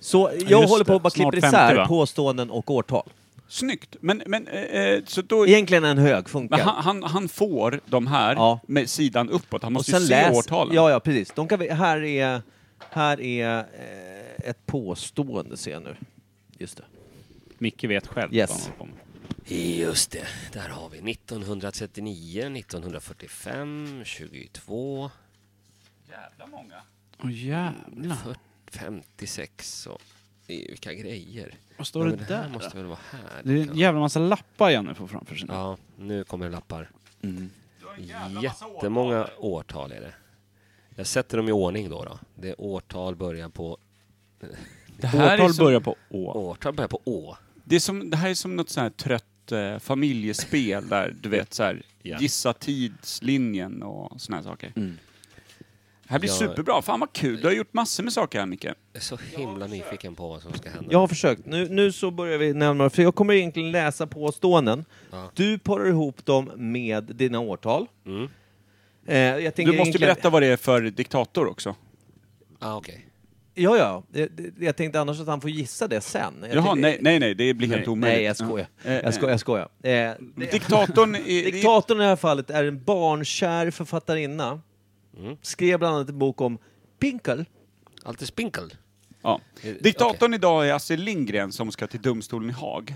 Speaker 1: Så
Speaker 6: Ja,
Speaker 1: jag
Speaker 6: just
Speaker 1: håller på
Speaker 6: det.
Speaker 1: att bara klippa
Speaker 6: Snart 50,
Speaker 1: isär
Speaker 6: va?
Speaker 1: påståenden och årtal.
Speaker 6: Snyggt. Men, men, eh, eh, så då...
Speaker 1: Egentligen en hög funkar.
Speaker 6: Men han, han, han får de här med sidan uppåt. Han måste ju se årtalen.
Speaker 1: Ja, ja, precis. De kan vi, här är, här är eh, ett påstående ser jag nu. Just det.
Speaker 5: Micke vet själv
Speaker 1: Yes.
Speaker 5: vad han håller på med.
Speaker 2: Just det, där har vi 1939, 1945, 22,
Speaker 6: Jävla många.
Speaker 5: Åh jävlar.
Speaker 2: 56 och eh, vilka grejer.
Speaker 5: Vad står
Speaker 2: Ja,
Speaker 5: det
Speaker 2: men det här
Speaker 5: där
Speaker 2: måste
Speaker 5: då?
Speaker 2: väl vara här?
Speaker 5: Det är en jävla massa lappar Janne får framför sig.
Speaker 2: Ja, nu kommer lappar.
Speaker 5: Mm.
Speaker 2: Jättemånga årtal är det. Jag sätter dem i ordning då. då. Det är årtal börjar på...
Speaker 6: Det här är Årtal som- börjar
Speaker 5: på Å.
Speaker 2: Årtal börjar på Å.
Speaker 6: Det, är som, det här är som något sånt här trött eh, familjespel där du vet så här,
Speaker 2: Ja.
Speaker 6: gissa tidslinjen och såna här saker.
Speaker 1: Mm.
Speaker 6: Det här blir
Speaker 2: Jag-
Speaker 6: superbra. Fan vad kul. Du har gjort massor med saker här Micke. Jag
Speaker 2: är så himla nyfiken på vad som ska hända.
Speaker 1: Jag har försökt. Nu, nu så börjar vi närma för jag kommer egentligen läsa påståenden.
Speaker 2: Ja.
Speaker 1: Du parar ihop dem med dina årtal. Eh, jag tänker
Speaker 6: Mm. Du måste
Speaker 1: egentligen-
Speaker 6: berätta vad det är för diktator också.
Speaker 2: Ah, okej.
Speaker 1: Ja, ja. Jag, jag tänkte annars att han får gissa det sen. Jag
Speaker 6: Jaha,
Speaker 1: tänkte-
Speaker 6: nej, nej, nej, det blir helt
Speaker 1: Nej,
Speaker 6: omöjligt.
Speaker 1: nej, jag skojar.
Speaker 6: Ja.
Speaker 1: Jag skojar, jag skojar. Eh, det-
Speaker 6: Diktatorn i-
Speaker 1: Diktatorn i det här fallet är en barnkär författarinna.
Speaker 6: Mm.
Speaker 1: Skrev bland annat en bok om Pinkel.
Speaker 2: Alltid Spinkel.
Speaker 6: Ja.
Speaker 1: Eh,
Speaker 6: Diktatorn idag är Astrid Lindgren som ska till domstolen i Haag.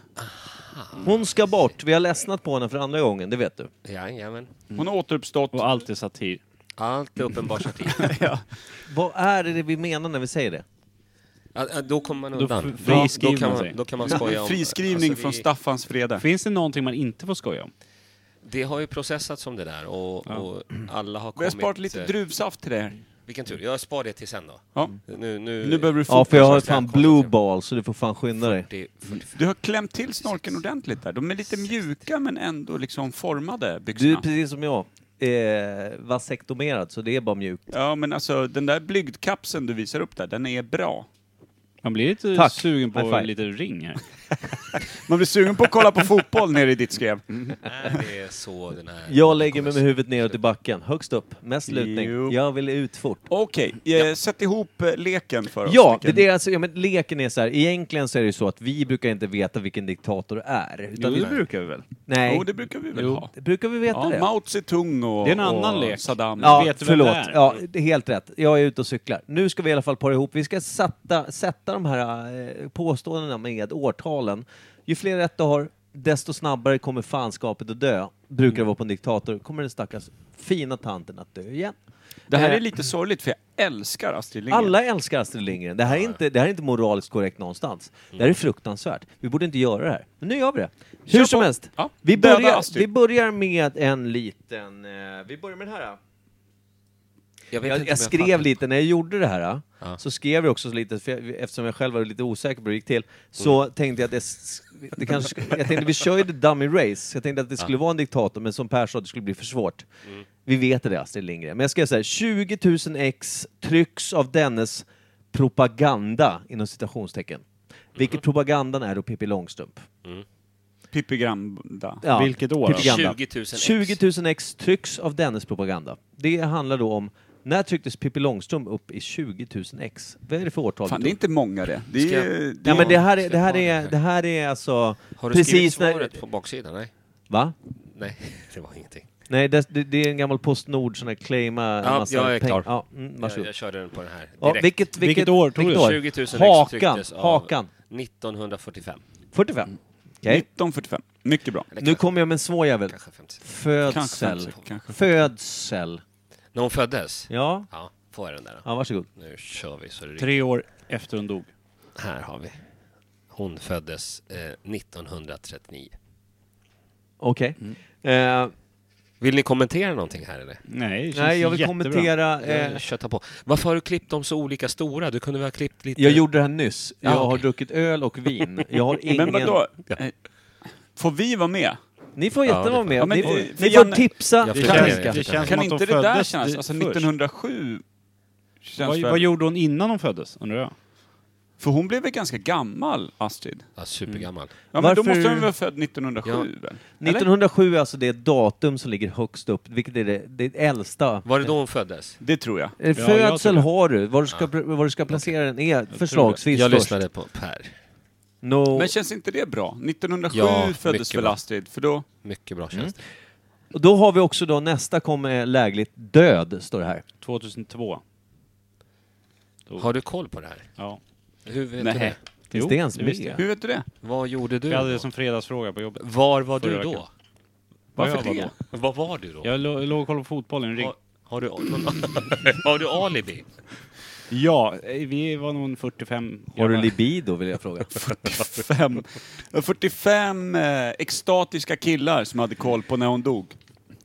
Speaker 1: Hon ska bort. Vi har ledsnat på henne för andra gången, det vet du.
Speaker 2: Jajamän.
Speaker 1: Mm.
Speaker 6: Hon har återuppstått.
Speaker 5: Och allt är satir.
Speaker 2: Allt är uppenbart satir.
Speaker 1: Vad är det vi menar när vi säger det?
Speaker 2: Ja, ja, då kommer man
Speaker 1: Då
Speaker 2: undan.
Speaker 1: fr- friskriver
Speaker 2: då kan
Speaker 1: man
Speaker 2: man,
Speaker 1: sig.
Speaker 2: då kan man skoja om... alltså, vi-
Speaker 6: Staffans freda.
Speaker 5: Finns det någonting man inte får skoja om?
Speaker 2: Det har ju processats som det där och, och alla har
Speaker 6: Vi har
Speaker 2: kommit...
Speaker 6: sparat lite
Speaker 2: eh,
Speaker 6: druvsaft till det
Speaker 1: Mm.
Speaker 6: här.
Speaker 2: Vilken tur. Jag spar det till sen då.
Speaker 6: Ja.
Speaker 2: Nu, nu,
Speaker 6: Nu behöver du
Speaker 1: Ja, för jag har
Speaker 6: fokus.
Speaker 1: fan blue ball, så du får fan skynda dig.
Speaker 6: Du har klämt till snorken ordentligt där. De är lite mjuka men ändå liksom formade
Speaker 1: Du är
Speaker 6: byxorna.
Speaker 1: precis som jag. Eh, vasektomerad, så det är bara mjukt.
Speaker 6: Ja men alltså den där blygdkapseln du visar upp där, den är bra.
Speaker 5: Man blir lite
Speaker 6: Tack.
Speaker 5: sugen på
Speaker 6: High five.
Speaker 5: lite ring här.
Speaker 6: Man blir sugen på att kolla på fotboll nere i ditt skrev.
Speaker 1: Mm.
Speaker 6: Mm.
Speaker 2: Nej, det är så den här...
Speaker 1: Jag lägger mig med huvudet neråt i backen, högst upp, mest lutning.
Speaker 6: Jo.
Speaker 1: Jag vill ut fort.
Speaker 6: Okej, eh, sätt ihop eh, leken för oss.
Speaker 1: Ja, det,
Speaker 6: Vilken-
Speaker 1: det är alltså, ja, men leken är så här, egentligen så är det ju så att vi brukar inte veta vilken diktator det är.
Speaker 6: Jo, det brukar
Speaker 5: vi väl?
Speaker 1: Nej.
Speaker 6: Jo, det brukar vi väl
Speaker 1: Jo.
Speaker 6: ha.
Speaker 1: Det brukar vi veta
Speaker 6: ja,
Speaker 1: det.
Speaker 6: Mao Zedong och,
Speaker 1: Det är en annan
Speaker 6: och
Speaker 1: lek.
Speaker 6: Saddam.
Speaker 1: Ja, förlåt. Ja, det är helt rätt. Jag är ute och cyklar. Nu ska vi i alla fall para ihop. Vi ska sätta, sätta de här eh, påståendena med årtalen. Ju fler rätt du har, desto snabbare kommer fanskapet att dö. Brukar det vara på en diktator. Kommer den stackars fina tanten att dö igen.
Speaker 6: Det här
Speaker 1: Eh,
Speaker 6: är lite sorgligt för jag älskar Astrid Lindgren.
Speaker 1: alla älskar Astrid Lindgren. Det här, är inte, det här är inte moraliskt korrekt någonstans. Det
Speaker 6: Mm.
Speaker 1: här är fruktansvärt. Vi borde inte göra det här. Men nu gör vi det. Hur som helst.
Speaker 6: Ja,
Speaker 1: Vi
Speaker 6: döda
Speaker 1: börjar,
Speaker 6: Astrid.
Speaker 1: vi börjar med en liten... Eh, vi börjar med den här.
Speaker 2: Jag, vet
Speaker 1: Jag,
Speaker 2: inte
Speaker 1: jag
Speaker 2: om jag
Speaker 1: skrev
Speaker 2: fattar.
Speaker 1: lite, när jag gjorde det här, så skrev jag också lite, för jag, eftersom jag själv var lite osäker på hur det gick till, så
Speaker 2: Mm.
Speaker 1: tänkte jag att det, s- det kanske, sk- jag tänkte vi kör ju the dummy race. Jag tänkte att det
Speaker 13: Ja.
Speaker 1: skulle vara en diktator, men som Per sa, det skulle bli för svårt.
Speaker 13: Mm.
Speaker 1: Vi vet det, Astrid Lindgren. Men jag skrev så här, 20 000 ex trycks av dennes propaganda, inom citationstecken.
Speaker 2: Mm-hmm.
Speaker 1: Vilket propagandan är då Pippi Långstrump.
Speaker 6: Pippi Granda.
Speaker 1: Ja,
Speaker 5: Vilket år?
Speaker 1: propaganda.
Speaker 5: 20 000 ex.
Speaker 1: 20 000 ex trycks av dennes propaganda. Det handlar då om när trycktes Pippi Långstrump upp i 20 000 ex? Vad är det för årtal?
Speaker 6: Fan, det är inte många det. Det är,
Speaker 1: Ska jag-
Speaker 6: det är-
Speaker 1: ja, men det här är,
Speaker 6: Ska
Speaker 1: det här
Speaker 6: jag ta
Speaker 1: är, det här är alltså...
Speaker 2: Har du skrivit
Speaker 1: när-
Speaker 2: svaret på baksidan? Nej.
Speaker 1: Va?
Speaker 2: Nej, det var ingenting.
Speaker 1: Nej, det, det- det är en gammal Postnord sån här claima... en
Speaker 2: Ja,
Speaker 1: massa
Speaker 2: jag är
Speaker 1: peng-
Speaker 2: klar.
Speaker 1: Ja, mm,
Speaker 2: jag,
Speaker 1: varsågod.
Speaker 2: jag körde den på den här direkt.
Speaker 1: Ja, vilket, vilket, vilket år?
Speaker 2: 20 000 ex
Speaker 1: Hakan,
Speaker 2: trycktes av
Speaker 1: Hakan.
Speaker 2: 1945.
Speaker 1: 45. Okej.
Speaker 6: 1945. Mycket bra.
Speaker 1: Nu kommer jag med en svår jävel.
Speaker 2: Kanske
Speaker 1: Födsel.
Speaker 2: 50, kanske
Speaker 1: Födsel.
Speaker 2: När hon föddes?
Speaker 1: Ja.
Speaker 2: Ja, får jag den där då?
Speaker 1: Ja, varsågod.
Speaker 2: Nu kör vi så det ryker.
Speaker 5: Tre år efter hon dog.
Speaker 2: Här har vi. Hon föddes eh, 1939.
Speaker 1: Okej.
Speaker 2: Mm.
Speaker 1: Eh,
Speaker 2: vill ni kommentera någonting här eller?
Speaker 5: Nej, det känns
Speaker 1: Nej, jag vill jättebra. kommentera, eh,
Speaker 2: Eh, köta på. Varför har du klippt dem så olika stora? Du kunde väl ha klippt lite...
Speaker 1: Jag gjorde det här nyss.
Speaker 2: Ja,
Speaker 1: Jag har
Speaker 2: okej.
Speaker 1: druckit öl och vin. Jag har ingen...
Speaker 2: Men vadå?
Speaker 1: Ja.
Speaker 6: Eh, Får vi vara med?
Speaker 1: Ni får jättegärna vara med.
Speaker 6: Ja, men
Speaker 1: ni
Speaker 6: det-
Speaker 1: får,
Speaker 6: det-
Speaker 1: ni
Speaker 6: Janne-
Speaker 1: får tipsa.
Speaker 6: Jag
Speaker 1: och
Speaker 6: förstår
Speaker 1: ranka.
Speaker 6: det. Det känns Kan som att inte de det där föddes kännas- alltså, först. 1907 känns
Speaker 5: vad,
Speaker 6: väl-
Speaker 5: vad gjorde hon innan hon föddes, undrar jag?
Speaker 6: För hon blev väl ganska gammal, Astrid?
Speaker 2: Ja, supergammal.
Speaker 6: Ja, men då
Speaker 1: Varför-
Speaker 6: måste hon vara född 1907? väl? Eller?
Speaker 1: 1907 är alltså det datum som ligger högst upp, vilket är det, det äldsta.
Speaker 2: Var det då hon föddes?
Speaker 6: Det tror jag.
Speaker 1: Eh, Födsel har du, var du ska, var du ska placera den är förslagsvis
Speaker 2: Jag
Speaker 1: först.
Speaker 2: lyssnade på Per.
Speaker 1: No.
Speaker 6: Men känns inte det bra? 1907
Speaker 2: Ja, mycket
Speaker 6: föddes väl
Speaker 2: bra.
Speaker 6: Astrid? För då...
Speaker 2: Mycket bra
Speaker 1: Mm. Och då har vi också då nästa kommer lägligt död, står det här.
Speaker 5: 2002.
Speaker 2: Har du koll på det här?
Speaker 5: Ja.
Speaker 2: Hur vet
Speaker 5: Nej.
Speaker 2: du det?
Speaker 1: Finns det ens med?
Speaker 6: Hur vet du det?
Speaker 2: Vad gjorde du
Speaker 5: Jag hade det
Speaker 2: då?
Speaker 5: som fredagsfråga på jobbet.
Speaker 2: Var var du
Speaker 5: Förra
Speaker 2: då?
Speaker 5: veckan.
Speaker 2: Varför
Speaker 5: Var jag
Speaker 2: det? Vad var du då?
Speaker 5: Jag lå- låg och kollade på fotbollen. Ring.
Speaker 2: Har, har, du, har du alibi?
Speaker 5: Ja, eh, vi var nog en 45
Speaker 1: Har du
Speaker 5: grabbar.
Speaker 1: libido vill jag fråga.
Speaker 6: 45, 45 eh, extatiska killar som hade koll på när hon dog.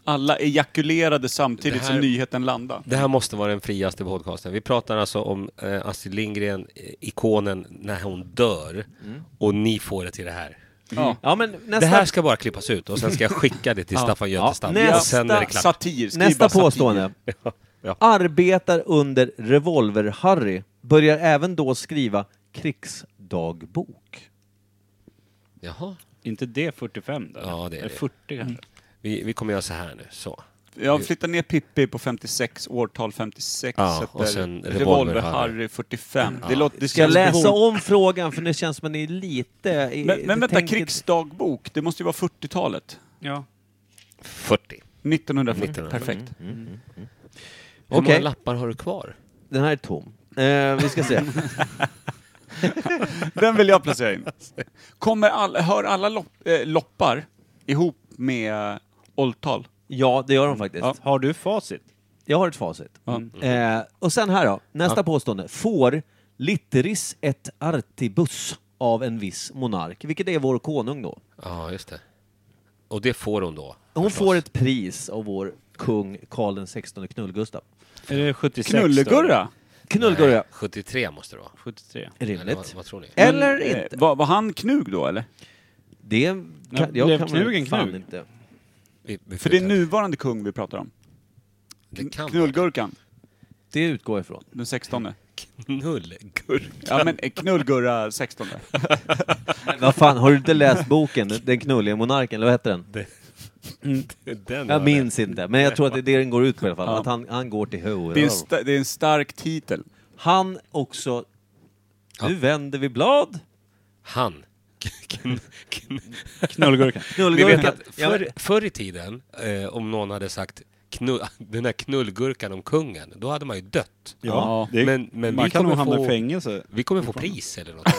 Speaker 6: Alla ejakulerade samtidigt
Speaker 2: Det här-
Speaker 6: som nyheten landade.
Speaker 2: Det här måste vara den friaste podcasten. Vi pratar alltså om eh, Astrid Lindgren, eh, ikonen, när hon dör.
Speaker 1: Mm.
Speaker 2: Och ni får det till det här.
Speaker 1: Ja. Ja, men
Speaker 2: Det
Speaker 1: nästa-
Speaker 2: här ska bara klippas ut och sen ska jag skicka det till
Speaker 1: Ja.
Speaker 2: Staffan Götestam.
Speaker 1: Ja,
Speaker 2: och sen är det
Speaker 1: nästa
Speaker 2: klart.
Speaker 6: satir. Skriv
Speaker 1: Nästa
Speaker 6: bara satir.
Speaker 1: påstående. Arbetar under Revolver-Harry, börjar även då skriva krigsdagbok.
Speaker 2: Jaha.
Speaker 5: Inte det 45 då?
Speaker 2: Ja, det är
Speaker 5: Eller
Speaker 2: det.
Speaker 5: 40 kanske?
Speaker 2: Vi, vi kommer göra så här nu. Så.
Speaker 6: Jag flyttar Mm. ner Pippi på 56, årtal 56,
Speaker 2: Ja,
Speaker 6: sätter
Speaker 2: och sen Revolver
Speaker 6: Harry 45.
Speaker 2: Ja.
Speaker 6: Det låter, det
Speaker 1: Ska jag
Speaker 6: känns-
Speaker 1: läsa om frågan för det känns som att ni är lite...
Speaker 6: Men, men vänta,
Speaker 1: tänker-
Speaker 6: krigsdagbok, det måste ju vara 40-talet?
Speaker 5: Ja.
Speaker 2: 40.
Speaker 6: 1940,
Speaker 2: 1940.
Speaker 6: perfekt.
Speaker 1: Mm,
Speaker 2: Hur många
Speaker 1: Okej.
Speaker 2: lappar har du kvar?
Speaker 1: Den här är tom. Eh, vi ska se. mm.
Speaker 6: Den vill jag placera in. Kommer alla, hör alla lopp, eh, loppar ihop med eh, åldtal?
Speaker 1: Ja, det gör de faktiskt.
Speaker 6: Ja.
Speaker 5: Har du facit?
Speaker 1: Jag har ett facit.
Speaker 6: Mm.
Speaker 1: Eh, och sen här då, nästa påstående. Får litteris et artibus av en viss monark, vilket är vår konung då.
Speaker 2: Ja, just det. Och det får hon då?
Speaker 1: Hon får ett pris av vår kung Karl den 16 Knull-Gustav.
Speaker 5: Är det 76
Speaker 6: Knullegurra?
Speaker 1: Knullgurra, ja.
Speaker 2: Nej, 73 måste det vara.
Speaker 5: 73.
Speaker 1: Rimligt.
Speaker 2: Eller vad, vad tror ni?
Speaker 1: Eller
Speaker 6: Men, eh,
Speaker 1: inte.
Speaker 6: Var, var han knug då eller?
Speaker 1: Det
Speaker 6: Nej,
Speaker 1: kan,
Speaker 6: blev
Speaker 1: jag kan
Speaker 6: knugen
Speaker 1: väl fan
Speaker 6: knug?
Speaker 1: inte.
Speaker 2: Vi, vi
Speaker 6: För det är
Speaker 2: flyttar.
Speaker 6: nuvarande kung vi pratar om.
Speaker 2: Det kan
Speaker 6: Knullgurkan,
Speaker 1: Det utgår jag ifrån.
Speaker 6: den 16.
Speaker 2: Knullgurka.
Speaker 6: Ja men eh, knullgurra 16.
Speaker 1: Vad fan, har du inte läst boken Den knulliga monarken, eller vad heter den?
Speaker 2: Den
Speaker 1: Jag
Speaker 2: var
Speaker 1: minns inte, men jag tror att det är det den går ut på i alla fall. Att han, han går till
Speaker 6: Det är, en
Speaker 1: Hoel.
Speaker 6: sta- det är en stark titel.
Speaker 1: Han också... Nu vänder vi blad.
Speaker 2: Han. Kn- kn-
Speaker 5: Knullgurkan.
Speaker 2: Ni vet
Speaker 1: Knullgurkan.
Speaker 2: att
Speaker 1: Ja, men-
Speaker 2: förr, förr i tiden, eh, om någon hade sagt knu, den där knullgurkan om kungen, då hade man ju dött.
Speaker 5: Ja, det-
Speaker 2: men, men
Speaker 5: man
Speaker 2: vi
Speaker 5: kan nog
Speaker 2: kommer
Speaker 5: hamna i
Speaker 2: få-
Speaker 5: fängelse.
Speaker 2: Vi kommer få pris eller något.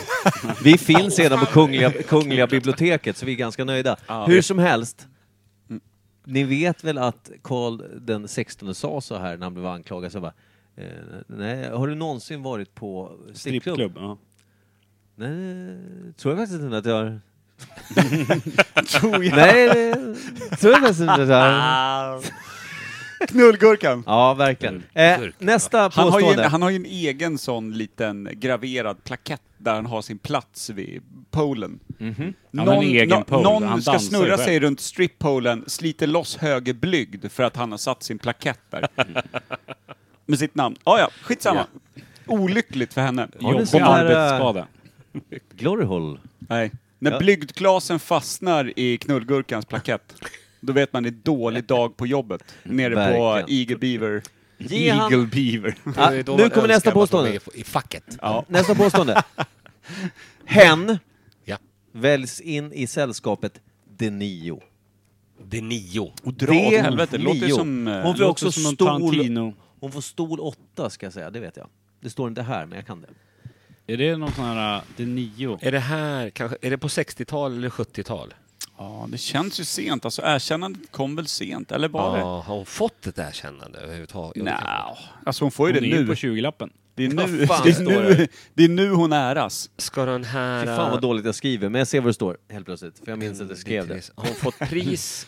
Speaker 1: Vi finns redan på kungliga, kungliga biblioteket, så vi är ganska nöjda. Hur som helst, ni vet väl att Karl den 16 sa så här när han blev anklagad, så bara eh, Nej, har du någonsin varit på strippklubb?
Speaker 5: Strippklubb, ja.
Speaker 1: Nej, tror jag faktiskt inte att jag har.
Speaker 6: Tror jag.
Speaker 1: Nej, det tror jag faktiskt inte att jag har.
Speaker 6: Knullgurkan.
Speaker 1: Ja, verkligen. Eh, nästa
Speaker 6: Han har, ju en,
Speaker 1: påstående.
Speaker 6: han har ju en egen sån liten graverad plakett där han har sin plats vid polen.
Speaker 5: Han har Mhm. en egen
Speaker 6: nå-
Speaker 5: pole,
Speaker 6: någon
Speaker 5: han
Speaker 6: ska
Speaker 5: dansar
Speaker 6: snurra
Speaker 5: själv.
Speaker 6: sig runt strippolen, sliter loss höger blygd för att han har satt sin plakett där. Med sitt namn. Ah, ja, skitsamma. Olyckligt för henne.
Speaker 1: Har ni
Speaker 5: Jobb
Speaker 1: sån
Speaker 5: och
Speaker 1: här, eh,
Speaker 5: arbetsskada.
Speaker 1: Glory hole.
Speaker 6: Nej. När
Speaker 1: Ja.
Speaker 6: blygdglasen fastnar i knullgurkans plakett, då vet man det är dålig dag på jobbet. Nere på
Speaker 1: Verkligen.
Speaker 6: Eagle Beaver.
Speaker 1: Ge han-
Speaker 6: Eagle Beaver.
Speaker 1: Ja,
Speaker 2: Det är då
Speaker 1: nu
Speaker 2: man önskar
Speaker 1: kommer nästa
Speaker 2: att man
Speaker 1: påstående.
Speaker 2: är I facket.
Speaker 6: Ja.
Speaker 1: Nästa påstående. Hen
Speaker 2: Ja.
Speaker 1: väljs in i sällskapet de nio.
Speaker 2: Det är nio.
Speaker 6: Och dra åt helvete, det låter ju som... eh,
Speaker 1: Hon får
Speaker 5: låter
Speaker 1: också
Speaker 5: som någon
Speaker 1: stol...
Speaker 5: Tarantino.
Speaker 1: Hon får stol åtta ska jag säga, det vet jag. Det står inte här, men jag kan det.
Speaker 5: Är det någon sån här, eh, det är nio?
Speaker 2: Är det här kanske, är det på 60-tal eller 70-tal?
Speaker 6: Ja, det känns ju sent. Alltså erkännandet kom väl sent, eller var det?
Speaker 2: Ja, har hon fått ett erkännande överhuvudtaget? Ja, det
Speaker 6: Nej,
Speaker 2: kan-
Speaker 6: alltså hon får ju
Speaker 5: Hon är
Speaker 6: det
Speaker 5: ju
Speaker 6: nu.
Speaker 5: på 20-lappen.
Speaker 6: Det är
Speaker 1: Vad
Speaker 6: nu,
Speaker 1: fan
Speaker 6: det är
Speaker 1: står
Speaker 6: nu,
Speaker 1: det?
Speaker 6: det är nu hon äras.
Speaker 2: Ska den här...
Speaker 1: Fy fan vad dåligt jag skriver, men jag ser vad det står helt plötsligt. För jag minns
Speaker 2: Mm,
Speaker 1: att jag skrev det.
Speaker 2: Har hon fått pris?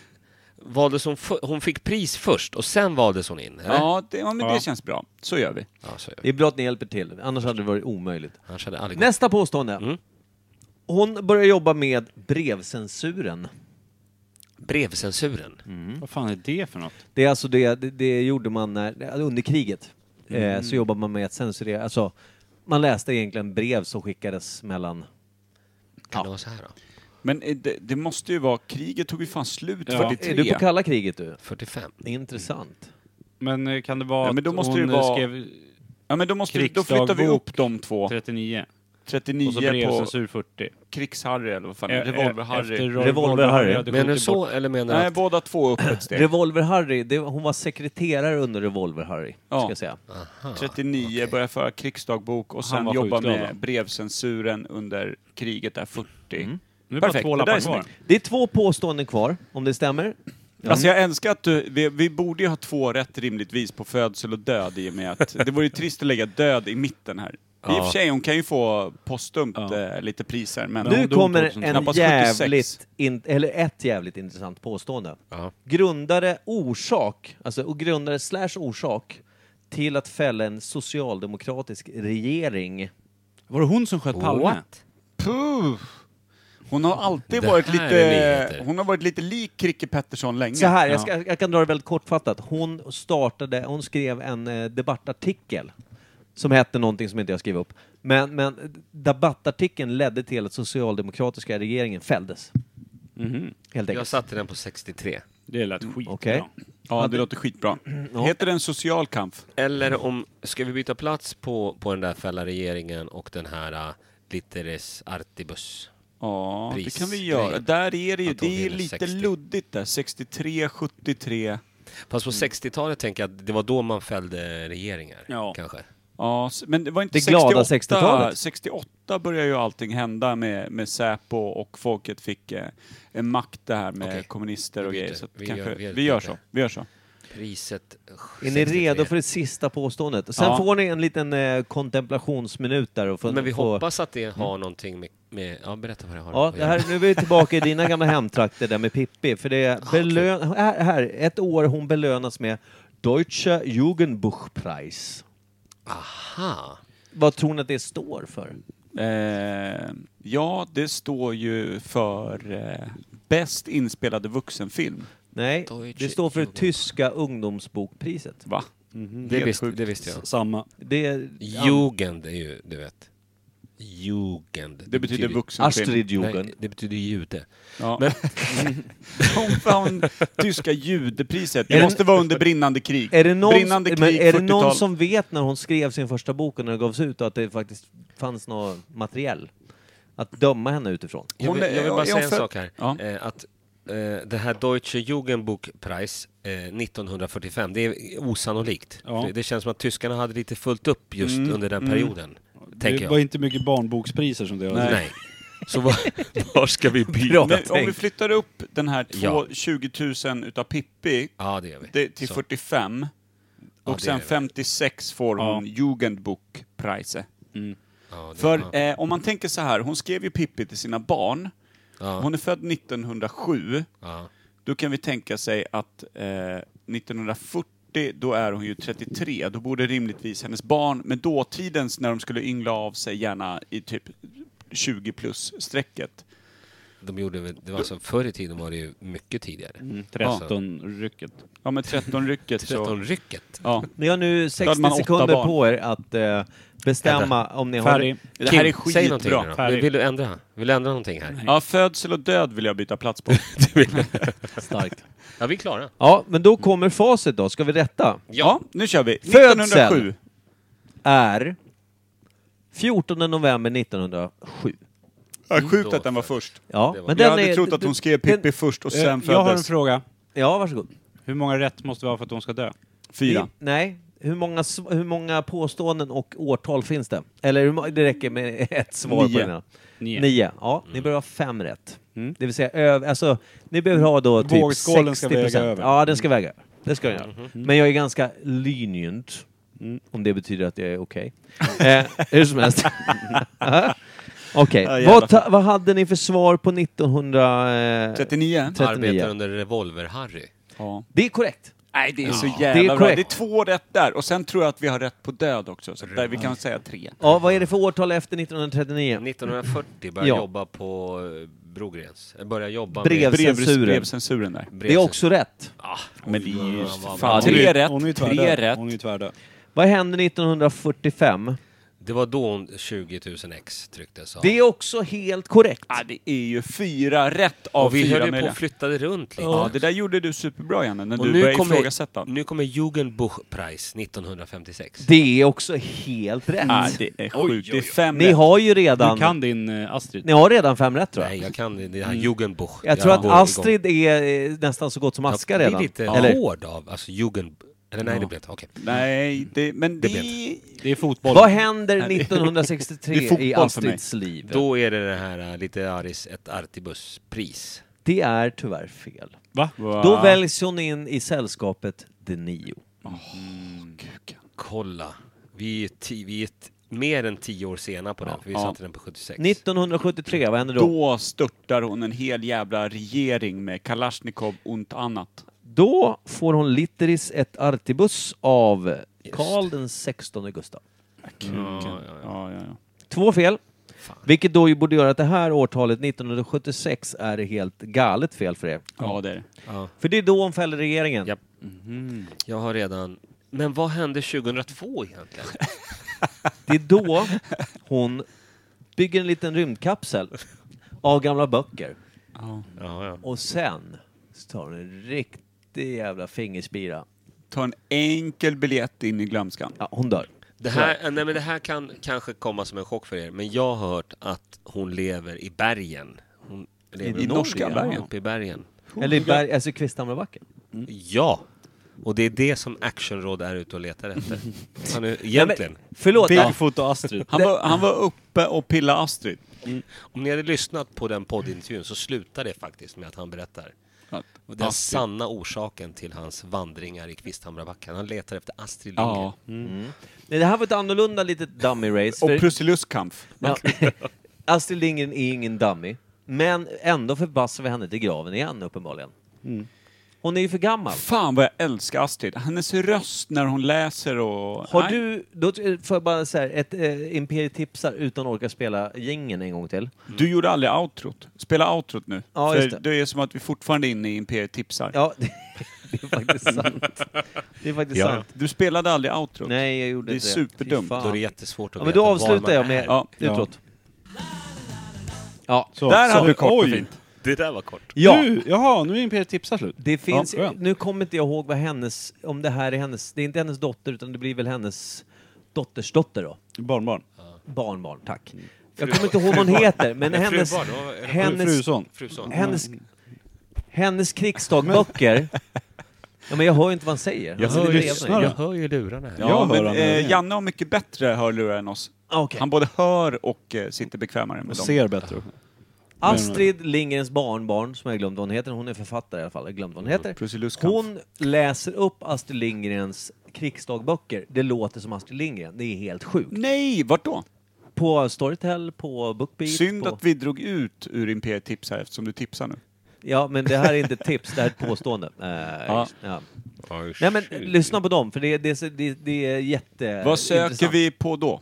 Speaker 2: Valdes hon, för, hon fick pris först och sen valdes hon in? Eller?
Speaker 6: Ja, det, ja, men det känns bra. Så gör vi.
Speaker 2: Ja, så gör vi.
Speaker 1: Det är bra att ni hjälper till, annars hade det varit omöjligt.
Speaker 2: Annars hade det aldrig gått.
Speaker 1: Nästa påstående. Hon börjar jobba med brevcensuren.
Speaker 2: Brevcensuren?
Speaker 5: Vad fan är det för något?
Speaker 1: Det är alltså det, det, det gjorde man när, under kriget. Eh, så jobbade man med att censurera, alltså man läste egentligen brev som skickades mellan...
Speaker 2: Kan det vara så här då?
Speaker 6: Men eh, det, det måste ju vara, kriget tog ju fan slut
Speaker 5: Ja.
Speaker 6: 43.
Speaker 1: Är du på kalla kriget du?
Speaker 2: 45.
Speaker 1: Intressant.
Speaker 5: Men eh, kan det vara
Speaker 6: Ja, men då
Speaker 5: att
Speaker 6: måste
Speaker 5: hon
Speaker 6: det vara-
Speaker 5: eh, skrev
Speaker 6: Ja men då, måste vi, då flyttar vi
Speaker 5: Krigsdagbok
Speaker 6: upp de två.
Speaker 5: 39?
Speaker 6: 39
Speaker 5: Och
Speaker 6: på
Speaker 5: så brevcensur 40.
Speaker 6: krigsharry eller vad fan
Speaker 5: Eh,
Speaker 6: är det?
Speaker 5: eh,
Speaker 6: Revolver-harry.
Speaker 5: efter Revolver-Harry. Revolver-Harry hade
Speaker 2: Menar du så eller menar du
Speaker 6: Nej,
Speaker 2: att...
Speaker 6: båda två upp ett steg.
Speaker 1: Revolver-Harry, det- hon var sekreterare under Revolver-Harry, ska jag säga.
Speaker 6: 39, börjar föra krigsdagbok och sen
Speaker 1: var
Speaker 6: jobba
Speaker 1: skjutglad,
Speaker 6: med
Speaker 1: va?
Speaker 6: brevcensuren under kriget där 40.
Speaker 5: Mm. Nu är bara
Speaker 6: Perfekt,
Speaker 5: två
Speaker 6: det där
Speaker 5: lappar
Speaker 6: är
Speaker 5: kvar.
Speaker 6: snyggt.
Speaker 1: Det är två påståenden kvar, om det stämmer. Ja.
Speaker 6: Alltså jag älskar att du, vi, vi borde ju ha två rätt rimligtvis på födsel och död i och med att det vore ju trist att lägga död i mitten här. I
Speaker 1: Ja.
Speaker 6: och för sig, hon kan ju få postumt eh, lite priser men...
Speaker 1: nu kommer en
Speaker 6: Knappast 76.
Speaker 1: jävligt, in, eller ett jävligt intressant påstående. Grundare orsak, alltså och grundare slash orsak till att fälla en socialdemokratisk regering.
Speaker 5: Var det hon som sköt
Speaker 6: Palme? What? Puh. Hon har alltid varit lite... Hon har varit lite lik Kricke Pettersson länge.
Speaker 1: Så här, jag, ska, jag kan dra det väldigt kortfattat. Hon startade, hon skrev en eh, debattartikel som hette någonting som inte jag skrev upp. Men, men debattartikeln ledde till att socialdemokratiska regeringen fälldes. Helt
Speaker 2: Jag
Speaker 1: enkelt.
Speaker 2: satte den på 63.
Speaker 5: Det lät skitbra.
Speaker 1: Okej.
Speaker 6: Ja, det låter skitbra. Heter den social kamp?
Speaker 2: Eller om, ska vi byta plats på, på den där fälla regeringen och den här uh, Litteres Artibus?
Speaker 6: Ja,
Speaker 2: Pris-
Speaker 6: det kan vi göra.
Speaker 2: grejen.
Speaker 6: Där är det ju,
Speaker 2: Att de
Speaker 6: det är
Speaker 2: vinner
Speaker 6: lite
Speaker 2: 60.
Speaker 6: luddigt där. 63, 73.
Speaker 2: Fast på 60-talet tänker jag att det var då man fällde regeringar, kanske.
Speaker 6: Ja, s- men det var inte
Speaker 2: Det glada
Speaker 6: 68.
Speaker 2: 60-talet.
Speaker 6: 68 började ju allting hända med, med Säpo och folket fick eh, en makt det här med kommunister och
Speaker 2: byter.
Speaker 6: grejer. Så att vi,
Speaker 2: Vi
Speaker 6: kanske,
Speaker 2: gör- vi
Speaker 6: vi,
Speaker 2: gör
Speaker 6: gör,
Speaker 2: det inte.
Speaker 6: så. Vi gör så.
Speaker 2: Priset
Speaker 1: Är ni redo för det sista påståendet? Sen
Speaker 2: Ja.
Speaker 1: får ni en liten eh, kontemplationsminut där. Och får,
Speaker 2: Men vi
Speaker 1: får,
Speaker 2: hoppas att det har någonting med... med Mm. ja, berätta vad det har
Speaker 1: Ja,
Speaker 2: att
Speaker 1: det
Speaker 2: göra
Speaker 1: här,
Speaker 2: med.
Speaker 1: nu är vi tillbaka i dina gamla hemtrakter där med Pippi. För det är belön, här, här, ett år hon belönas med Deutsche Jugendbuchpreis.
Speaker 2: Aha.
Speaker 1: Vad tror ni att det står för?
Speaker 6: Eh, ja, det står ju för eh, bäst inspelade vuxenfilm.
Speaker 1: Nej, det står för tyska ungdomsbokpriset.
Speaker 6: Va?
Speaker 2: Mm. Det, visst, det visste jag.
Speaker 5: Samma.
Speaker 1: Det är,
Speaker 2: Jugend är ju, du vet. Jugend. Det,
Speaker 6: betyder vuxenfilm. Astrid Jugend.
Speaker 2: Nej, det betyder jude.
Speaker 6: Ja.
Speaker 2: Men,
Speaker 6: Hon vann tyska judepriset.
Speaker 1: Är
Speaker 6: Det
Speaker 1: det-
Speaker 6: måste vara under brinnande krig.
Speaker 1: Är det någon,
Speaker 6: brinnande
Speaker 1: men
Speaker 6: krig,
Speaker 1: är det någon
Speaker 6: 40-tal.
Speaker 1: som vet när hon skrev sin första bok och när den gavs ut och att det faktiskt fanns något materiell? Att döma henne utifrån?
Speaker 2: jag,
Speaker 6: Hon
Speaker 2: vill,
Speaker 6: är-
Speaker 2: jag vill
Speaker 6: är
Speaker 2: bara
Speaker 6: hon
Speaker 2: säga en
Speaker 6: född?
Speaker 2: sak här. Eh, att eh, det här Deutsche Jugendbuchpreis eh, 1945, det är osannolikt.
Speaker 5: Ja.
Speaker 2: För Det, det känns som att tyskarna hade lite fullt upp just
Speaker 5: Mm,
Speaker 2: under den
Speaker 5: mm.
Speaker 2: perioden.
Speaker 5: Det
Speaker 2: Tänker jag.
Speaker 5: var inte mycket barnbokspriser som det var.
Speaker 2: Nej. Så var, var ska vi byta?
Speaker 6: Men om vi flyttar upp den här två,
Speaker 2: Ja.
Speaker 6: 20 000 utav Pippi
Speaker 2: Ja, det gör vi.
Speaker 6: det- till
Speaker 2: Så.
Speaker 6: 45
Speaker 2: Ja,
Speaker 6: och
Speaker 2: det gör
Speaker 6: sen
Speaker 2: vi.
Speaker 6: 56 får hon Jugendbuchpreise.
Speaker 2: Ja, det-
Speaker 6: För
Speaker 2: ja.
Speaker 6: eh, om man tänker så här, hon skrev ju Pippi till sina barn.
Speaker 2: Ja.
Speaker 6: Hon är född 1907.
Speaker 2: Ja.
Speaker 6: Då kan vi tänka sig att eh, 1940, då är hon ju 33. Då borde rimligtvis hennes barn, med dåtidens, när de skulle yngla av sig gärna i typ 20 plus-strecket.
Speaker 2: De gjorde, väl- det var alltså, förr i tiden var det ju mycket tidigare.
Speaker 5: Mm,
Speaker 2: Alltså,
Speaker 5: 13-rycket.
Speaker 6: Ja, men 13-rycket.
Speaker 2: 13-rycket?
Speaker 6: Ja.
Speaker 1: Ni har nu
Speaker 6: hade
Speaker 1: 60
Speaker 6: man åtta
Speaker 1: sekunder
Speaker 6: barn.
Speaker 1: på er att eh, bestämma
Speaker 2: Vänta.
Speaker 1: om ni
Speaker 6: Färdig.
Speaker 1: har...
Speaker 6: Det här är
Speaker 2: Kim, Säg någonting
Speaker 6: skitbra.
Speaker 2: nu då.
Speaker 6: Färg.
Speaker 2: Vill du ändra? Vill du ändra någonting här?
Speaker 6: Ja, födsel och död vill jag byta plats på.
Speaker 1: Starkt.
Speaker 2: Ja, vi är klara.
Speaker 1: Ja, men då kommer facit då. Ska vi rätta?
Speaker 6: Ja, nu kör vi.
Speaker 1: Födsel
Speaker 6: 1907.
Speaker 1: är 14 november 1907.
Speaker 6: Ja, sjukt att den var först.
Speaker 1: Ja, men
Speaker 6: jag
Speaker 1: den
Speaker 6: hade
Speaker 1: är,
Speaker 6: trott att hon skrev Pippi först och
Speaker 5: Eh,
Speaker 6: sen
Speaker 5: Jag har en
Speaker 6: föddes.
Speaker 5: fråga.
Speaker 1: Ja, varsågod.
Speaker 5: Hur många rätt måste vi ha för att hon ska dö?
Speaker 6: Fyra.
Speaker 1: Nej, hur många, sv- hur många påståenden och årtal finns det? Eller hur, må- det räcker med ett svar
Speaker 5: Nio.
Speaker 1: på den här.
Speaker 5: Nio. Mm.
Speaker 1: Nio. Ja, ni behöver ha fem rätt. Det vill säga, öv, alltså, ni behöver ha då typ
Speaker 5: Vågskålen
Speaker 1: 60
Speaker 5: ska väga över. Mm-hmm.
Speaker 1: Ja, den ska väga över. Det ska den göra. Men jag är ganska lenient.
Speaker 5: Mm.
Speaker 1: Om det betyder att jag är okej. eh, hur som helst. okej,
Speaker 2: Ja,
Speaker 1: vad,
Speaker 2: jävlar.
Speaker 1: ta- vad hade ni för svar på 1939? Eh,
Speaker 6: 39?
Speaker 1: 39?
Speaker 2: Arbetar under Revolver-Harry.
Speaker 1: Det är korrekt.
Speaker 6: Nej, det är så
Speaker 1: Ja.
Speaker 6: jävla
Speaker 1: Det är
Speaker 6: bra.
Speaker 1: korrekt.
Speaker 6: Det är två rätt där. Och sen tror jag att vi har rätt på död också. Så där vi kan säga tre.
Speaker 1: Ja, vad är det för årtal efter 1939?
Speaker 2: 1940 började
Speaker 1: Ja.
Speaker 2: jobba på eh, Brogrens. Eh, Började jobba
Speaker 1: Brevcensuren.
Speaker 2: med...
Speaker 6: Brevcensuren där.
Speaker 1: Det är också rätt.
Speaker 2: Ah,
Speaker 6: Men det är ju
Speaker 2: vad-
Speaker 6: fan-
Speaker 2: vad-
Speaker 6: Tre rätt,
Speaker 5: Hon är ju
Speaker 6: tre
Speaker 5: tvärdöd.
Speaker 6: rätt.
Speaker 5: Hon är ju tvärdöd.
Speaker 1: Vad hände 1945?
Speaker 2: Det var då hon 20 000 ex trycktes av.
Speaker 1: Det är också helt korrekt.
Speaker 6: Ja, det är ju fyra rätt av
Speaker 2: Och vi
Speaker 6: fyra
Speaker 2: höll ju på
Speaker 6: möjliga.
Speaker 2: och flyttade runt lite.
Speaker 6: Ja, det där gjorde du superbra, Janne, när
Speaker 2: Och
Speaker 6: du
Speaker 2: nu
Speaker 6: började
Speaker 2: kommer- Mm.
Speaker 6: ifrågasätta.
Speaker 2: Nu kommer Jugendbuchpreis 1956.
Speaker 1: Det är också helt rätt.
Speaker 2: Ja, det är sjukt. Det är fem
Speaker 1: Ni
Speaker 2: rätt.
Speaker 1: har ju redan...
Speaker 2: Du kan
Speaker 5: din eh, Astrid.
Speaker 1: Ni har redan fem rätt tror jag. Mm.
Speaker 2: Nej, jag kan det. Det här Jugendbuch.
Speaker 1: Jag tror att
Speaker 2: går igång.
Speaker 1: Astrid är eh, nästan så gott som aska
Speaker 2: Jag
Speaker 1: redan.
Speaker 2: blir lite
Speaker 1: Eller?
Speaker 2: hård av alltså Jugend... Eller nej,
Speaker 1: Ja.
Speaker 2: det blev inte. Okej.
Speaker 6: Nej, det, men det...
Speaker 2: blev
Speaker 6: Det,
Speaker 5: är fotboll.
Speaker 1: Vad händer 1963
Speaker 2: Det är fotboll
Speaker 1: i
Speaker 2: för
Speaker 1: Astrids
Speaker 2: mig.
Speaker 1: liv?
Speaker 2: Då är det det här eh, lite Aris ett Artibus-pris.
Speaker 1: Det är tyvärr fel.
Speaker 5: Va?
Speaker 1: Då väljs hon in i sällskapet De Nio.
Speaker 2: Kolla. Vi är, ti- vi är t- mer än tio år sena på den. för Vi
Speaker 6: ja.
Speaker 2: satte den på 76.
Speaker 1: 1973, vad händer då? Då,
Speaker 6: Då störtar hon en hel jävla regering med Kalashnikov ont annat.
Speaker 1: får hon Litteris ett Artibus av Karl den 16 Gustav.
Speaker 6: Ja, ja, ja.
Speaker 1: Två fel. Vilket då ju borde göra att det här årtalet, 1976, är helt galet fel för er.
Speaker 6: Ja, det är det.
Speaker 1: För det är då hon fäller regeringen.
Speaker 2: Jag har redan... Men vad hände 2002 egentligen?
Speaker 1: Det är då hon bygger en liten rymdkapsel av gamla böcker. Och sen så tar hon en riktig jävla fingerspira.
Speaker 6: Ta en enkel biljett in i glömskan.
Speaker 1: Ja, hon dör.
Speaker 2: Det här, nej, men det här kan kanske komma som en chock för er, men jag har hört att hon lever i bergen. Hon lever
Speaker 6: I- i
Speaker 2: uppe
Speaker 6: norska bergen? Mm.
Speaker 2: Uppe i bergen.
Speaker 1: Eller i berg, alltså Kvisthammarbacken.
Speaker 2: Ja! Och det är det som Actionråd är ute och letar efter. Han är, egentligen.
Speaker 1: förlåt.
Speaker 5: Bigfoot och Astrid.
Speaker 6: Han var, han var uppe och pillade Astrid.
Speaker 2: Om ni hade lyssnat på den poddintervjun så slutar det faktiskt med att han berättar
Speaker 6: Att
Speaker 2: den
Speaker 6: Astrid-
Speaker 2: sanna orsaken till hans vandringar i Kvisthamrabacken. Han letar efter Astrid Lindgren.
Speaker 6: Ja.
Speaker 1: Mm. Nej, Det här var ett annorlunda litet dummy race.
Speaker 6: Och
Speaker 1: för-
Speaker 6: Prussiluskampf.
Speaker 1: Ja. Astrid Lindgren är ingen dummy. Men ändå förbassar vi henne till graven igen uppenbarligen. Mm. Hon är ju för gammal.
Speaker 6: Fan vad jag älskar Astrid. Hennes röst när hon läser och...
Speaker 1: Har
Speaker 6: Nej.
Speaker 1: du, då t- får jag bara säga ett eh, Imperietipsar utan att orka spela gingen en gång till.
Speaker 6: Du gjorde aldrig outrot. Spela outrot nu.
Speaker 1: Ja,
Speaker 6: För
Speaker 1: just det.
Speaker 6: det. är som att vi fortfarande är inne i Imperiet tipsar.
Speaker 1: Ja, det, det är faktiskt sant. Det är faktiskt sant.
Speaker 6: Du spelade aldrig outrot.
Speaker 1: Nej, jag gjorde
Speaker 6: det är
Speaker 1: inte det. Fy
Speaker 6: superdumt.
Speaker 1: fan. Då är det
Speaker 2: jättesvårt att
Speaker 1: Ja, men då
Speaker 2: veta var
Speaker 1: avslutar
Speaker 2: man
Speaker 1: jag med
Speaker 2: är.
Speaker 1: ja.
Speaker 2: Ja.
Speaker 1: utrot. Ja.
Speaker 5: Så,
Speaker 6: Där hade du kort och
Speaker 5: Oj.
Speaker 6: fint.
Speaker 2: Det där var kort.
Speaker 1: Ja.
Speaker 5: Nu, jaha, nu är Imperiet tipsar slut.
Speaker 1: Det finns,
Speaker 5: Ja, skönt.
Speaker 1: nu kommer inte jag ihåg vad hennes, om det här är hennes, det är inte hennes dotter utan det blir väl hennes dotters dotter då?
Speaker 5: Barnbarn.
Speaker 1: Barnbarn, tack.
Speaker 2: Mm.
Speaker 1: Jag kommer inte ihåg vad hon heter, men
Speaker 2: Nej,
Speaker 1: hennes,
Speaker 2: frubarn, då är det-
Speaker 1: hennes,
Speaker 5: Fruson.
Speaker 2: Fruson.
Speaker 1: hennes,
Speaker 2: Mm.
Speaker 1: hennes krigsdagböcker. Ja, men jag hör ju inte vad han säger.
Speaker 2: Jag
Speaker 1: Han
Speaker 2: hör,
Speaker 5: Alltså,
Speaker 1: sitter
Speaker 2: ju,
Speaker 1: bredvid mig.
Speaker 2: jag hör ju lurarna här.
Speaker 6: Ja, men eh, Janne har mycket bättre hörlurar än oss.
Speaker 1: Okej.
Speaker 6: Han både hör och eh, sitter bekvämare med
Speaker 5: Och
Speaker 6: dem.
Speaker 5: ser bättre.
Speaker 1: Astrid Lindgrens barnbarn, som jag glömde vad hon heter, hon är författare i alla fall, jag glömde vad hon heter. Hon läser upp Astrid Lindgrens krigsdagböcker. Det låter som Astrid Lindgren, det är helt sjukt.
Speaker 6: Nej, vart då?
Speaker 1: På Storytel, på Bookbeat,
Speaker 6: Synd
Speaker 1: på...
Speaker 6: att vi drog ut ur Imperiet tipsar eftersom du tipsar nu.
Speaker 1: Ja, men det här är inte ett tips, det här är ett påstående. Eh,
Speaker 6: Ja.
Speaker 1: ja. Nej men lyssna på dem, för det, det, det, det är jätte...
Speaker 6: Vad söker
Speaker 1: Eh, intressant.
Speaker 6: vi på då?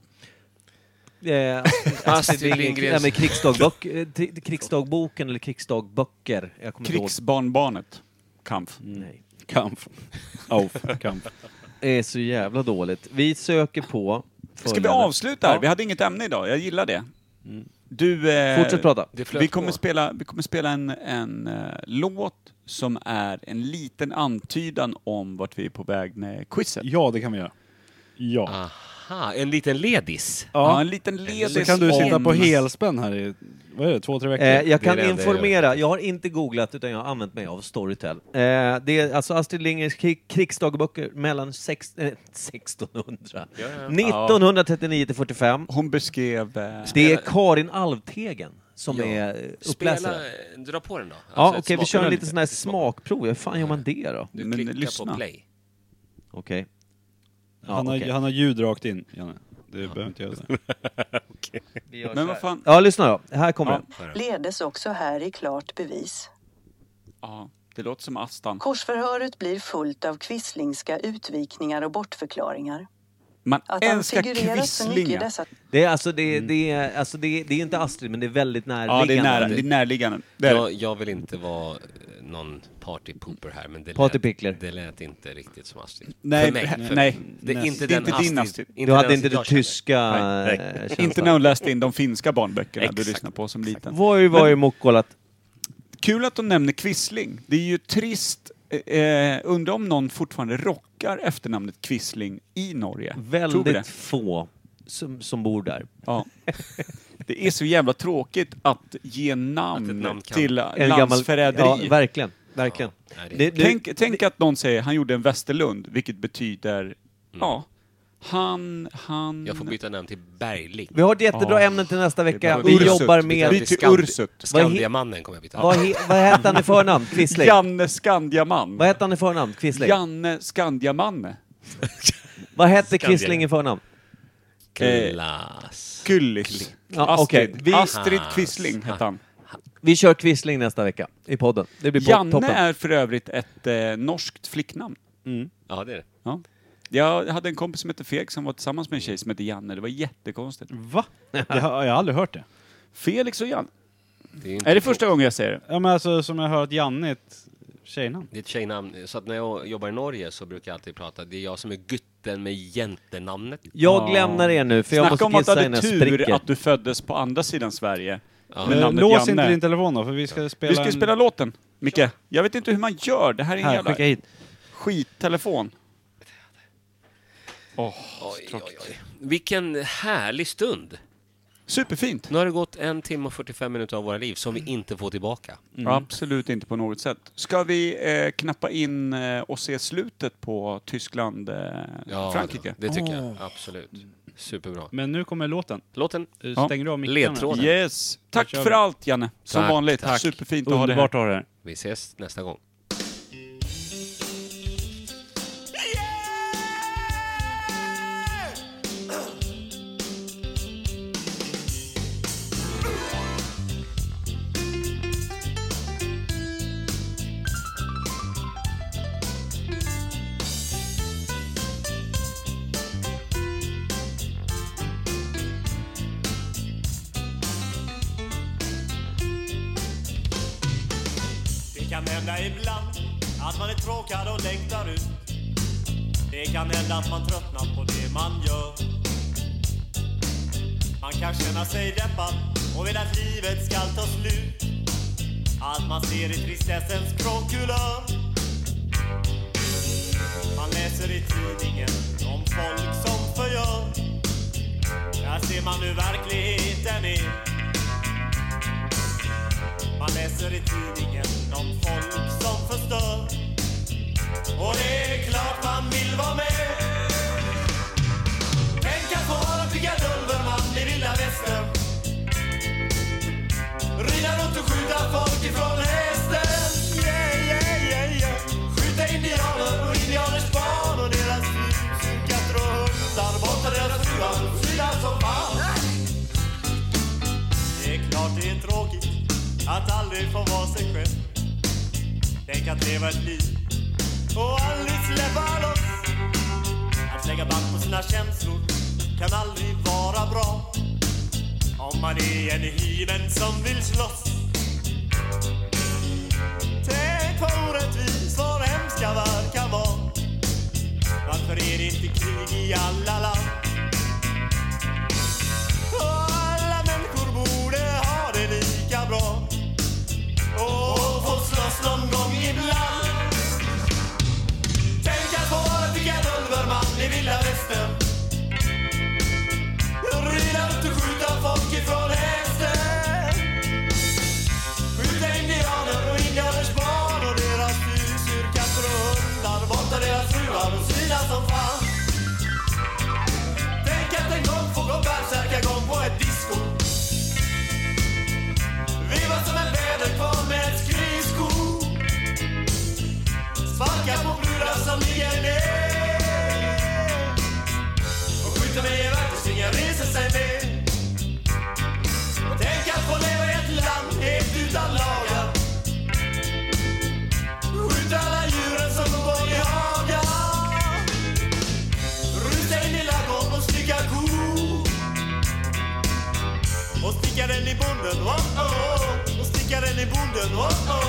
Speaker 1: Eh, Astrid Lindgrens... Nej, men krigsdagbok, eh, tri- krigsdagboken eller krigsdagböcker. Jag kommer inte
Speaker 6: Krigsbarnbarnet. Kampf.
Speaker 1: ihåg. Nej.
Speaker 5: Kampf. Auf. Kampf.
Speaker 1: Det är så jävla dåligt. Vi söker på...
Speaker 6: Ska vi
Speaker 1: följande.
Speaker 6: avsluta här? Vi hade inget ämne idag, jag gillar det. Du, eh,
Speaker 1: Fortsätt prata.
Speaker 2: Det flöt
Speaker 6: Vi kommer
Speaker 2: på.
Speaker 6: spela, vi kommer spela en, en eh, låt som är en liten antydan om vart vi är på väg med quizet.
Speaker 5: Ja, det kan vi göra. Ja.
Speaker 2: Aha, en liten ledis.
Speaker 6: Ja, en liten ledis
Speaker 5: Så kan du sitta
Speaker 6: om-
Speaker 5: på helspänn här i, vad är det, två, tre veckor?
Speaker 1: Eh, jag
Speaker 2: Det är
Speaker 1: kan
Speaker 2: det enda jag
Speaker 1: informera, jag har inte googlat utan jag har använt mig av Storytel. Eh, det är alltså Astrid Lindgrens krig, krigsdagböcker mellan sex, eh, 1600,
Speaker 2: Ja, ja.
Speaker 1: 1939 till 45.
Speaker 6: Hon beskrev... Eh,
Speaker 1: Det är Karin Alvtegen som
Speaker 2: Ja. alltså,
Speaker 1: är eh,
Speaker 2: Spela,
Speaker 1: uppläsare.
Speaker 2: dra på den då. Alltså,
Speaker 1: Ja, okej, vi kör en
Speaker 2: liten
Speaker 1: liten sån här smakprov. Hur fan gör man det då?
Speaker 2: Du
Speaker 6: Men
Speaker 2: klickar
Speaker 6: lyssna.
Speaker 2: på play.
Speaker 1: Okej. Ja,
Speaker 5: han, har,
Speaker 1: okej.
Speaker 5: han har ljud rakt in, Janne. Du behöver inte göra det.
Speaker 1: Men vad fan? Ja, lyssna då. Här kommer den.
Speaker 15: Ledes också här i klart bevis.
Speaker 6: Ja, det låter som Astan.
Speaker 15: Korsförhöret blir fullt av kvisslingska utvikningar och bortförklaringar.
Speaker 6: Man
Speaker 15: Att han
Speaker 6: älskar
Speaker 15: figurerar så mycket i
Speaker 6: kvisslingar.
Speaker 15: dessa-
Speaker 1: Det är alltså, det, det, är, alltså det, det är inte Astrid, men det är väldigt närliggande.
Speaker 6: närliggande.
Speaker 1: Det är det.
Speaker 2: Jag, jag vill inte vara eh, någon partypooper här, men det
Speaker 1: Partypickler.
Speaker 2: lät, det lät inte riktigt som Astrid.
Speaker 6: Nej,
Speaker 2: för mig.
Speaker 6: nej,
Speaker 2: För
Speaker 6: nej.
Speaker 2: mig. Det är
Speaker 6: Nej.
Speaker 2: inte
Speaker 6: Det är
Speaker 2: den
Speaker 6: inte din
Speaker 2: Astrid.
Speaker 6: Astrid.
Speaker 1: Du hade
Speaker 2: den
Speaker 1: inte
Speaker 2: Astrid
Speaker 1: det
Speaker 2: jag känner.
Speaker 1: tyska...
Speaker 6: Nej.
Speaker 1: eh,
Speaker 6: Inte
Speaker 1: känslan.
Speaker 6: när hon läste in de finska barnböckerna
Speaker 1: Exakt.
Speaker 6: du lyssnade på som liten.
Speaker 1: Voi, voi, mukkolat.
Speaker 6: Kul att de nämner Quisling. Det är ju trist. Eh, Eh, undrar om någon fortfarande rockar efternamnet Quisling i Norge. Tror vi det?
Speaker 1: Väldigt få som, som bor där.
Speaker 6: Ja. Det är så jävla tråkigt att ge namn,
Speaker 1: namn kan-
Speaker 6: till
Speaker 1: En gammal-
Speaker 6: landsförräderi.
Speaker 1: ja, verkligen, verkligen. Ja, nej, det är- Det- Mm.
Speaker 6: tänk, tänk att någon säger han gjorde en Västerlund, vilket betyder, ja, han, han...
Speaker 2: Jag får byta namn till Bergling.
Speaker 1: Vi har ett jättebra
Speaker 2: Ja.
Speaker 1: ämne till nästa vecka.
Speaker 2: Det är bara-
Speaker 1: Vi jobbar
Speaker 2: Byt
Speaker 1: med...
Speaker 2: namn till Skand- Skandiamannen kommer jag byta.
Speaker 1: Vad, he, vad hette han i förnamn? Quisling?
Speaker 6: Janne Skandiaman.
Speaker 1: Vad hette han i förnamn? Quisling?
Speaker 6: Janne Skandiamanne.
Speaker 1: Vad hette Quisling i förnamn?
Speaker 2: Klas.
Speaker 6: Kullis.
Speaker 1: Ja, okej. Ah.
Speaker 6: Astrid.
Speaker 1: Vi-
Speaker 6: Astrid Quisling hette han.
Speaker 1: Vi kör Quisling nästa vecka i podden. Det blir
Speaker 6: Janne
Speaker 1: toppen.
Speaker 6: är för övrigt ett eh, norskt flicknamn.
Speaker 2: Ja, det är det.
Speaker 6: Ja. Jag hade en kompis som hette Feg som var tillsammans med en tjej som hette Janne. Det var jättekonstigt.
Speaker 5: Va? Jag har, jag har aldrig hört det.
Speaker 6: Felix och Janne.
Speaker 2: Det
Speaker 6: Är det första gången jag säger det?
Speaker 5: Ja men alltså som jag hör att Janne är ett tjejnamn.
Speaker 2: Det är ett tjejnamn. Så att när jag jobbar i Norge så brukar jag alltid prata, det är jag som är gutten med jäntenamnet.
Speaker 1: Jag lämnar er nu, för jag måste
Speaker 6: Snacka om att du
Speaker 1: kissa
Speaker 6: hade
Speaker 1: innan jag
Speaker 6: tur
Speaker 1: spricker.
Speaker 6: att du föddes på andra sidan Sverige.
Speaker 2: Ja.
Speaker 6: Med
Speaker 5: Eh,
Speaker 6: namnet
Speaker 5: Lås
Speaker 6: Janne.
Speaker 5: inte din telefon då, för vi ska spela
Speaker 6: Vi ska ju
Speaker 5: en-
Speaker 6: spela låten, Micke. Jag vet inte hur man gör. Det här är en
Speaker 5: Här,
Speaker 6: jävla
Speaker 5: skicka hit.
Speaker 6: skittelefon. Åh,
Speaker 2: Oj, oj, oj. Vilken härlig stund!
Speaker 6: Superfint!
Speaker 2: Nu har det gått en timme och 45 minuter av våra liv som vi inte får tillbaka.
Speaker 6: Absolut inte på något sätt. Ska vi eh, knappa in eh, och se slutet på Tyskland, eh,
Speaker 2: Ja,
Speaker 6: Frankrike?
Speaker 2: Det, det tycker jag. Absolut. Superbra.
Speaker 5: Men nu kommer låten.
Speaker 2: Låten.
Speaker 5: Eh, Stänger du av mickarna?
Speaker 2: Ledtråden.
Speaker 6: Yes. Tack
Speaker 5: kör
Speaker 6: för
Speaker 5: vi.
Speaker 6: allt Janne, som
Speaker 2: Tack,
Speaker 6: vanligt.
Speaker 2: tack.
Speaker 6: Superfint att ha dig här.
Speaker 5: att ha det här.
Speaker 2: Vi ses nästa gång.
Speaker 16: Det kan hända ibland att man är tråkad och längtar ut. Det kan hända att man tröttnar på det man gör. Man kan känna sig deppad och vill att livet ska ta slut. Allt man ser är tristessens gråkulör. Man läser i tidningen om folk som förgör. Där ser man hur verkligheten är. Man läser i tidningen om folk som förstör Och det är klart man vill vara med Tänk att få vara picadulverman i vilda västern Rida runt och skjuta folk ifrån hästen Yeah, yeah, yeah, yeah Skjuta indianer och indianers barn och deras hus Katter och hundar, borta deras fruar, flyga som fan Det är klart det är tråkigt att aldrig få vara sig själv Tänk att leva ett liv och aldrig släppa loss Att lägga band på sina känslor kan aldrig vara bra Om man är en hyven som vill slåss Tänk vad orättvis vår hemska värld kan vara Varför är det inte krig i alla land? Och alla människor borde ha det lika bra och få slåss någon gång ibland Tänk att få vara picadulverman i vilda västern Rida ut och skjuta folk ifrån hästen Skjuta indianer och indianers barn och deras husdjur, katter och hundar Borta deras fruar och svina som fan stickaren i bonden, oh oh. Hon stickaren i bonden, oh oh.